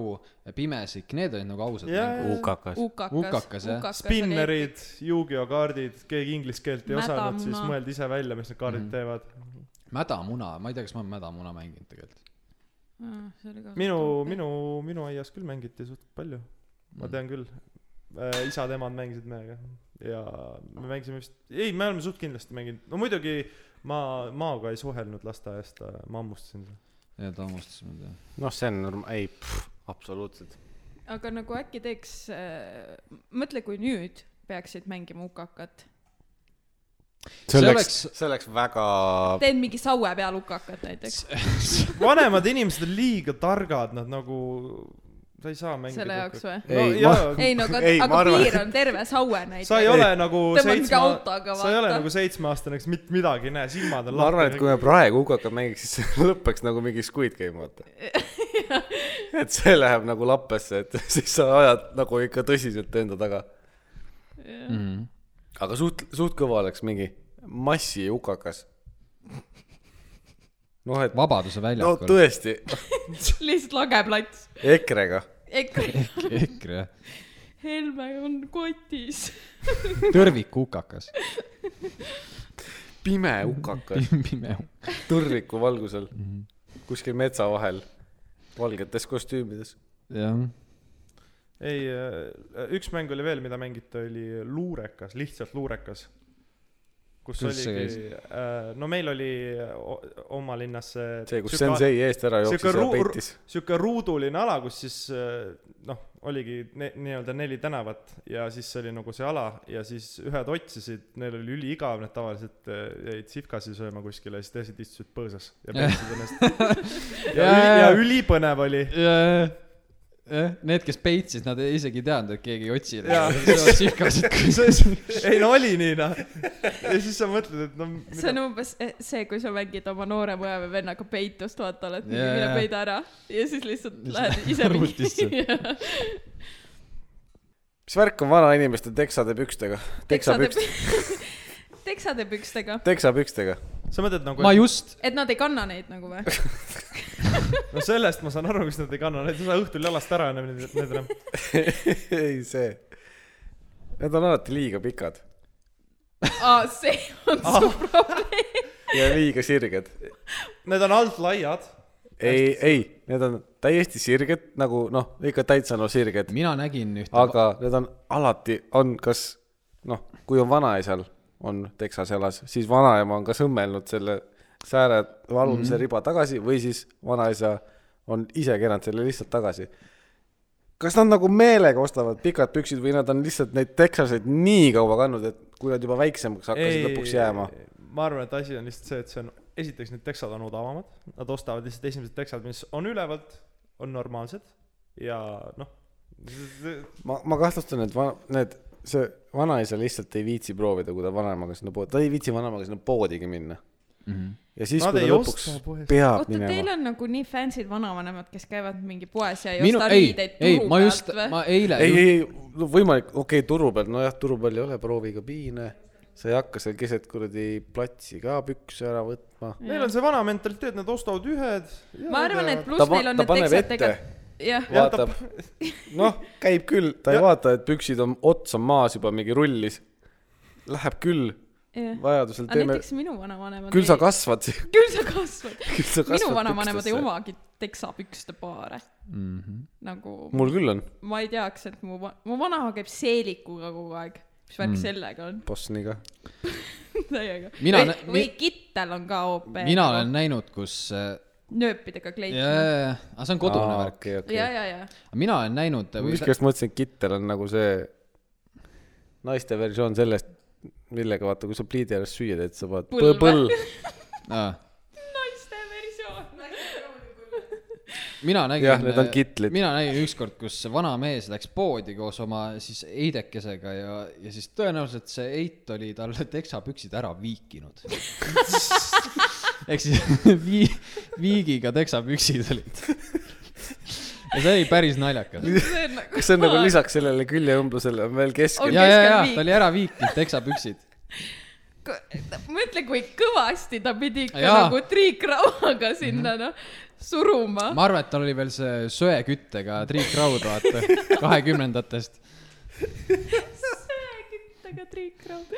Speaker 3: Pimesik , need olid nagu ausad
Speaker 4: Jaa.
Speaker 3: mängud .
Speaker 1: hukakas .
Speaker 2: ukakas .
Speaker 3: Ukakas, jah.
Speaker 4: spinnerid , Yu-Gi-Oh kaardid , keegi inglise keelt ei
Speaker 2: Mädamuna.
Speaker 4: osanud , siis mõeldi ise välja , mis need kaardid mm. teevad .
Speaker 3: mädamuna , ma ei tea , kas ma olen mädamuna mänginud tegelikult .
Speaker 2: Ah,
Speaker 4: minu , minu , minu aias küll mängiti suht palju ,
Speaker 1: Mm.
Speaker 4: ma tean küll . Äh, isad-emad mängisid meiega ja me mängisime vist , ei , me oleme suht kindlasti mänginud , no muidugi ma Maoga ei suhelnud lasteaiast , ma hammustasin seda .
Speaker 3: ja ta hammustas mind jah .
Speaker 1: noh , see on norm- , ei , absoluutselt .
Speaker 2: aga nagu äkki teeks äh, , mõtle , kui nüüd peaksid mängima ukakat .
Speaker 1: see
Speaker 3: See
Speaker 1: oleks
Speaker 3: oleks- ,
Speaker 1: see oleks väga .
Speaker 2: teen mingi saue peal ukakat näiteks .
Speaker 4: vanemad inimesed on liiga targad , nad nagu , sa ei saa mängida .
Speaker 2: selle jaoks või ?
Speaker 4: no
Speaker 1: Ei,
Speaker 4: jaa ,
Speaker 2: ei no aga ,
Speaker 1: Ei, ma
Speaker 2: aga
Speaker 1: arvan-
Speaker 2: piir on terve saue näiteks .
Speaker 4: sa ei ole nagu
Speaker 2: Tõmbad mingi
Speaker 4: seitsme ,
Speaker 2: autoga,
Speaker 4: sa ei ole
Speaker 2: vaata.
Speaker 4: nagu seitsmeaastane , kes mitte midagi ei näe , silmad on
Speaker 1: ma arvan , et kui me praegu hukakat mängiks , siis see lõpeks nagu mingi Squid Game , vaata . et see läheb nagu lappesse , et siis sa ajad nagu ikka tõsiselt enda taga .
Speaker 3: Mhm.
Speaker 1: aga suht , suht kõva oleks mingi massi hukakas . noh , et
Speaker 3: Vabaduse
Speaker 1: no
Speaker 3: väljakul no, .
Speaker 1: tõesti
Speaker 2: lihtsalt lageplats .
Speaker 1: EKRE-ga .
Speaker 2: EKRE ,
Speaker 3: EKRE ,
Speaker 2: Helme on kotis .
Speaker 3: tõrvikukakas ,
Speaker 1: pime hukakas
Speaker 3: pime . Mhm.
Speaker 1: tõrviku valgusel kuskil metsa vahel valgetes kostüümides .
Speaker 3: jah ,
Speaker 4: ei , üks mäng oli veel , mida mängiti , oli luurekas , lihtsalt luurekas . kus
Speaker 3: Kuidas see
Speaker 4: oligi , no meil oli o- oma linnas see
Speaker 1: see , kus sensei eest ära
Speaker 4: sihuke
Speaker 1: jooksis ja
Speaker 4: ruu-
Speaker 1: peitis .
Speaker 4: sihuke ruuduline ala , kus siis äh, noh , oligi ne- nii-öelda neli tänavat ja siis oli nagu see ala ja siis ühed otsisid , neil oli üliigav , need tavaliselt äh, jäid sihvkasi sööma kuskile , siis teised istusid põõsas ja peitsid ennast . ja, üli- ja ülipõnev oli .
Speaker 3: jah , need , kes peitsid , nad ei- isegi ei teadnud , et keegi ei otsi .
Speaker 4: Jaa.
Speaker 3: sihkasid kõik .
Speaker 4: ei no oli nii noh . ja siis sa mõtled , et no
Speaker 2: see
Speaker 4: mida
Speaker 2: on umbes eh, see , kui sa mängid oma noorema õe või vennaga peitust , vaata , oled mingi
Speaker 3: Jaa,
Speaker 2: mine
Speaker 3: jaa.
Speaker 2: peida ära ja siis lihtsalt
Speaker 3: Lihtsalt
Speaker 2: lähed ise
Speaker 3: arvutisse.
Speaker 2: mingi .
Speaker 1: mis värk on vanainimeste teksade pükstega ? teksapükst ,
Speaker 2: teksade pükstega ,
Speaker 1: teksapükstega .
Speaker 4: sa mõtled nagu
Speaker 3: ma . just ,
Speaker 2: et nad ei kanna neid nagu või ?
Speaker 4: no sellest ma saan aru , miks nad ei kanna , need ei saa õhtul jalast ära enam , need , need enam .
Speaker 1: ei , see , need on alati liiga pikad
Speaker 2: aa , see on su probleem .
Speaker 1: ja liiga sirged .
Speaker 4: Need on alt laiad .
Speaker 1: ei , ei , need on täiesti sirged nagu noh , ikka täitsa no sirged ,
Speaker 3: mina nägin ühte .
Speaker 1: aga need on alati , on kas noh , kui on vanaisal on teksas jalas , siis vanaema on kas õmmelnud selle sääre valumise mm
Speaker 4: Mhm.
Speaker 1: -hmm. riba tagasi või siis vanaisa on ise keeranud selle lihtsalt tagasi . kas nad nagu meelega ostavad pikad püksid või nad on lihtsalt neid teksaseid nii kaua kandnud , et kui nad juba väiksemaks hakkasid lõpuks jääma ?.
Speaker 4: ma arvan , et asi on lihtsalt see , et see on , esiteks need teksad on odavamad , nad ostavad lihtsalt esimesed teksad , mis on ülevalt , on normaalsed ja noh ,
Speaker 1: ma , ma kahtlustan , et va- , need , see vanaisa lihtsalt ei viitsi proovida , kui ta vanaemaga sinna poodi , ta ei viitsi vanaemaga sinna poodigi minna .
Speaker 3: Mhm.
Speaker 1: ja siis ,
Speaker 4: Nad
Speaker 1: kui ta
Speaker 4: ei
Speaker 1: lõpuks
Speaker 4: osta poest.
Speaker 1: peab
Speaker 2: oota , teil
Speaker 1: minema .
Speaker 2: on nagu nii fancy'd vanavanemad , kes käivad mingi poes ja ei
Speaker 3: minu ,
Speaker 2: osta
Speaker 3: ei
Speaker 2: riideid ,
Speaker 3: ei ,
Speaker 2: turu
Speaker 3: ma just
Speaker 2: pealt , või
Speaker 3: ma ? eile
Speaker 1: ei , ei , no võimalik , okei okay, , turu peal , nojah , turu peal ei ole proovikabine , sa ei hakka seal keset kuradi platsi ka pükse ära võtma .
Speaker 4: neil on äh, see vana mentaliteet , nad ostavad ühed .
Speaker 2: ma arvan , et
Speaker 1: Ta
Speaker 2: pluss
Speaker 1: pa-
Speaker 2: neil on
Speaker 1: ta
Speaker 2: need
Speaker 1: paneb
Speaker 2: teksad
Speaker 1: ette.
Speaker 2: tegelikult , jah ,
Speaker 4: Jah, ta-
Speaker 1: vaatab , noh , käib küll , ta ei
Speaker 4: Ja-
Speaker 1: vaata , et püksid on , ots on maas juba mingi rullis . Läheb küll ,
Speaker 2: jah .
Speaker 1: vajadusel
Speaker 2: aga
Speaker 1: teeme ,
Speaker 2: näiteks minu vanavanemad
Speaker 1: küll sa
Speaker 2: ei-
Speaker 1: kasvad ,
Speaker 2: küll sa kasvad .
Speaker 1: küll sa kasvad .
Speaker 2: minu vanavanemad ei . omagi teksapükste paare
Speaker 3: mm . -hmm.
Speaker 2: nagu
Speaker 1: mul küll on ,
Speaker 2: ma ei teaks , et mu , mu vanaema käib seelikuga kogu aeg . mis värk mm. sellega on
Speaker 1: Bosniga .
Speaker 2: täiega ?
Speaker 3: Mina
Speaker 2: või,
Speaker 3: nä-
Speaker 2: või
Speaker 3: mi-
Speaker 2: kittel on ka OP .
Speaker 3: mina olen . näinud , kus äh,
Speaker 2: nööpidega kleit
Speaker 3: jaa , jaa , jaa , aga see on kodune
Speaker 1: Aa,
Speaker 3: värk .
Speaker 1: okei, okei.
Speaker 2: ja , ja , ja .
Speaker 3: mina olen näinud , äh,
Speaker 1: miskipärast mõtlesin , et kittel on nagu see naiste versioon sellest , millega vaata , kui sa pliidi ääres süüa teed , sa paned põll,
Speaker 2: Põlve.
Speaker 1: põll. ,
Speaker 2: naiste versioon .
Speaker 3: mina nägin .
Speaker 1: Jah, need on kitlid.
Speaker 3: mina nägin ükskord , kus see vana mees läks poodi koos oma siis eidekesega ja , ja siis tõenäoliselt see eit oli talle teksapüksid ära viikinud . ehk siis vii- , viigiga teksapüksid olid . ja see oli päris naljakas .
Speaker 2: see on nagu .
Speaker 1: kas see on nagu ? lisaks sellele küljeõmblusele on veel
Speaker 2: On
Speaker 1: keskel
Speaker 3: ja , ja , ja
Speaker 2: keskel viik.
Speaker 3: ta oli ära viikinud teksapüksid .
Speaker 2: mõtle , kui kõvasti ta pidi ikka
Speaker 3: Jaa.
Speaker 2: nagu triikrauaga sinna
Speaker 1: Mhm.
Speaker 2: noh suruma .
Speaker 3: ma arvan , et tal oli veel see söeküttega triikraud , vaata , kahekümnendatest .
Speaker 2: söeküttega triikraud .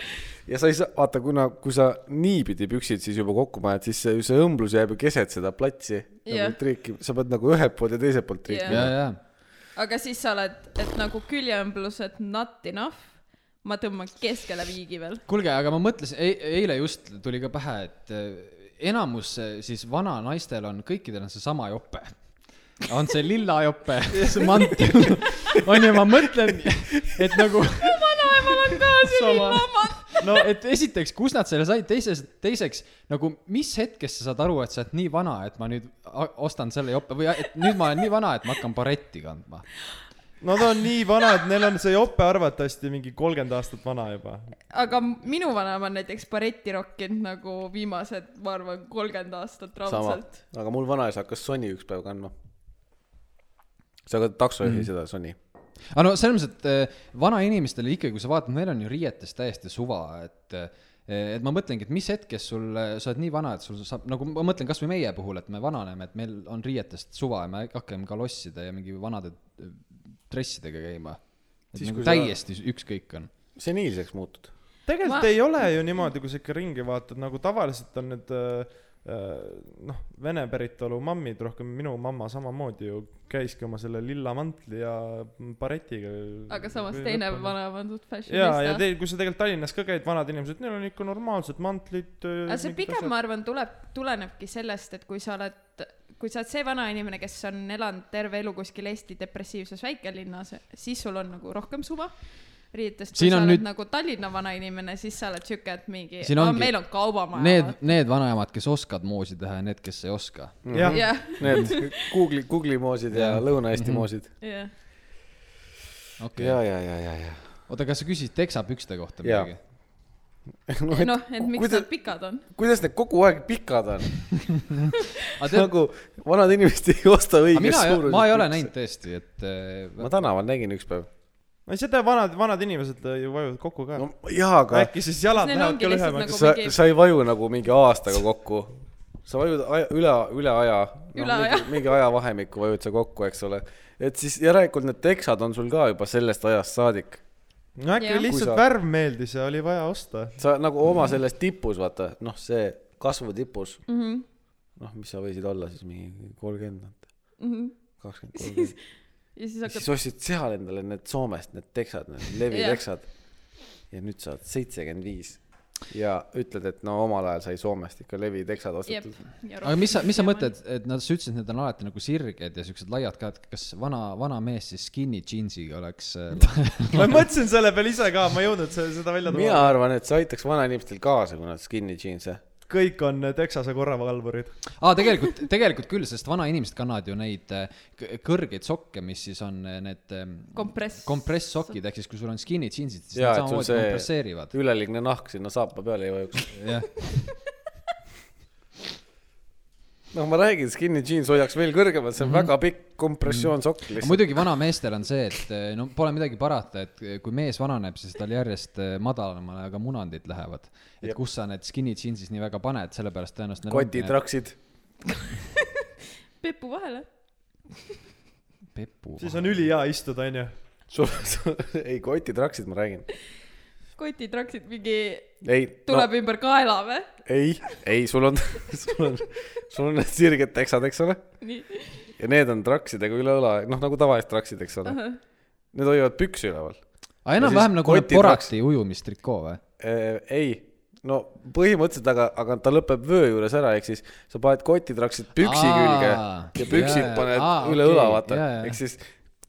Speaker 1: ja sa ei saa , vaata , kuna , kui sa niipidi püksid siis juba kokku paned , siis see , see õmblus jääb ju keset seda platsi
Speaker 2: Jah.
Speaker 1: nagu triiki , sa pead nagu ühelt poolt ja teiselt poolt triikima
Speaker 3: ja , ja
Speaker 2: aga siis sa oled , et nagu küljeõmblused not enough , ma tõmban keskele viigi veel .
Speaker 3: kuulge , aga ma mõtlesin e , eile just tuli ka pähe , et eh, enamus eh, siis vana naistel on , kõikidel on seesama jope . on see lilla jope , see mantel , on ju , ma mõtlen , et nagu ,
Speaker 2: vanaemal on ka see
Speaker 3: Sama.
Speaker 2: lillamann .
Speaker 3: no et esiteks , kust nad selle said , teises , teiseks nagu mis hetkest sa saad aru , et sa oled nii vana , et ma nüüd a- ostan selle jope või et nüüd ma olen nii vana , et ma hakkan baretti kandma .
Speaker 4: Nad on nii vanad , neil on see jope arvatavasti mingi kolmkümmend aastat vana juba .
Speaker 2: aga minu vanaema on näiteks baretti rokkinud nagu viimased , ma arvan , kolmkümmend aastat
Speaker 1: sama
Speaker 2: raudselt .,
Speaker 1: aga mul vanaisa hakkas soni üks päev kandma . sa ka taksojuhi mm. seda soni .
Speaker 3: aga no selles mõttes , et eh, vanainimestel ikkagi , kui sa vaatad , neil on ju riietes täiesti suva , et eh, et ma mõtlengi , et mis hetkest sul , sa oled nii vana , et sul saab , nagu ma mõtlen kasvõi meie puhul , et me vananeme , et meil on riietest suva ja me hakkame kalosside ja mingi vanade eh, dressidega käima . et
Speaker 1: Siis,
Speaker 3: nagu
Speaker 1: kui sa-
Speaker 3: täiesti sa... ükskõik on .
Speaker 1: seniilseks muutud .
Speaker 4: tegelikult
Speaker 2: Ma-
Speaker 4: ma... ei ole ju niimoodi , kui sa ikka ringi vaatad , nagu tavaliselt on need äh, äh, noh , vene päritolu mammid , rohkem minu mamma samamoodi ju käiski oma selle lilla mantli ja baretiga .
Speaker 2: aga samas teine . vanaema on suht
Speaker 4: ja , ja
Speaker 2: fashionista .
Speaker 4: teil , kui sa tegelikult Tallinnas ka käid , vanad inimesed , neil on ikka normaalsed äh, mantlid .
Speaker 2: aga see pigem , ma arvan , tuleb , tulenebki sellest , et kui sa oled , kui sa oled see vanainimene , kes on elanud terve elu kuskil Eesti depressiivses väikelinnas , siis sul on nagu rohkem suva riietest . kui
Speaker 3: Siin
Speaker 2: sa
Speaker 3: on
Speaker 2: oled
Speaker 3: nüüd-
Speaker 2: nagu Tallinna vanainimene , siis sa oled siuke , et mingi ,
Speaker 3: Siin ongi-
Speaker 2: meil on kaubamaja .
Speaker 3: Need , need vanaemad , kes oskavad moosi teha ja need , kes ei oska .
Speaker 4: jah ,
Speaker 2: jah ,
Speaker 1: Need Google'i , Google'i moosid ja Lõuna-Eesti moosid .
Speaker 2: jah .
Speaker 3: okei
Speaker 1: ja ,
Speaker 3: okay. ,
Speaker 1: ja , ja , ja , ja .
Speaker 3: oota , kas sa küsisid teksapükste kohta
Speaker 1: Jaa.
Speaker 3: midagi ?
Speaker 2: noh , et miks
Speaker 1: kuidas,
Speaker 2: nad pikad on .
Speaker 1: kuidas need kogu aeg pikad on ?
Speaker 3: aga tead ,
Speaker 1: nagu vanad inimesed ei osta õiges
Speaker 3: mina ,
Speaker 1: suuruses .
Speaker 3: ma ei ole . näinud tõesti , et eh,
Speaker 1: ma tänaval nägin üks päev .
Speaker 4: no seda vanad , vanad inimesed äh, ju vajuvad kokku ka no,
Speaker 1: no . jaa , aga
Speaker 4: äkki siis jalad
Speaker 2: Neil
Speaker 4: lähevad
Speaker 2: ongi
Speaker 4: ka
Speaker 2: lihtsalt
Speaker 4: lühemaks
Speaker 2: nagu-
Speaker 4: nagu... .
Speaker 1: sa
Speaker 2: mingi- ,
Speaker 1: sa ei vaju nagu mingi aastaga kokku . sa vajud aja, üle , üle aja .
Speaker 2: Üle aja.
Speaker 1: mingi, mingi ajavahemikku vajud sa kokku , eks ole . et siis järelikult need teksad on sul ka juba sellest ajast saadik .
Speaker 4: no äkki
Speaker 2: Jah.
Speaker 4: yeah. lihtsalt
Speaker 1: Kui sa-
Speaker 4: sa... värv meeldis ja oli vaja osta .
Speaker 1: sa nagu oma selles tipus , vaata , noh , see kasvu tipus ,
Speaker 2: mm . -hmm.
Speaker 1: noh , mis sa võisid olla siis mingi kolmkümmend ,
Speaker 2: Mm -hmm.
Speaker 1: kakskümmend , kolmkümmend .
Speaker 2: ja siis hakkad
Speaker 1: siis ostsid seal endale need Soomest need teksad , need leviteksad . ja nüüd sa oled seitsekümmend viis ja ütled , et no omal ajal sai Soomest ikka leviteksad
Speaker 2: jep
Speaker 1: ostetud .
Speaker 2: ja
Speaker 3: aga mis sa , mis sa
Speaker 2: rohkem
Speaker 3: mõtled , et nad , sa ütlesid , et need on alati nagu sirged ja siuksed laiad ka , et kas vana , vana mees siis skinny jeansiga oleks äh,
Speaker 4: ma mõtlesin selle peale ise ka , ma ei jõudnud se- seda välja
Speaker 1: mina
Speaker 4: tuua .
Speaker 1: arvan , et see aitaks vanainimestel kaasa , kui nad skinny jeans'e .
Speaker 4: kõik on Texase korravalvurid .
Speaker 3: aa , tegelikult , tegelikult küll , sest vanainimesed kannavad ju neid äh, k- kõrgeid sokke , mis siis on äh, need ähm,
Speaker 2: Kompress-
Speaker 3: kompresssokid , ehk siis kui sul on skinny jeansid , siis
Speaker 1: Jaa, et
Speaker 3: need
Speaker 1: sul
Speaker 3: samamoodi
Speaker 1: see-
Speaker 3: kompresseerivad .
Speaker 1: üleliigne nahk sinna saapa peale ei vajuks .
Speaker 3: jah ,
Speaker 1: noh , ma räägin , skinny jeans hoiaks veel kõrgemalt , see on mm -hmm. väga pikk kompressioonsokk lihtsalt .
Speaker 3: muidugi vanameestel on see , et äh, no pole midagi parata , et äh, kui mees vananeb , siis tal järjest äh, madalamale ka munandid lähevad . et
Speaker 1: Jep.
Speaker 3: kus sa need skinny jeansid nii väga paned , sellepärast tõenäoliselt .
Speaker 1: kotid , raksid .
Speaker 2: pepu vahele
Speaker 3: pepu .
Speaker 4: siis on ülihea istuda , onju .
Speaker 1: sul , sul , ei kotid , raksid , ma räägin .
Speaker 2: kotid raksid mingi
Speaker 1: ei , no
Speaker 2: tuleb no. ümber kaela või
Speaker 1: ei , ei , sul on , sul on , sul on need sirged teksad , eks ole .
Speaker 2: nii
Speaker 1: ja need on traksidega üle õla , noh nagu tavalised traksid , eks ole .
Speaker 2: Ahah.
Speaker 1: Need hoiavad pükse üleval .
Speaker 3: aga
Speaker 1: siis
Speaker 3: enam-vähem nagu need
Speaker 1: kotid
Speaker 3: Borati ujumistrikoo või ?
Speaker 1: ei , no põhimõtteliselt , aga , aga ta lõpeb vöö juures ära , ehk siis sa paned kotitraksid püksi
Speaker 3: Aa,
Speaker 1: külge ja püksid
Speaker 3: jaa,
Speaker 1: paned
Speaker 3: aa,
Speaker 1: üle
Speaker 3: okei,
Speaker 1: õla , vaata
Speaker 3: jaa, jaa. .
Speaker 1: ehk siis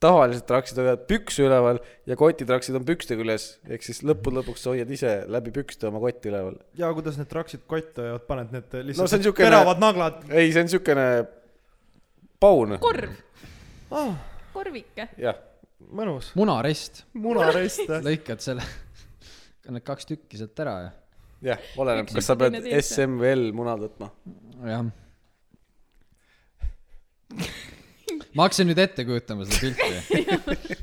Speaker 1: tavaliselt traksid hoiavad pükse üleval ja kotitraksid on pükste küljes , ehk siis lõppude lõpuks sa hoiad ise läbi pükste oma kotti üleval .
Speaker 4: ja kuidas need traksid kotti ajavad , paned need
Speaker 1: No
Speaker 4: lihtsalt
Speaker 1: see on
Speaker 4: no,
Speaker 1: siukene-
Speaker 4: siukene... teravad naglad .
Speaker 1: ei , see on siukene paun ,
Speaker 2: korv
Speaker 4: Ah,
Speaker 2: korvike
Speaker 1: jah .
Speaker 4: mõnus .
Speaker 3: munarest ,
Speaker 4: munarest .
Speaker 3: lõikad selle , need kaks tükki sealt ära ja ,
Speaker 1: jah , oleneb ,
Speaker 2: Üks
Speaker 1: kas sa pead
Speaker 2: ühtlane teise.
Speaker 1: SM või L munad võtma .
Speaker 3: jah . ma hakkasin nüüd ette kujutama seda pilti .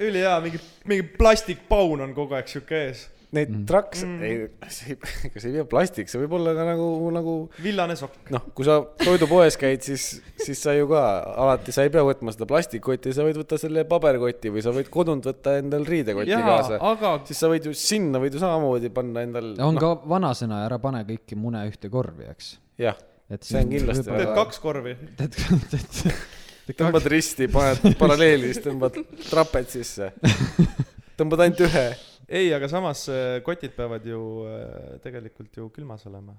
Speaker 4: ülihea , mingi , mingi plastikpaun on kogu aeg siuke ees .
Speaker 1: Neid mm. traks
Speaker 2: Mhm.
Speaker 1: mm. , ei , see ei , kas ei pea plastik , see võib olla ka nagu , nagu
Speaker 4: villane sokk .
Speaker 1: noh , kui sa toidupoes käid , siis , siis sa ju ka alati , sa ei pea võtma seda plastikkotti , sa võid võtta selle paberkoti või sa võid kodunt võtta endal riidekoti ja,
Speaker 4: jaa ,
Speaker 1: kaasa .
Speaker 4: aga
Speaker 1: siis sa võid ju sinna , võid ju samamoodi panna endal . noh,
Speaker 3: on ka vanasõna , ära pane kõiki mune ühte korvi , eks .
Speaker 1: jah , See on kindlasti
Speaker 4: teed
Speaker 1: väga-
Speaker 4: kaks korvi .
Speaker 3: teed , teed , teed kaks .
Speaker 1: tõmbad risti , paned paralleeli , siis tõmbad trapet sisse . tõmbad ainult ühe .
Speaker 4: ei , aga samas äh, kotid peavad ju äh, tegelikult ju külmas olema .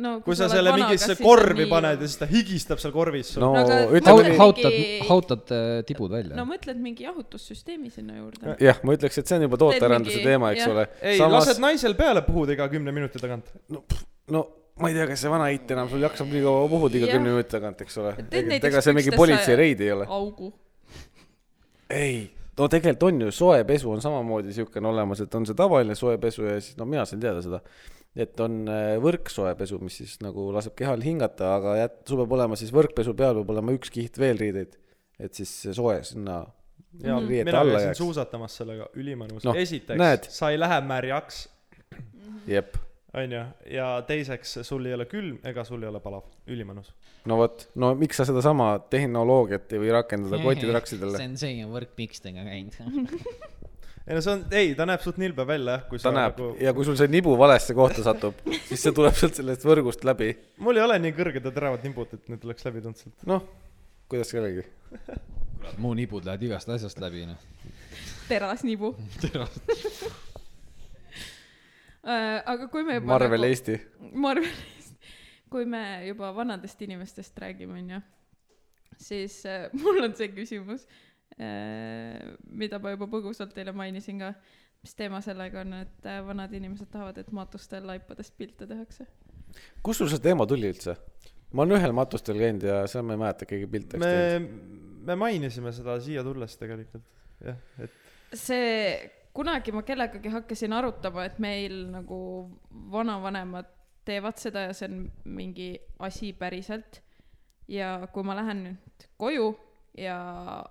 Speaker 2: no
Speaker 4: kui sa
Speaker 2: oled
Speaker 4: selle
Speaker 2: vana,
Speaker 4: mingisse
Speaker 2: kas siis on
Speaker 4: korvi
Speaker 2: nii
Speaker 4: paned
Speaker 2: hull?
Speaker 4: ja siis ta higistab seal korvis sul .
Speaker 1: no
Speaker 2: No aga
Speaker 1: ütleme
Speaker 3: hautad
Speaker 2: mõtle-
Speaker 1: nii .
Speaker 3: hautad
Speaker 2: mingi- ,
Speaker 3: hautad äh, tibud välja
Speaker 2: no . mõtled mingi jahutussüsteemi sinna juurde
Speaker 1: jah , ma ütleks , et see on juba tootearenduse
Speaker 2: mingi-
Speaker 1: teema , eks
Speaker 2: jah.
Speaker 1: ole .
Speaker 4: ei Samas... , lased naisel peale puhuda iga kümne minuti tagant .
Speaker 1: no , no ma ei tea , kas see vana eit enam sul jaksab nii kaua puhuda iga
Speaker 2: Jah.
Speaker 1: kümne minuti tagant , eks ole
Speaker 2: Et . teed
Speaker 1: ega
Speaker 2: näiteks
Speaker 1: see mingi
Speaker 2: üksteist
Speaker 1: politseireid ei ole .
Speaker 2: augu
Speaker 1: ei , no tegelikult on ju , soepesu on samamoodi siukene olemas , et on see tavaline soepesu ja siis , no mina sain teada seda , et on äh, võrksoepesu , mis siis nagu laseb kehal hingata , aga jät- , sul peab olema siis võrkpesu peal peab olema üks kiht veel riideid , et siis see soe sinna
Speaker 5: Mhm.
Speaker 4: ja
Speaker 1: riiete
Speaker 4: mina
Speaker 1: alla
Speaker 4: käisin
Speaker 1: jääks.
Speaker 4: suusatamas sellega , ülimõnus
Speaker 1: Noh,
Speaker 4: no, . esiteks
Speaker 1: näed. ,
Speaker 4: sa ei lähe märjaks ,
Speaker 1: jep ,
Speaker 4: onju , ja teiseks , sul ei ole külm ega sul ei ole palav , ülimõnus .
Speaker 1: no vot , no miks sa sedasama tehnoloogiat ei või rakendada kotitraksidele ?
Speaker 5: on see võrk pikstega käinud .
Speaker 4: ei no see on , ei , ta näeb suht nilbe välja jah , kui
Speaker 1: ta
Speaker 4: sa
Speaker 1: näeb
Speaker 4: nagu
Speaker 1: ja kui sul see nibu valesse kohta satub , siis see tuleb sealt sellest võrgust läbi ,
Speaker 4: mul ei ole nii kõrged ja teravad nibud , et need oleks läbi tulnud sealt .
Speaker 1: noh , kuidas kellelgi .
Speaker 3: mu nibud lähevad igast asjast läbi , noh .
Speaker 2: terasnibu Äh, aga kui me juba
Speaker 1: Marvel Eesti .
Speaker 2: nagu, Marvelist , kui me juba vanadest inimestest räägime , onju , siis äh, mul on see küsimus äh, , mida ma juba põgusalt teile mainisin ka , mis teema sellega on , et äh, vanad inimesed tahavad , et matustel laipadest pilte tehakse .
Speaker 1: kus sul see teema tuli üldse ? ma olen ühel matustel käinud ja seal ma ei mäleta , keegi pilte oleks
Speaker 4: me
Speaker 1: teinud .,
Speaker 4: me mainisime seda siia tulles tegelikult , jah , et
Speaker 2: see , kunagi ma kellegagi hakkasin arutama , et meil nagu vanavanemad teevad seda ja see on mingi asi päriselt . ja kui ma lähen nüüd koju ja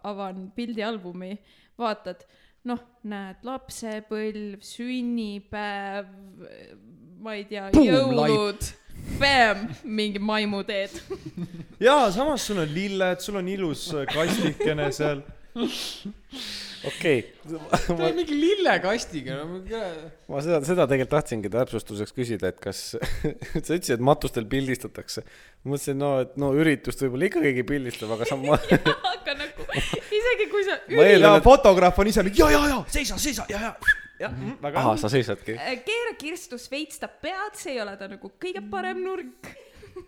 Speaker 2: avan pildialbumi , vaatad , noh , näed lapsepõlv , sünnipäev , ma ei tea ,
Speaker 3: Boom,
Speaker 2: jõulud , Bam! mingi maimuteed .
Speaker 4: jaa , samas sul on lilled , sul on ilus äh, kastikene seal .
Speaker 1: okei ,
Speaker 3: ta oli mingi lillekastiga , no ma ei tea .
Speaker 1: ma seda , seda tegelikult tahtsingi täpsustuseks küsida , et kas sa ütlesid , et matustel pildistatakse . mõtlesin , no , et no üritust võib-olla ikka keegi pildistab , aga sama
Speaker 2: aga nagu isegi kui sa
Speaker 1: Ma
Speaker 2: üli-
Speaker 1: eeldan-
Speaker 4: ja fotograaf on ise nagu, mingi ja , ja , ja seisa , seisa ja , ja . jah , väga
Speaker 1: ahah ,
Speaker 4: hea .
Speaker 1: sa seisadki .
Speaker 2: Äh, keera kirstus veits ta pead , see ei ole ta nagu kõige parem nurk .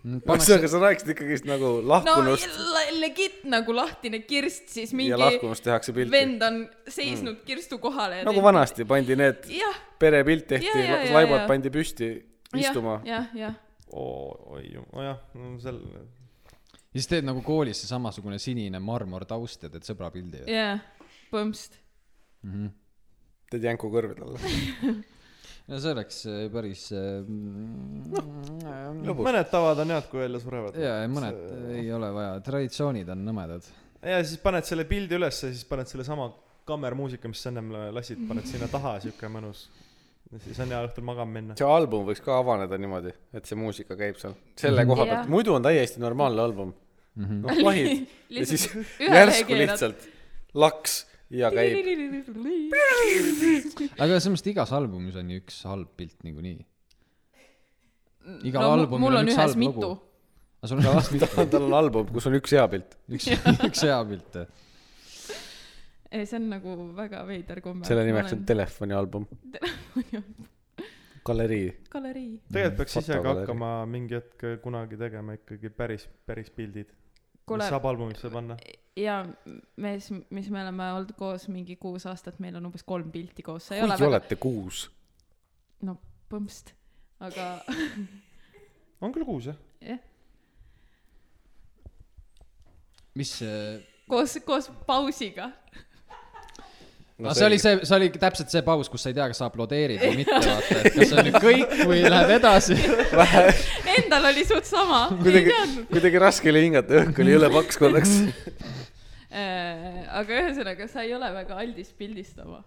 Speaker 1: Mm.
Speaker 3: pannakse ,
Speaker 1: aga sa rääkisid ikkagist nagu
Speaker 2: no
Speaker 1: lahkunust
Speaker 2: la- legit nagu lahtine kirst , siis
Speaker 1: no, ja
Speaker 2: mingi
Speaker 1: lahkunust tehakse pilti .
Speaker 2: vend on seisnud kirstu kohale .
Speaker 1: nagu . vanasti pandi need ,
Speaker 2: jah ,
Speaker 1: perepilt
Speaker 2: Ja,
Speaker 1: tehti
Speaker 2: ja, , ja,
Speaker 1: laibad
Speaker 2: ja.
Speaker 1: pandi püsti istuma
Speaker 2: jah ,. jah , jah .
Speaker 4: oi , nojah , seal .
Speaker 3: ja siis teed nagu koolis see samasugune sinine marmortaust ja teed sõbrapildi .
Speaker 2: jaa , põmst .
Speaker 1: teed jänku kõrvade alla .
Speaker 3: no see oleks äh, päris noh ,
Speaker 4: mõned tavad on head , kui välja surevad .
Speaker 3: ja , ja mõned ei ole vaja , traditsioonid on nõmedad .
Speaker 4: ja siis paned selle pildi ülesse , siis paned sellesama kammermuusika , mis sa ennem lasid , paned sinna taha , siuke mõnus . siis on hea õhtul magama minna .
Speaker 1: see album võiks ka avaneda niimoodi , et see muusika käib seal selle koha
Speaker 2: Mhm. Jah.
Speaker 1: pealt , muidu on täiesti normaalne album . noh , lahid ja siis
Speaker 2: ühe
Speaker 1: järsku
Speaker 2: keerad.
Speaker 1: lihtsalt laks ja käib .
Speaker 3: aga selles mõttes igas albumis on ju üks halb pilt niikuinii . igal
Speaker 2: no mu-
Speaker 3: albumil
Speaker 2: mul on
Speaker 3: üks
Speaker 2: ühes
Speaker 3: halb
Speaker 2: mitu
Speaker 3: lugu .. aga sul on ka vast mitu ,
Speaker 1: tal on album , kus on üks hea pilt .
Speaker 3: üks , üks hea pilt .
Speaker 2: ei , see on nagu väga veider komme .
Speaker 1: selle nimeks on telefonialbum , galerii .
Speaker 2: galerii .
Speaker 4: tegelikult peaks ise ka
Speaker 1: Fotogalerii.
Speaker 4: hakkama mingi hetk kunagi tegema ikkagi päris , päris pildid .
Speaker 2: kuule
Speaker 4: mis , saab albumisse panna .
Speaker 2: ja mees , mis me oleme olnud koos mingi kuus aastat , meil on umbes kolm pilti koos , see ei ole
Speaker 1: kuigi
Speaker 2: väga ,
Speaker 1: olete kuus .
Speaker 2: no põmst , aga
Speaker 4: on küll kuus jah .
Speaker 2: jah ,
Speaker 3: mis äh, see
Speaker 2: koos , koos pausiga .
Speaker 3: no Ah, see oli see , see oli täpselt see paus , kus sa ei tea , kas sa aplodeerid või mitte , vaata , et kas see on nüüd kõik või läheb edasi .
Speaker 2: Endal oli suht sama , ei
Speaker 1: kuidagi
Speaker 2: teadnud ,.
Speaker 1: kuidagi raske oli hingata , õhk oli jõle paks korraks .
Speaker 2: Äh, aga ühesõnaga , sa ei ole väga aldis pildistama .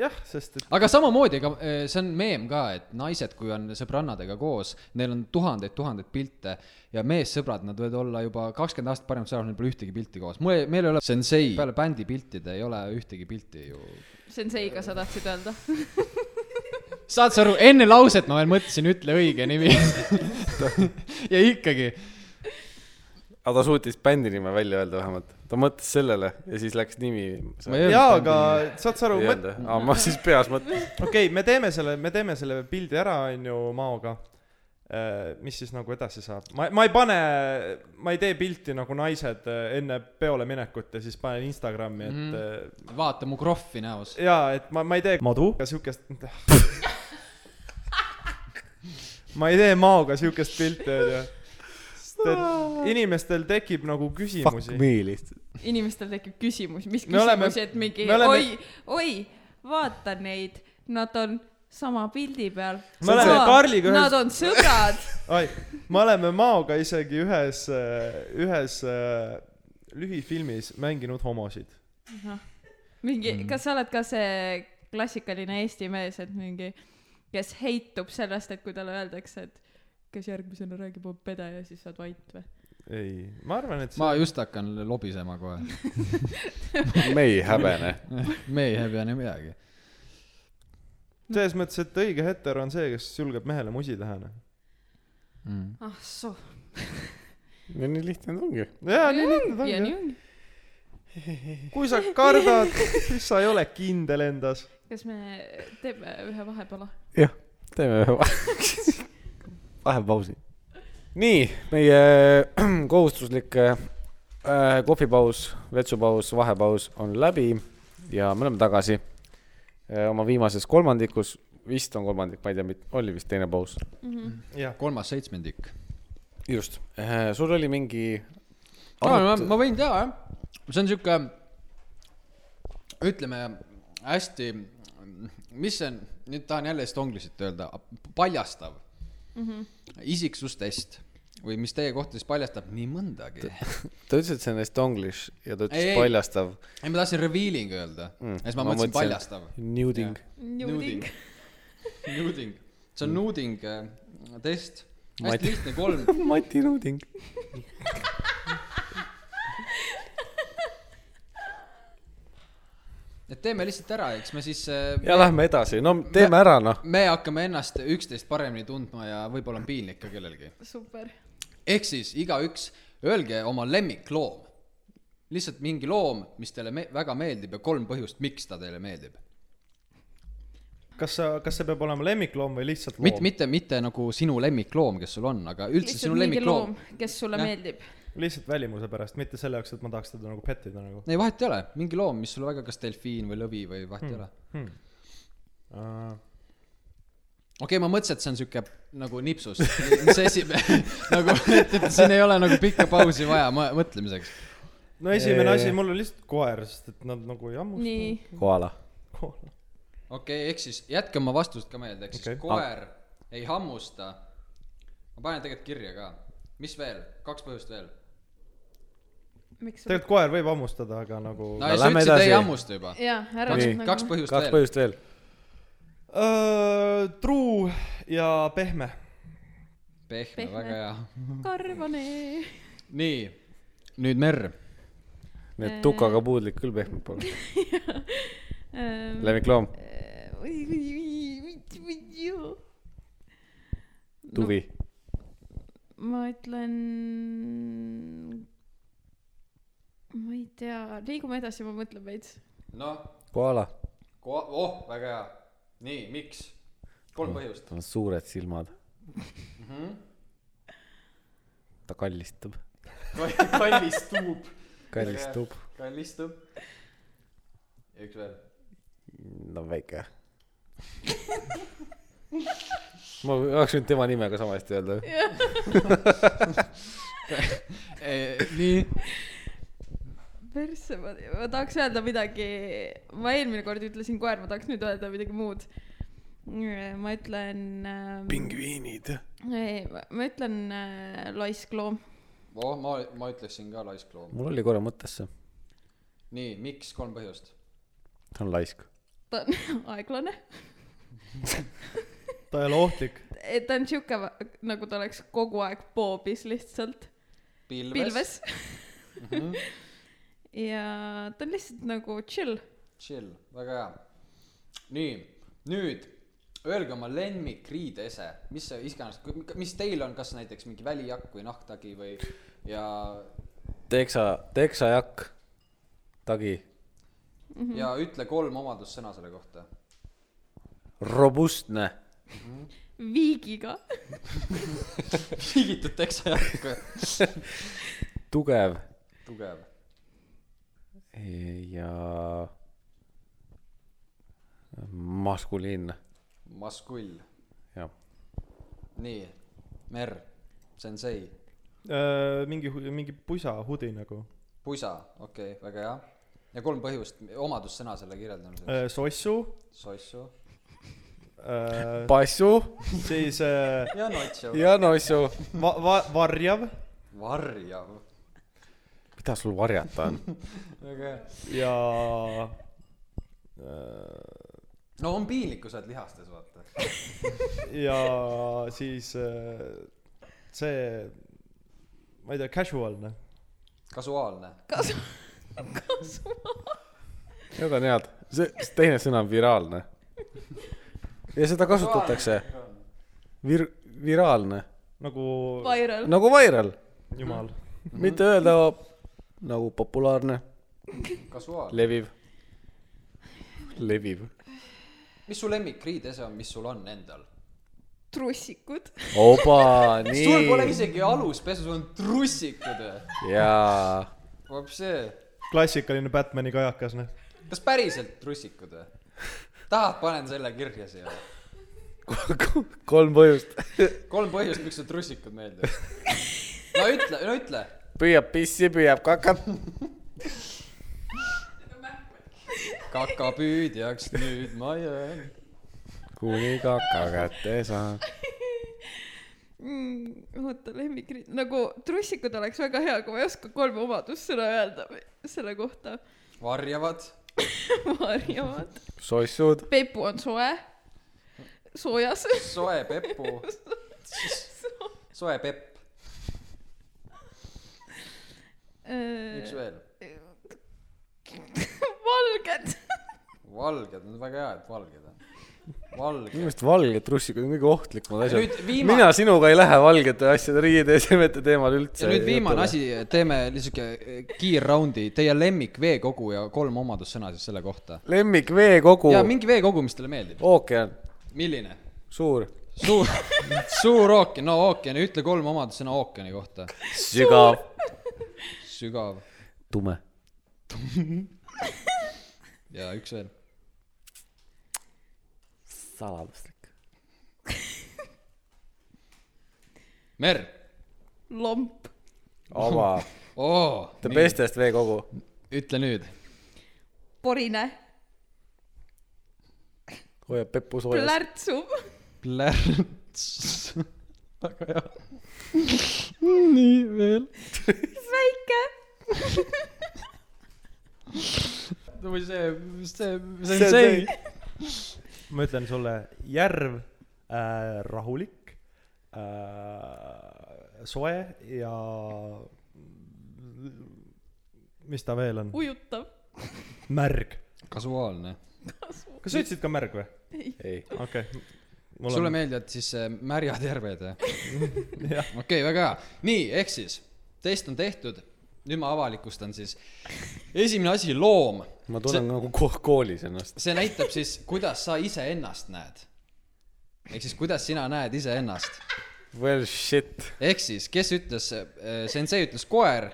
Speaker 4: jah , sest et
Speaker 3: aga samamoodi , ega eh, see on meem ka , et naised , kui on sõbrannadega koos , neil on tuhandeid-tuhandeid pilte ja meessõbrad , nad võivad olla juba kakskümmend aastat paremad sõbrad , neil pole ühtegi pilti koos . mul , meil ei ole sensei , peale bändi piltide ei ole ühtegi pilti ju .
Speaker 2: Senseiga sa tahtsid öelda ?
Speaker 3: saad sa aru , enne lauset ma veel mõtlesin , ütle õige nimi . ja ikkagi ,
Speaker 1: aga ta suutis bändi nime välja öelda vähemalt . ta mõtles sellele ja siis läks nimi .
Speaker 3: Ma
Speaker 1: ei
Speaker 3: ei öelnud
Speaker 4: jaa ,
Speaker 3: bändi
Speaker 4: aga
Speaker 3: nime.
Speaker 4: saad sa aru ,
Speaker 1: öelnud , aa , ma siis peas mõtlesin .
Speaker 4: okei okay, , me teeme selle , me teeme selle pildi ära , onju , Maoga . mis siis nagu edasi saab ? ma , ma ei pane , ma ei tee pilti nagu naised eh, enne peole minekut ja siis panen Instagrami , et mm.
Speaker 3: vaata mu krohvi näos .
Speaker 4: jaa , et ma , ma ei tee madu ja siukest . ma ei tee Maoga siukest pilti , onju . sest et inimestel tekib nagu
Speaker 1: Ah. Fuck
Speaker 4: küsimusi .
Speaker 1: me lihtsalt .
Speaker 2: inimestel tekib küsimus , mis
Speaker 4: Me oleme-
Speaker 2: küsimusi , et mingi
Speaker 4: me oleme-
Speaker 2: oleme... oi , oi , vaata neid , nad on sama pildi peal .
Speaker 4: Me oleme Karliga ühes-
Speaker 2: Nad on sõbrad .
Speaker 4: ai , me oleme Maoga isegi ühes , ühes eh, lühifilmis mänginud homosid .
Speaker 2: mingi ,
Speaker 4: Mm.
Speaker 2: kas sa oled ka see klassikaline eesti mees , et mingi , kes heitub sellest , et kui talle öeldakse , et kes järgmisena räägib , on pede ja siis saad vait või ?
Speaker 4: ei , ma arvan , et see
Speaker 3: ma just hakkan lobisema kohe .
Speaker 1: me ei häbene .
Speaker 3: me ei häbene midagi .
Speaker 4: selles mõttes , et õige hetero on see , kes julgeb mehele musi teha , noh .
Speaker 3: Mm.
Speaker 2: ah soo .
Speaker 1: no nii lihtne ta ongi .
Speaker 4: jaa , nii lihtne ta
Speaker 2: ja
Speaker 4: ongi
Speaker 2: nii . ongi .
Speaker 4: kui sa kardad , siis sa ei ole kindel endas .
Speaker 2: kas me teeme ühe vahepala ?
Speaker 1: jah , teeme ühe va- vahepausi . nii , meie kohustuslik äh, kohvipaus , vetsupaus , vahepaus on läbi ja me oleme tagasi äh, oma viimases kolmandikus , vist on kolmandik , ma ei tea , oli vist teine paus .
Speaker 4: jah ,
Speaker 3: kolmas seitsmendik .
Speaker 1: just , sul oli mingi
Speaker 3: aa , ma ,
Speaker 1: arut-
Speaker 3: ma võin teha , jah . see on sihuke , ütleme hästi , mis see on , nüüd tahan jälle Estonglisit öelda , paljastav mm -hmm. isiksustest või mis teie kohta siis paljastab nii mõndagi .
Speaker 1: ta ütles , et see on Estonglish ja ta
Speaker 3: Ei,
Speaker 1: ütles
Speaker 3: ei.
Speaker 1: paljastav
Speaker 3: ei , ma tahtsin revealing öelda mm, , ja siis ma, ma mõtlesin paljastav .
Speaker 1: Nuding .
Speaker 2: Nuding .
Speaker 3: Mm. Nuding , see on nuding äh, test hästi lihtne , kolm ,
Speaker 1: Mati Nuding .
Speaker 3: et teeme lihtsalt ära , eks me siis äh,
Speaker 1: ja . lähme edasi , no teeme ära noh .
Speaker 3: me hakkame ennast üksteist paremini tundma ja võib-olla on piinlik ka kellelgi .
Speaker 2: super .
Speaker 3: ehk siis igaüks , öelge oma lemmikloom . lihtsalt mingi loom , mis teile me- väga meeldib ja kolm põhjust , miks ta teile meeldib .
Speaker 4: kas sa , kas see peab olema lemmikloom või lihtsalt
Speaker 3: mitte ,
Speaker 4: loom ?
Speaker 3: mitte , mitte nagu sinu lemmikloom , kes sul on , aga üldse
Speaker 2: lihtsalt
Speaker 3: sinu
Speaker 2: mingi
Speaker 3: lemmikloom
Speaker 2: loom ., kes sulle
Speaker 3: Jah.
Speaker 2: meeldib .
Speaker 4: lihtsalt välimuse pärast , mitte selle jaoks , et ma tahaks teda nagu pettida nagu .
Speaker 3: ei , vahet ei ole , mingi loom , mis sulle väga , kas delfiin või lõvi või vahet ei ole . okei okay, , ma mõtlesin , et see on sihuke nagu nipsus , see esimene nagu , et , et siin ei ole nagu pikka pausi vaja ma- mõtlemiseks .
Speaker 4: no esimene
Speaker 1: Eee.
Speaker 4: asi , mul on lihtsalt koer , sest et nad nagu ei ammusta .
Speaker 2: nii ,
Speaker 1: koala .
Speaker 4: koer .
Speaker 3: okei okay, , ehk siis jätke oma vastused ka meelde , ehk siis
Speaker 4: Okei.
Speaker 3: okay. koer ah. ei hammusta . ma panen tegelikult kirja ka . mis veel , kaks põhjust veel .
Speaker 2: miks ?
Speaker 4: tegelikult koer võib hammustada , aga nagu
Speaker 3: no ei , sa
Speaker 1: lähme
Speaker 3: ütlesid ,
Speaker 1: edasi.
Speaker 3: ei hammusta juba .
Speaker 2: jaa , ära nagu
Speaker 3: kaks
Speaker 1: Nii. ,
Speaker 3: kaks . põhjust
Speaker 1: kaks
Speaker 3: veel .
Speaker 1: põhjust veel .
Speaker 4: Öö, Äh, truu ja pehme .
Speaker 3: pehme ,
Speaker 2: Pehme.
Speaker 3: väga hea .
Speaker 2: karvane .
Speaker 3: nii , nüüd Merr .
Speaker 1: nii et
Speaker 2: Äh.
Speaker 1: tukaga puudlik küll pehme pole .
Speaker 2: Ähm,
Speaker 1: lemmikloom ,
Speaker 2: äh,
Speaker 1: tuvi .
Speaker 2: ma ütlen , ma ei tea , liigume edasi , ma mõtlen veits .
Speaker 3: noh ,
Speaker 1: koala .
Speaker 3: ko- , oh , väga hea . nii , miks ? kolm
Speaker 1: Mm.
Speaker 3: põhjust .
Speaker 1: tal on suured silmad . ta kallistab .
Speaker 3: kallistub .
Speaker 1: kallistub .
Speaker 3: kallistub . üks veel .
Speaker 1: no väike . ma oleks võinud tema nimega sama hästi öelda .
Speaker 3: E, nii .
Speaker 2: persse , ma , ma tahaks öelda midagi , ma eelmine kord ütlesin koer , ma tahaks nüüd öelda midagi muud . ma ütlen ähm, ,
Speaker 1: pingviinid .
Speaker 2: ma ütlen äh, laiskloom ,
Speaker 3: oh , ma , ma ütleksin ka laiskloom .
Speaker 1: mul oli korra mõttes see .
Speaker 3: nii , miks kolm põhjust ?
Speaker 1: ta on laisk .
Speaker 2: ta on aeglane ,
Speaker 4: ta ei ole ohtlik .
Speaker 2: ta on siuke va- nagu ta oleks kogu aeg poobis lihtsalt ,
Speaker 3: pilves,
Speaker 2: pilves . ja ta on lihtsalt nagu chill ,
Speaker 3: chill , väga hea . nii , nüüd öelge oma lemmikriidese , mis see iganes , mis teil on , kas näiteks mingi välijakk või nahktagi või ja
Speaker 1: teksa , teksajakk , tagi ,
Speaker 3: mm , -hmm. ja ütle kolm omadussõna selle kohta .
Speaker 1: robustne ,
Speaker 2: viigiga ,
Speaker 3: liigitud teksajakk ,
Speaker 1: tugev
Speaker 3: tugev .
Speaker 1: ja maskuliinne ,
Speaker 3: Maskull ,
Speaker 1: jah .
Speaker 3: nii , Mer , Sensei ,
Speaker 4: Äh, mingi , mingi pusa , hudi nagu .
Speaker 3: pusa , okei okay, , väga hea . ja kolm põhjust , omadussõna selle
Speaker 4: Äh.
Speaker 3: kirjeldamiseks .
Speaker 4: sossu , Äh,
Speaker 3: sossu
Speaker 1: passu
Speaker 4: siis äh,
Speaker 3: ja notšu ,
Speaker 1: ja nossu .
Speaker 4: va- , va- , varjav
Speaker 3: varjav ,
Speaker 1: mida sul varjata on ?
Speaker 3: väga hea .
Speaker 4: ja äh,
Speaker 3: no on piinlik , kui sa oled lihastes , vaata .
Speaker 4: ja siis äh, see , ma ei tea , noh, casualne .
Speaker 3: kasuaalne .
Speaker 2: kasu , kasu .
Speaker 1: Need on head , see see teine sõna on viraalne . ja seda kasutatakse , vir- , viraalne ,
Speaker 4: nagu ,
Speaker 2: Viral no. ,
Speaker 1: nagu viral ,
Speaker 4: jumal .
Speaker 1: mitte öelda nagu populaarne ,
Speaker 3: kasuaalne .
Speaker 1: leviv , leviv .
Speaker 3: mis su lemmikriidese on , mis sul on endal ?
Speaker 2: trussikud ,
Speaker 1: oba ,
Speaker 3: sul pole
Speaker 1: nii ,
Speaker 3: isegi aluspesu , sul on trussikud .
Speaker 1: jaa
Speaker 3: vab see .
Speaker 4: klassikaline Batman'i kajakas , noh .
Speaker 3: kas päriselt trussikud või ? tahad , panen selle kirja siia .
Speaker 1: kolm põhjust .
Speaker 3: kolm põhjust , miks sulle trussikud meeldivad . no ütle , no ütle .
Speaker 1: püüab pissi , püüab kakat .
Speaker 3: kakapüüdjaks nüüd ma jään .
Speaker 1: kuni kaka kätte saan .
Speaker 2: mm, . oota , lemmikriit , nagu trussikud oleks väga hea , kui ma ei oska kolme omadussõna öelda või- selle kohta .
Speaker 3: varjavad ,
Speaker 2: varjavad .
Speaker 1: sossud ,
Speaker 2: pepu on soe , soojas .
Speaker 3: soe pepu , soe Pepp , üks
Speaker 2: valged .
Speaker 3: veel .
Speaker 2: Äh,
Speaker 3: valged , need on väga head , valged on .
Speaker 1: minu
Speaker 3: valged .
Speaker 1: meelest valged russikud on kõige ohtlikumad
Speaker 3: ja
Speaker 1: asjad
Speaker 3: nüüd .
Speaker 1: mina
Speaker 3: viimane ,
Speaker 1: sinuga ei lähe valgete asjade riide ja semete teemal üldse .
Speaker 3: ja nüüd viimane . asi , teeme niisugune kiirroundi , teie lemmik veekogu ja kolm omadussõna siis selle kohta .
Speaker 1: lemmik veekogu
Speaker 3: ja , mingi veekogu , mis teile meeldib .
Speaker 1: ookean ,
Speaker 3: milline ?
Speaker 1: suur ,
Speaker 3: suur , suur ookean , no ookean , ütle kolm omadussõna ookeani kohta .
Speaker 1: sügav ,
Speaker 3: sügav
Speaker 1: tume ,
Speaker 3: ja üks veel .
Speaker 1: saladuslik ,
Speaker 3: mer .
Speaker 2: lomp .
Speaker 1: ava ,
Speaker 3: oo ,
Speaker 1: the bestest veekogu ,
Speaker 3: Oh, ütle nüüd .
Speaker 2: porine .
Speaker 1: hoiab peppu soojas .
Speaker 2: plärtsub .
Speaker 3: plärts . väga hea .
Speaker 2: väike .
Speaker 3: või see , see ,
Speaker 1: See
Speaker 3: see
Speaker 1: on
Speaker 3: on see .
Speaker 4: ma ütlen sulle , järv äh, , rahulik äh, , soe ja mis ta veel on ?
Speaker 2: ujutav .
Speaker 4: märg .
Speaker 3: kasuaalne .
Speaker 4: kas sa ütlesid ka märg või ?
Speaker 1: ei ,
Speaker 4: okei okay. .
Speaker 3: sulle meeldivad siis äh, märjad järved või ?
Speaker 4: jah ,
Speaker 3: okei okay, , väga hea . nii , ehk siis test on tehtud , nüüd ma avalikustan siis . esimene asi , loom .
Speaker 1: ma
Speaker 3: see,
Speaker 1: tunnen nagu ko- koolis ennast .
Speaker 3: see näitab siis , kuidas sa iseennast näed . ehk siis , kuidas sina näed iseennast .
Speaker 1: Well shit ,
Speaker 3: ehk siis , kes ütles , sensei ütles koer ,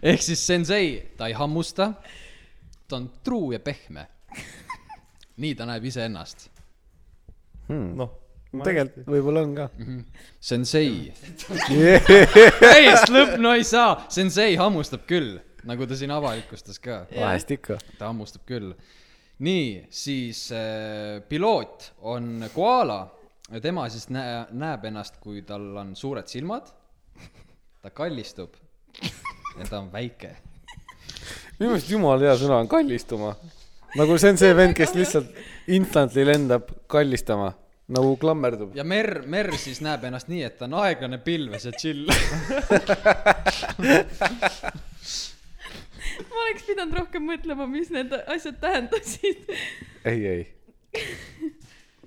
Speaker 3: ehk siis sensei , ta ei hammusta , ta on truu ja pehme . nii ta näeb iseennast .
Speaker 4: noh .
Speaker 1: tegelikult võib-olla on ka .
Speaker 3: sensei . täiesti lõpp , no ei saa , sensei hammustab küll , nagu ta siin avalikustas ka ,
Speaker 1: vahest ikka .
Speaker 3: ta hammustab küll . nii , siis äh, piloot on koala ja tema siis näe- , näeb ennast , kui tal on suured silmad , ta kallistub ja ta on väike
Speaker 1: minu meelest jumala hea sõna on kallistuma . nagu see on see vend , kes lihtsalt instantly lendab kallistama , nagu klammerdub .
Speaker 3: ja Mer , Mer siis näeb ennast nii , et ta on aeglane pilves ja chill .
Speaker 2: ma oleks pidanud rohkem mõtlema , mis need asjad tähendasid .
Speaker 1: ei , ei .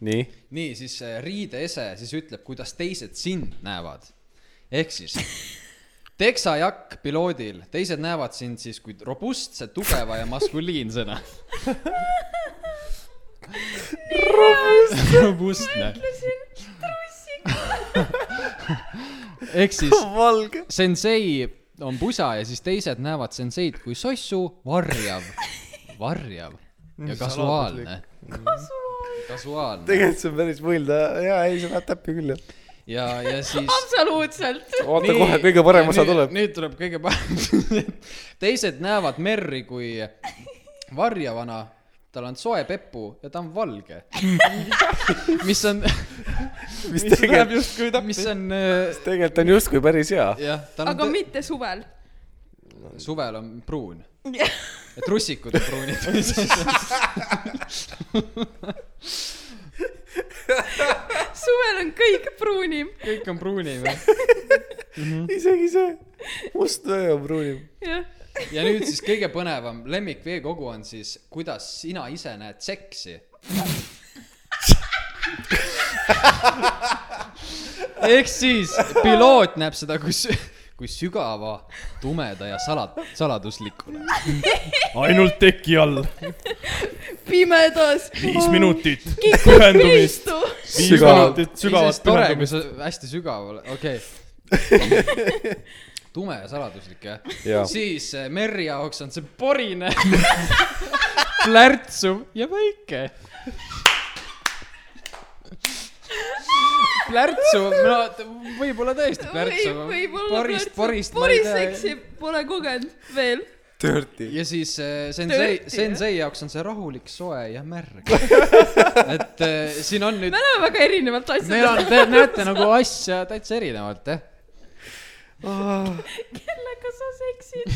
Speaker 1: nii ,
Speaker 3: nii , siis äh, riideese siis ütleb , kuidas teised sind näevad . ehk siis teksajakk piloodil , teised näevad sind siis kui robustse , tugeva ja maskuliinsena . robustne .
Speaker 2: ütlesin trussiga .
Speaker 3: ehk siis sensei on pusa ja siis teised näevad senseid kui sossu , varjav , varjav ja kasuaalne . kasuaalne
Speaker 1: tegelikult see on päris võlda , jaa , ei , sa näed täppi küll , jah .
Speaker 3: ja , ja siis .
Speaker 2: absoluutselt .
Speaker 1: oota , kohe kõige parem osa tuleb .
Speaker 3: nüüd tuleb kõige parem . teised näevad Merri kui varjavana , tal on soe pepu ja ta on valge . mis on ,
Speaker 1: mis tegelikult , äh,
Speaker 4: justkui
Speaker 3: mis on ,
Speaker 1: tegelikult on justkui päris hea .
Speaker 3: jah , tal
Speaker 2: aga
Speaker 3: on ,
Speaker 2: mitte suvel .
Speaker 3: suvel on pruun , et russikud on pruunid .
Speaker 2: suvel on kõik pruunim .
Speaker 3: kõik on pruunimad .
Speaker 1: Mhm. isegi see must öö on pruunim .
Speaker 2: jah .
Speaker 3: ja nüüd siis kõige põnevam lemmikveekogu on siis , kuidas sina ise näed seksi . ehk siis piloot näeb seda kui , kui sügava , tumeda ja sala- , saladuslikuna .
Speaker 4: ainult teki all ,
Speaker 2: pimedas .
Speaker 4: viis minutit
Speaker 2: kikud
Speaker 4: pühendumist ,
Speaker 2: kristu .
Speaker 4: viis minutit sügavat
Speaker 3: tore , kui
Speaker 4: pühendumist .
Speaker 3: sa hästi sügaval , okei okay. . tume ja saladuslik jah
Speaker 1: jaa ,
Speaker 3: siis äh, Merri jaoks on see porine , plärtsuv ja väike . plärtsuv , no t- võib-olla tõesti plärtsuv .
Speaker 2: võib-olla
Speaker 3: porist , porist ma ei
Speaker 2: poris
Speaker 3: tea .
Speaker 2: seksi pole kogenud veel .
Speaker 1: dirty .
Speaker 3: ja siis äh, sensei ,
Speaker 2: Tõesti,
Speaker 3: sensei jaoks on see rahulik , soe ja märg . et äh, siin on nüüd
Speaker 2: me , oleme väga erinevalt
Speaker 3: meil on
Speaker 2: asjadest ,.
Speaker 3: te näete nagu asja täitsa erinevalt jah .
Speaker 2: kellega sa seksid ?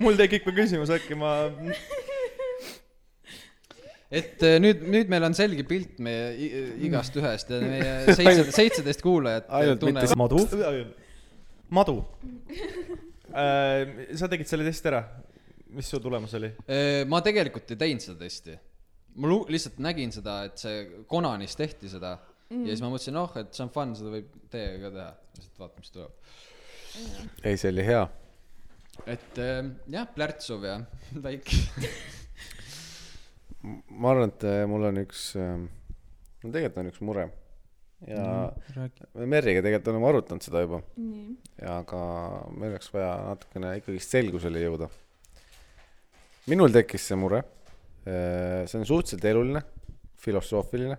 Speaker 4: mul tekib ka küsimus , äkki ma
Speaker 3: et eh, nüüd , nüüd meil on selge pilt meie i- igast ühest ja meie seitse , seitseteist kuulajat eh,
Speaker 1: ainult mitte
Speaker 3: tunnevad ,
Speaker 1: madu .
Speaker 4: madu äh, . sa tegid selle testi ära , mis su tulemus oli ?
Speaker 3: Äh, ma tegelikult ei teinud seda testi . ma lu- , lihtsalt nägin seda , et see Konanis tehti seda mm. ja siis ma mõtlesin , oh , et see on fun , seda võib teiega ka teha . lihtsalt vaatame , mis tuleb .
Speaker 1: ei , see oli hea .
Speaker 3: et eh, jah , plärtsuv ja väike .
Speaker 1: ma arvan , et äh, mul on üks , no tegelikult on üks mure ja me Merriga tegelikult oleme arutanud seda juba ,
Speaker 2: nii ,
Speaker 1: aga meil oleks vaja natukene ikkagist selgusele jõuda . minul tekkis see mure . see on suhteliselt eluline , filosoofiline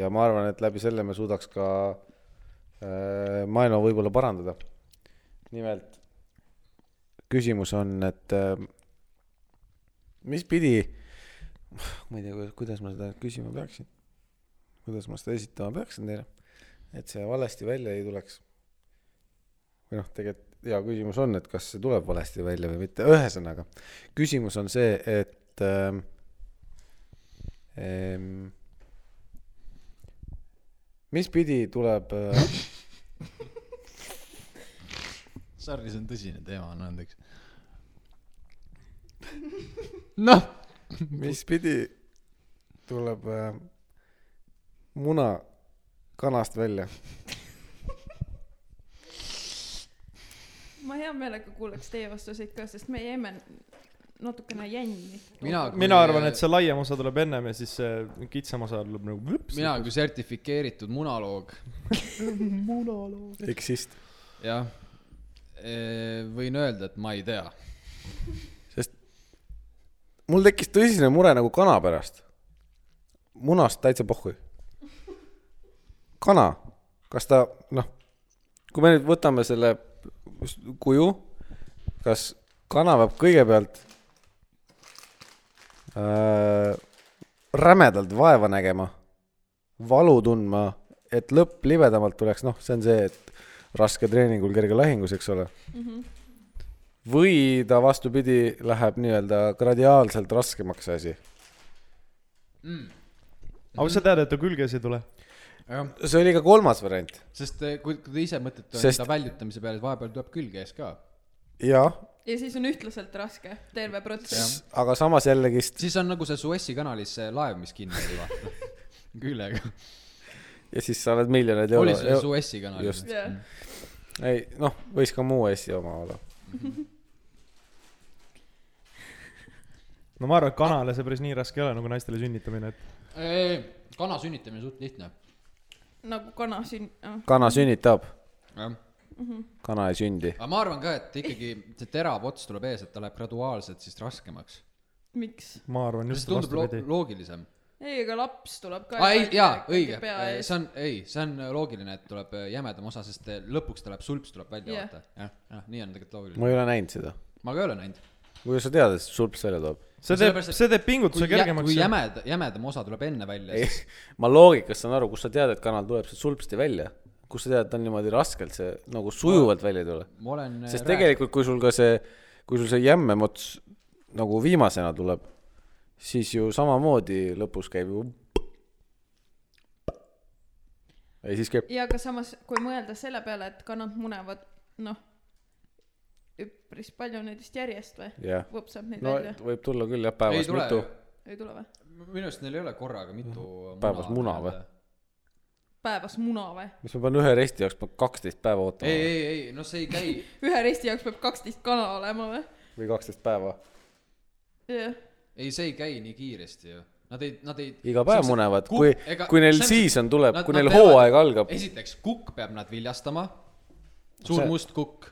Speaker 1: ja ma arvan , et läbi selle me suudaks ka äh, maailma võib-olla parandada . nimelt küsimus on , et äh, mis pidi , ma ei tea , kuidas ma seda küsima peaksin , kuidas ma seda esitama peaksin teile , et see valesti välja ei tuleks . või noh , tegelikult hea küsimus on , et kas see tuleb valesti välja või mitte , ühesõnaga küsimus on see , et ähm, ähm, mis pidi tuleb äh,
Speaker 3: Sarri , see on tõsine teema , anna andeks . noh ,
Speaker 1: mis pidi tuleb äh, muna kanast välja ?
Speaker 2: ma hea meelega kuulaks teie vastuseid ka , sest me jäime natukene jänni .
Speaker 3: mina ,
Speaker 4: mina
Speaker 3: äh,
Speaker 4: arvan , et see laiem osa tuleb ennem ja siis see kitsam osa tuleb nagu vlõps .
Speaker 3: mina kui sertifikeeritud munaloog ,
Speaker 1: eksist .
Speaker 3: jah , võin öelda , et ma ei tea .
Speaker 1: mul tekkis tõsine mure nagu kana pärast . munast täitsa pohhui . kana , kas ta , noh , kui me nüüd võtame selle s- kuju , kas kana peab kõigepealt äh, rämedalt vaeva nägema , valu tundma , et lõpp libedamalt tuleks , noh , see on see , et raske treeningul kerge lahingus , eks ole . või ta vastupidi , läheb nii-öelda gradiaalselt raskemaks see asi .
Speaker 4: aga sa tead , et ta külges ei tule ?
Speaker 1: see oli ka kolmas variant .
Speaker 3: sest eh, kui, kui te ise mõtlete
Speaker 1: Sest-
Speaker 3: Sest... enda väljutamise peale , et vahepeal tuleb külge ees ka .
Speaker 1: jah ,
Speaker 2: ja siis on ühtlaselt raske , terve protsess .
Speaker 1: aga samas jällegist
Speaker 3: siis on nagu see Suessi kanalis see laev , mis kinni oli , vaata . küljega .
Speaker 1: ja siis sa oled miljonid
Speaker 3: oli see
Speaker 1: euro .
Speaker 3: Suessi kanal
Speaker 1: just.
Speaker 3: just .
Speaker 2: jah ,
Speaker 1: ei noh , võis ka muu Eesti oma olla .
Speaker 4: no ma arvan , et kanale see päris nii raske ei ole nagu naistele sünnitamine , et
Speaker 3: Eh, kana sünnitamine on suht lihtne .
Speaker 2: nagu kana sünn- ,
Speaker 1: kana sünnitab ,
Speaker 3: jah
Speaker 1: kana ei sündi .
Speaker 3: aga ma arvan ka , et ikkagi see terav ots tuleb ees , et ta läheb graduaalselt siis raskemaks .
Speaker 2: miks ?
Speaker 4: ma arvan
Speaker 3: see
Speaker 4: just
Speaker 3: tundub lo
Speaker 4: vastupidi .
Speaker 3: loogilisem .
Speaker 2: ei , aga laps tuleb ka .
Speaker 3: aa ei , jaa , õige , see on , ei , see on loogiline , et tuleb eh, jämedam osa , sest eh, lõpuks ta läheb , sulps tuleb
Speaker 2: Jah.
Speaker 3: välja yeah. , vaata . jah , jah , nii on tegelikult loogiline .
Speaker 1: ma ei ole näinud seda .
Speaker 3: ma ka ei ole näinud .
Speaker 1: kuidas sa tead , et see sulps välja toob ?
Speaker 4: see teeb ,
Speaker 3: sellepärast, et
Speaker 4: see teeb pingutuse
Speaker 3: kui, jä,
Speaker 4: kergemaks
Speaker 3: kui . jämeda , jämedam osa tuleb enne välja , siis
Speaker 1: ma loogikast saan aru , kust sa tead , et kanal tuleb sealt sulpsti välja . kust sa tead , et ta on niimoodi raskelt , see nagu sujuvalt välja ei tule .
Speaker 3: ma olen . äh,
Speaker 1: sest tegelikult , kui sul ka see , kui sul see jämmem ots nagu viimasena tuleb , siis ju samamoodi lõpus käib ju . ei , siis käib ,
Speaker 2: ja aga samas , kui mõelda selle peale , et kanad munevad , noh , üpris palju neid vist järjest või ?
Speaker 1: jah .
Speaker 2: vupsab neid
Speaker 1: no
Speaker 2: välja ,
Speaker 1: võib tulla küll jah ,
Speaker 3: ei
Speaker 1: päevas
Speaker 3: tule
Speaker 1: mitu .,
Speaker 2: ei tule või ?
Speaker 3: minu arust neil ei ole korraga mitu .
Speaker 1: Päevas muna või? ?
Speaker 2: päevas muna või ?
Speaker 1: mis ma pean ühe resti jaoks , ma kaksteist päeva
Speaker 3: ei ,
Speaker 1: ootama
Speaker 3: ei , ei , noh , see ei käi .
Speaker 2: ühe resti jaoks peab kaksteist kana olema või ?
Speaker 1: või kaksteist päeva .
Speaker 2: jah ,
Speaker 3: ei , see ei käi nii kiiresti ju . Nad ei , nad ei .
Speaker 1: iga päev munevad , kui , kui neil season tuleb , kui neil hooaeg algab ,
Speaker 3: esiteks , kukk peab nad viljastama ,
Speaker 1: See-
Speaker 3: suur see... must kukk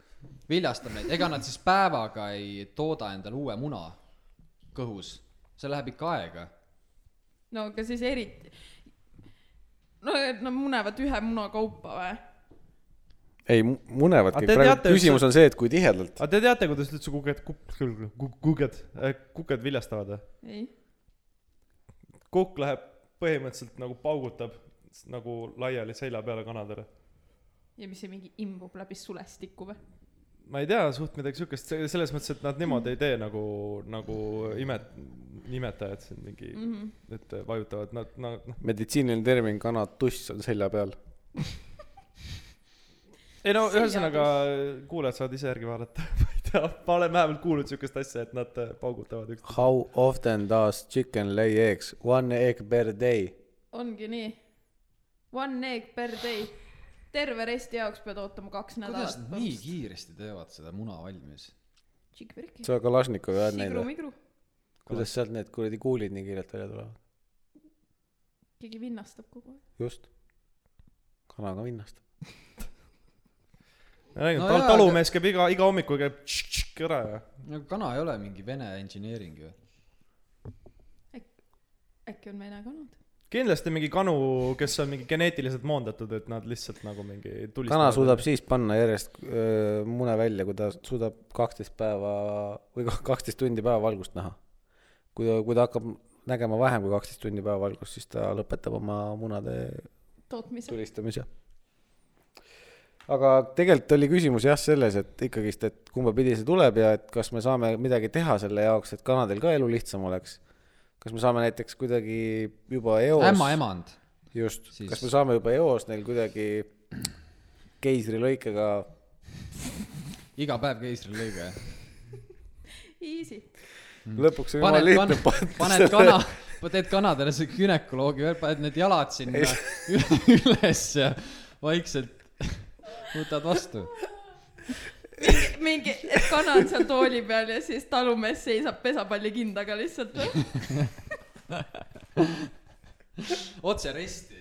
Speaker 3: viljastab neid , ega nad siis päevaga ei tooda endale uue muna kõhus , see läheb ikka aega .
Speaker 2: no aga siis eriti , no et nad munevad ühe muna kaupa või ?
Speaker 1: ei mu- munevadki ,
Speaker 4: Aga te
Speaker 1: praegu
Speaker 4: teate üldse-
Speaker 1: küsimus on see , et kui tihedalt .
Speaker 4: aga te teate , kuidas üldse kuked , kuked , kuked äh, viljastavad või ?
Speaker 2: ei ,
Speaker 4: kukk läheb põhimõtteliselt nagu paugutab s- nagu laiali selja peale kanadele .
Speaker 2: ja mis see mingi imbub läbi sulestiku või ?
Speaker 4: ma ei tea , suht midagi siukest , selles mõttes , et nad niimoodi ei tee nagu , nagu imet- , imetajad siin mingi mm ,
Speaker 2: Mhm.
Speaker 4: -hmm. et vajutavad nad , nad , noh .
Speaker 1: meditsiiniline termin kanatuss on selja peal .
Speaker 4: ei no
Speaker 2: Segadus.
Speaker 4: ühesõnaga , kuulajad saavad ise järgi vaadata , ma ei tea , ma olen vähemalt kuulnud siukest asja , et nad äh, paugutavad üksteist .
Speaker 1: How often does chicken lay eggs ? One egg per day .
Speaker 2: ongi nii . One egg per day . terve resti jaoks pead ootama kaks
Speaker 3: kuidas
Speaker 2: nädalat
Speaker 3: nad nii . kiiresti teevad seda muna valmis ?
Speaker 2: Tšikvirki .
Speaker 1: sa Kalašnikovi ajad neid või ?
Speaker 2: sigru-migru .
Speaker 1: kuidas sealt need kuradi kuulid nii kiirelt välja tulevad ?
Speaker 2: keegi vinnastab kogu aeg .
Speaker 1: just . kana ka vinnastab .
Speaker 4: ma räägin
Speaker 3: No
Speaker 4: no, ,
Speaker 3: jaa,
Speaker 4: talumees käib iga , iga hommikul käib tšk-tšk ära ja .
Speaker 3: no kana ei ole mingi vene engineering ju .
Speaker 2: äkki on vene kanad ?
Speaker 4: kindlasti mingi kanu , kes on mingi geneetiliselt moondatud , et nad lihtsalt nagu mingi
Speaker 1: kana suudab . siis panna järjest öö, mune välja , kui ta suudab kaksteist päeva või kah- kaksteist tundi päevavalgust näha . kui ta , kui ta hakkab nägema vähem kui kaksteist tundi päevavalgust , siis ta lõpetab oma munade
Speaker 2: tootmise .
Speaker 1: tulistamise . aga tegelikult oli küsimus jah selles , et ikkagist , et kumba pidi see tuleb ja et kas me saame midagi teha selle jaoks , et kanadel ka elu lihtsam oleks . kas me saame näiteks kuidagi juba eos .
Speaker 3: ämmaemand .
Speaker 1: just
Speaker 3: Siis-
Speaker 1: siis... , kas me saame juba eos neil kuidagi keisrilõikega ,
Speaker 3: iga päev keisrilõige .
Speaker 2: Easy .
Speaker 1: lõpuks on jumala
Speaker 3: paned
Speaker 1: lihtne
Speaker 3: kana ,
Speaker 1: panna
Speaker 3: paned kana , teed kanadele see günekoloogi veel , paned need jalad sinna üles ja vaikselt võtad vastu .
Speaker 2: mingi , et kana on seal tooli peal ja siis talumees seisab pesapallikindaga lihtsalt .
Speaker 3: otse resti .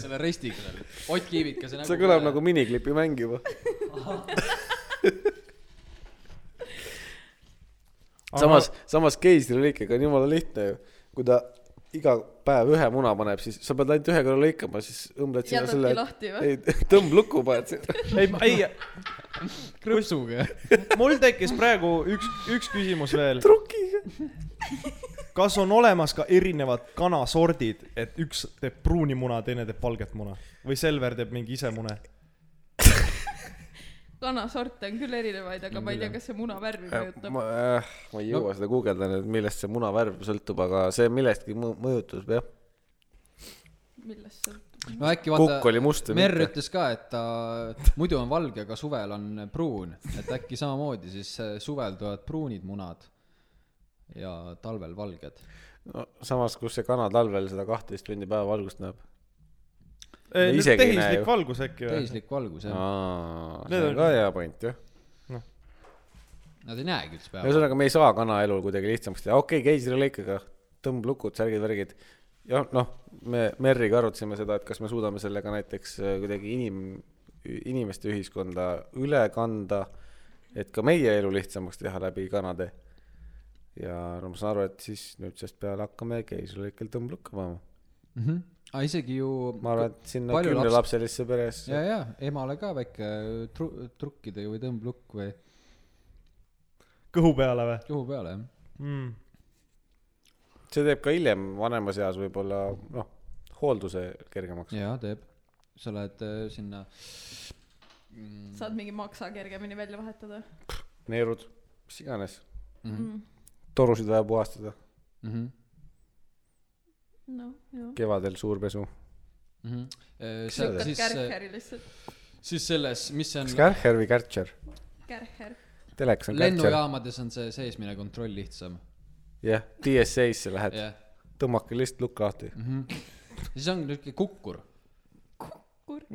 Speaker 3: selle restiga seal . Ott Kiivik ja see
Speaker 1: see kõlab nagu miniklipi mäng juba . samas , samas keisrilõikega on jumala lihtne ju , kui ta iga päev ühe muna paneb , siis sa pead ainult ühe korra lõikama , siis õmbled sinna
Speaker 2: Jätadki
Speaker 1: selle ,
Speaker 2: lahti või?
Speaker 1: ei tõmbluku paned sinna .
Speaker 4: ei , ei ,
Speaker 3: krõpsuga .
Speaker 4: mul tekkis praegu üks , üks küsimus veel .
Speaker 1: trukiga .
Speaker 4: kas on olemas ka erinevad kanasordid , et üks teeb pruuni muna , teine teeb valget muna või Selver teeb mingi ise mune ?
Speaker 2: kanasorte on küll erinevaid , aga ma ei tea , kas see muna värvi mõjutab .
Speaker 1: ma , äh, ma ei jõua no. seda guugeldada , millest see muna värv sõltub , aga see millestki mõ- mõjutab jah .
Speaker 2: millest sõltub ?
Speaker 3: no äkki
Speaker 1: kukk
Speaker 3: vaata ,
Speaker 1: oli must või
Speaker 3: Merr
Speaker 1: mitte ?
Speaker 3: ütles ka , et ta muidu on valge , aga suvel on pruun , et äkki samamoodi siis äh, suvel tulevad pruunid munad ja talvel valged .
Speaker 1: no samas , kus see kana talvel seda kahteteist tundi päevavalgust näeb . No isegi ei näe
Speaker 4: Äh, tehislik
Speaker 1: ju.
Speaker 4: valgus äkki või ?
Speaker 3: täislik valgus jah ,
Speaker 1: aa ,
Speaker 4: Need
Speaker 1: see on
Speaker 4: on-
Speaker 1: ka hea point jah .
Speaker 3: nad ei näegi üldse päeva .
Speaker 1: ühesõnaga , me ei saa kana elu kuidagi lihtsamaks teha , okei okay, , keisrilõikega , tõmblukud , särgid-värgid . ja noh , me Merriga arutasime seda , et kas me suudame sellega näiteks äh, kuidagi inim , inimeste ühiskonda üle kanda , et ka meie elu lihtsamaks teha läbi kanade . ja no ma saan aru , et siis nüüdsest peale hakkame keisrilõikel tõmblukke panema .
Speaker 3: Mhm. aga isegi ju
Speaker 1: ma arvan , et sinna
Speaker 3: Palju laps-
Speaker 1: kümnelapselisse peresse
Speaker 3: ja , ja emale ka väike äh, tru- , trukkide või tõmblukk või
Speaker 4: kõhu peale või
Speaker 3: kõhu peale jah .
Speaker 4: mm. ?
Speaker 1: see teeb ka hiljem vanemas eas võib-olla noh , hoolduse kergemaks .
Speaker 3: jaa , teeb . sa lähed äh, sinna
Speaker 2: saad mingi maksa kergemini välja vahetada
Speaker 1: neerud , mis iganes ,
Speaker 3: mm . -hmm.
Speaker 2: mm. ?
Speaker 1: torusid vaja puhastada ,
Speaker 3: Mm -hmm.
Speaker 2: no , jah .
Speaker 1: kevadel suur pesu .
Speaker 3: Mm -hmm. see
Speaker 1: Kas
Speaker 2: lükkad
Speaker 3: siis , äh,
Speaker 2: kärheri lihtsalt ,
Speaker 3: siis selles , mis see
Speaker 1: kas
Speaker 3: on ,
Speaker 1: Kärcher või Kärcher ?
Speaker 2: kärher .
Speaker 1: telekas on Kärcher .
Speaker 3: lennujaamades on see seesmine kontroll lihtsam ,
Speaker 1: jah , DSA-sse lähed yeah. ,
Speaker 3: jah .
Speaker 1: tõmmake lihtsalt lukk lahti .
Speaker 3: siis on niisugune kukkur ,
Speaker 2: kur- ,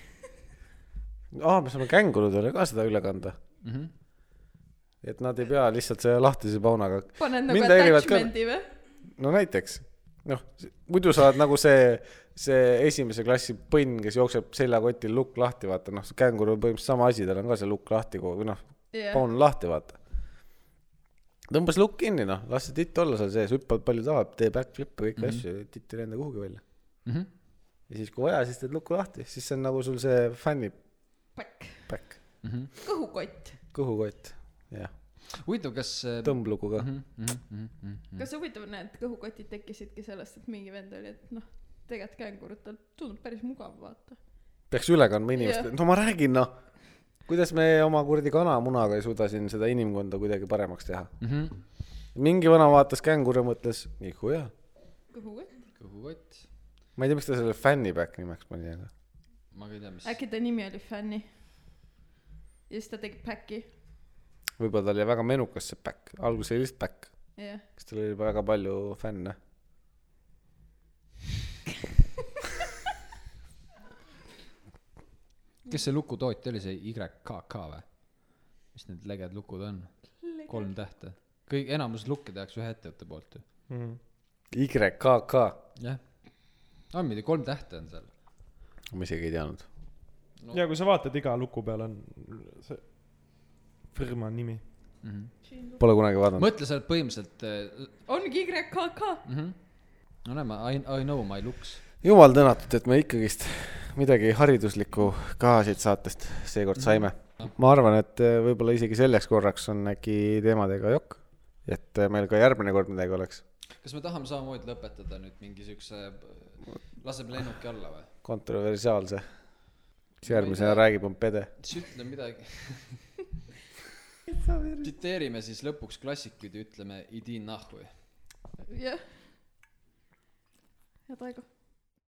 Speaker 1: aa , me saame kängurudele ka seda üle kanda mm .
Speaker 3: Mhm.
Speaker 1: -hmm. et nad ei pea lihtsalt selle lahtise paunaga ,
Speaker 2: paned nagu
Speaker 1: Mind häirivad ka-
Speaker 2: attachment'i või ?
Speaker 1: no näiteks , noh , muidu sa oled nagu see , see esimese klassi põnn , kes jookseb seljakotil lukk lahti , vaata noh , känguru on põhimõtteliselt sama asi , tal on ka see lukk lahti kogu , või noh ,
Speaker 2: jah ,
Speaker 1: paun lahti , vaata . tõmbas lukk kinni , noh , las see titt olla seal sees , hüppab palju tahab , tee backflip'e , kõiki mm -hmm. asju , titt ei lenda kuhugi välja mm .
Speaker 3: Mhm.
Speaker 1: ja siis , kui vaja , siis teed lukku lahti , siis see on nagu sul see fännipäkk ,
Speaker 2: pakk , kõhukott .
Speaker 1: kõhukott , jah ,
Speaker 3: huvitav , kas mhm, äh,
Speaker 1: tõmblukuga mm .
Speaker 2: kas huvitav , need kõhukotid tekkisidki sellest , et mingi vend oli , et noh , tegelikult kängurut on , tundub päris mugav vaata .
Speaker 1: -hmm. peaks üle kandma inimestele , no ma räägin , noh , kuidas me oma kuradi kanamunaga ei suuda siin seda inimkonda kuidagi paremaks teha ?
Speaker 3: mm . -hmm.
Speaker 1: mingi vana vaatas känguru ja mõtles , nihuja .
Speaker 3: kõhukott ,
Speaker 1: ma ei tea , miks ta selle fänniback nimeks pani , aga .
Speaker 3: ma ka ei tea , mis
Speaker 2: äkki ta nimi oli Fanny ? ja siis ta tegi päki ,
Speaker 1: võib-olla tal jäi väga menukas see back , alguses oli lihtsalt back ,
Speaker 2: jah .
Speaker 1: siis tal oli juba väga palju fänne .
Speaker 3: kes see lukutootja oli , see YKK või ? mis need leged lukud on ? kolm tähte . kõik , enamus lukke tehakse ühe ettevõtte poolt ju .
Speaker 4: mm.
Speaker 1: YKK ,
Speaker 3: jah . on midagi , kolm tähte on seal .
Speaker 1: ma isegi ei teadnud .
Speaker 4: ja kui sa vaatad , iga luku peal on see firma nimi .
Speaker 1: Pole kunagi vaadanud .
Speaker 3: mõtle , sa oled põhimõtteliselt äh, ,
Speaker 2: ongi YKK .
Speaker 3: no näe , ma I , I know my looks .
Speaker 1: jumal tänatud , et me ikkagist midagi hariduslikku ka siit saatest seekord saime . ma arvan , et eh, võib-olla isegi selleks korraks on äkki teemadega jokk , et eh, meil ka järgmine kord midagi oleks .
Speaker 3: kas me tahame samamoodi lõpetada nüüd mingi siukse , laseb lennuki alla või ?
Speaker 1: kontroversiaalse . siis järgmisena räägib , on pede .
Speaker 3: siis ütle midagi . tsiteerime siis lõpuks klassikuid ja ütleme , idin nahhu
Speaker 2: jah . head aega .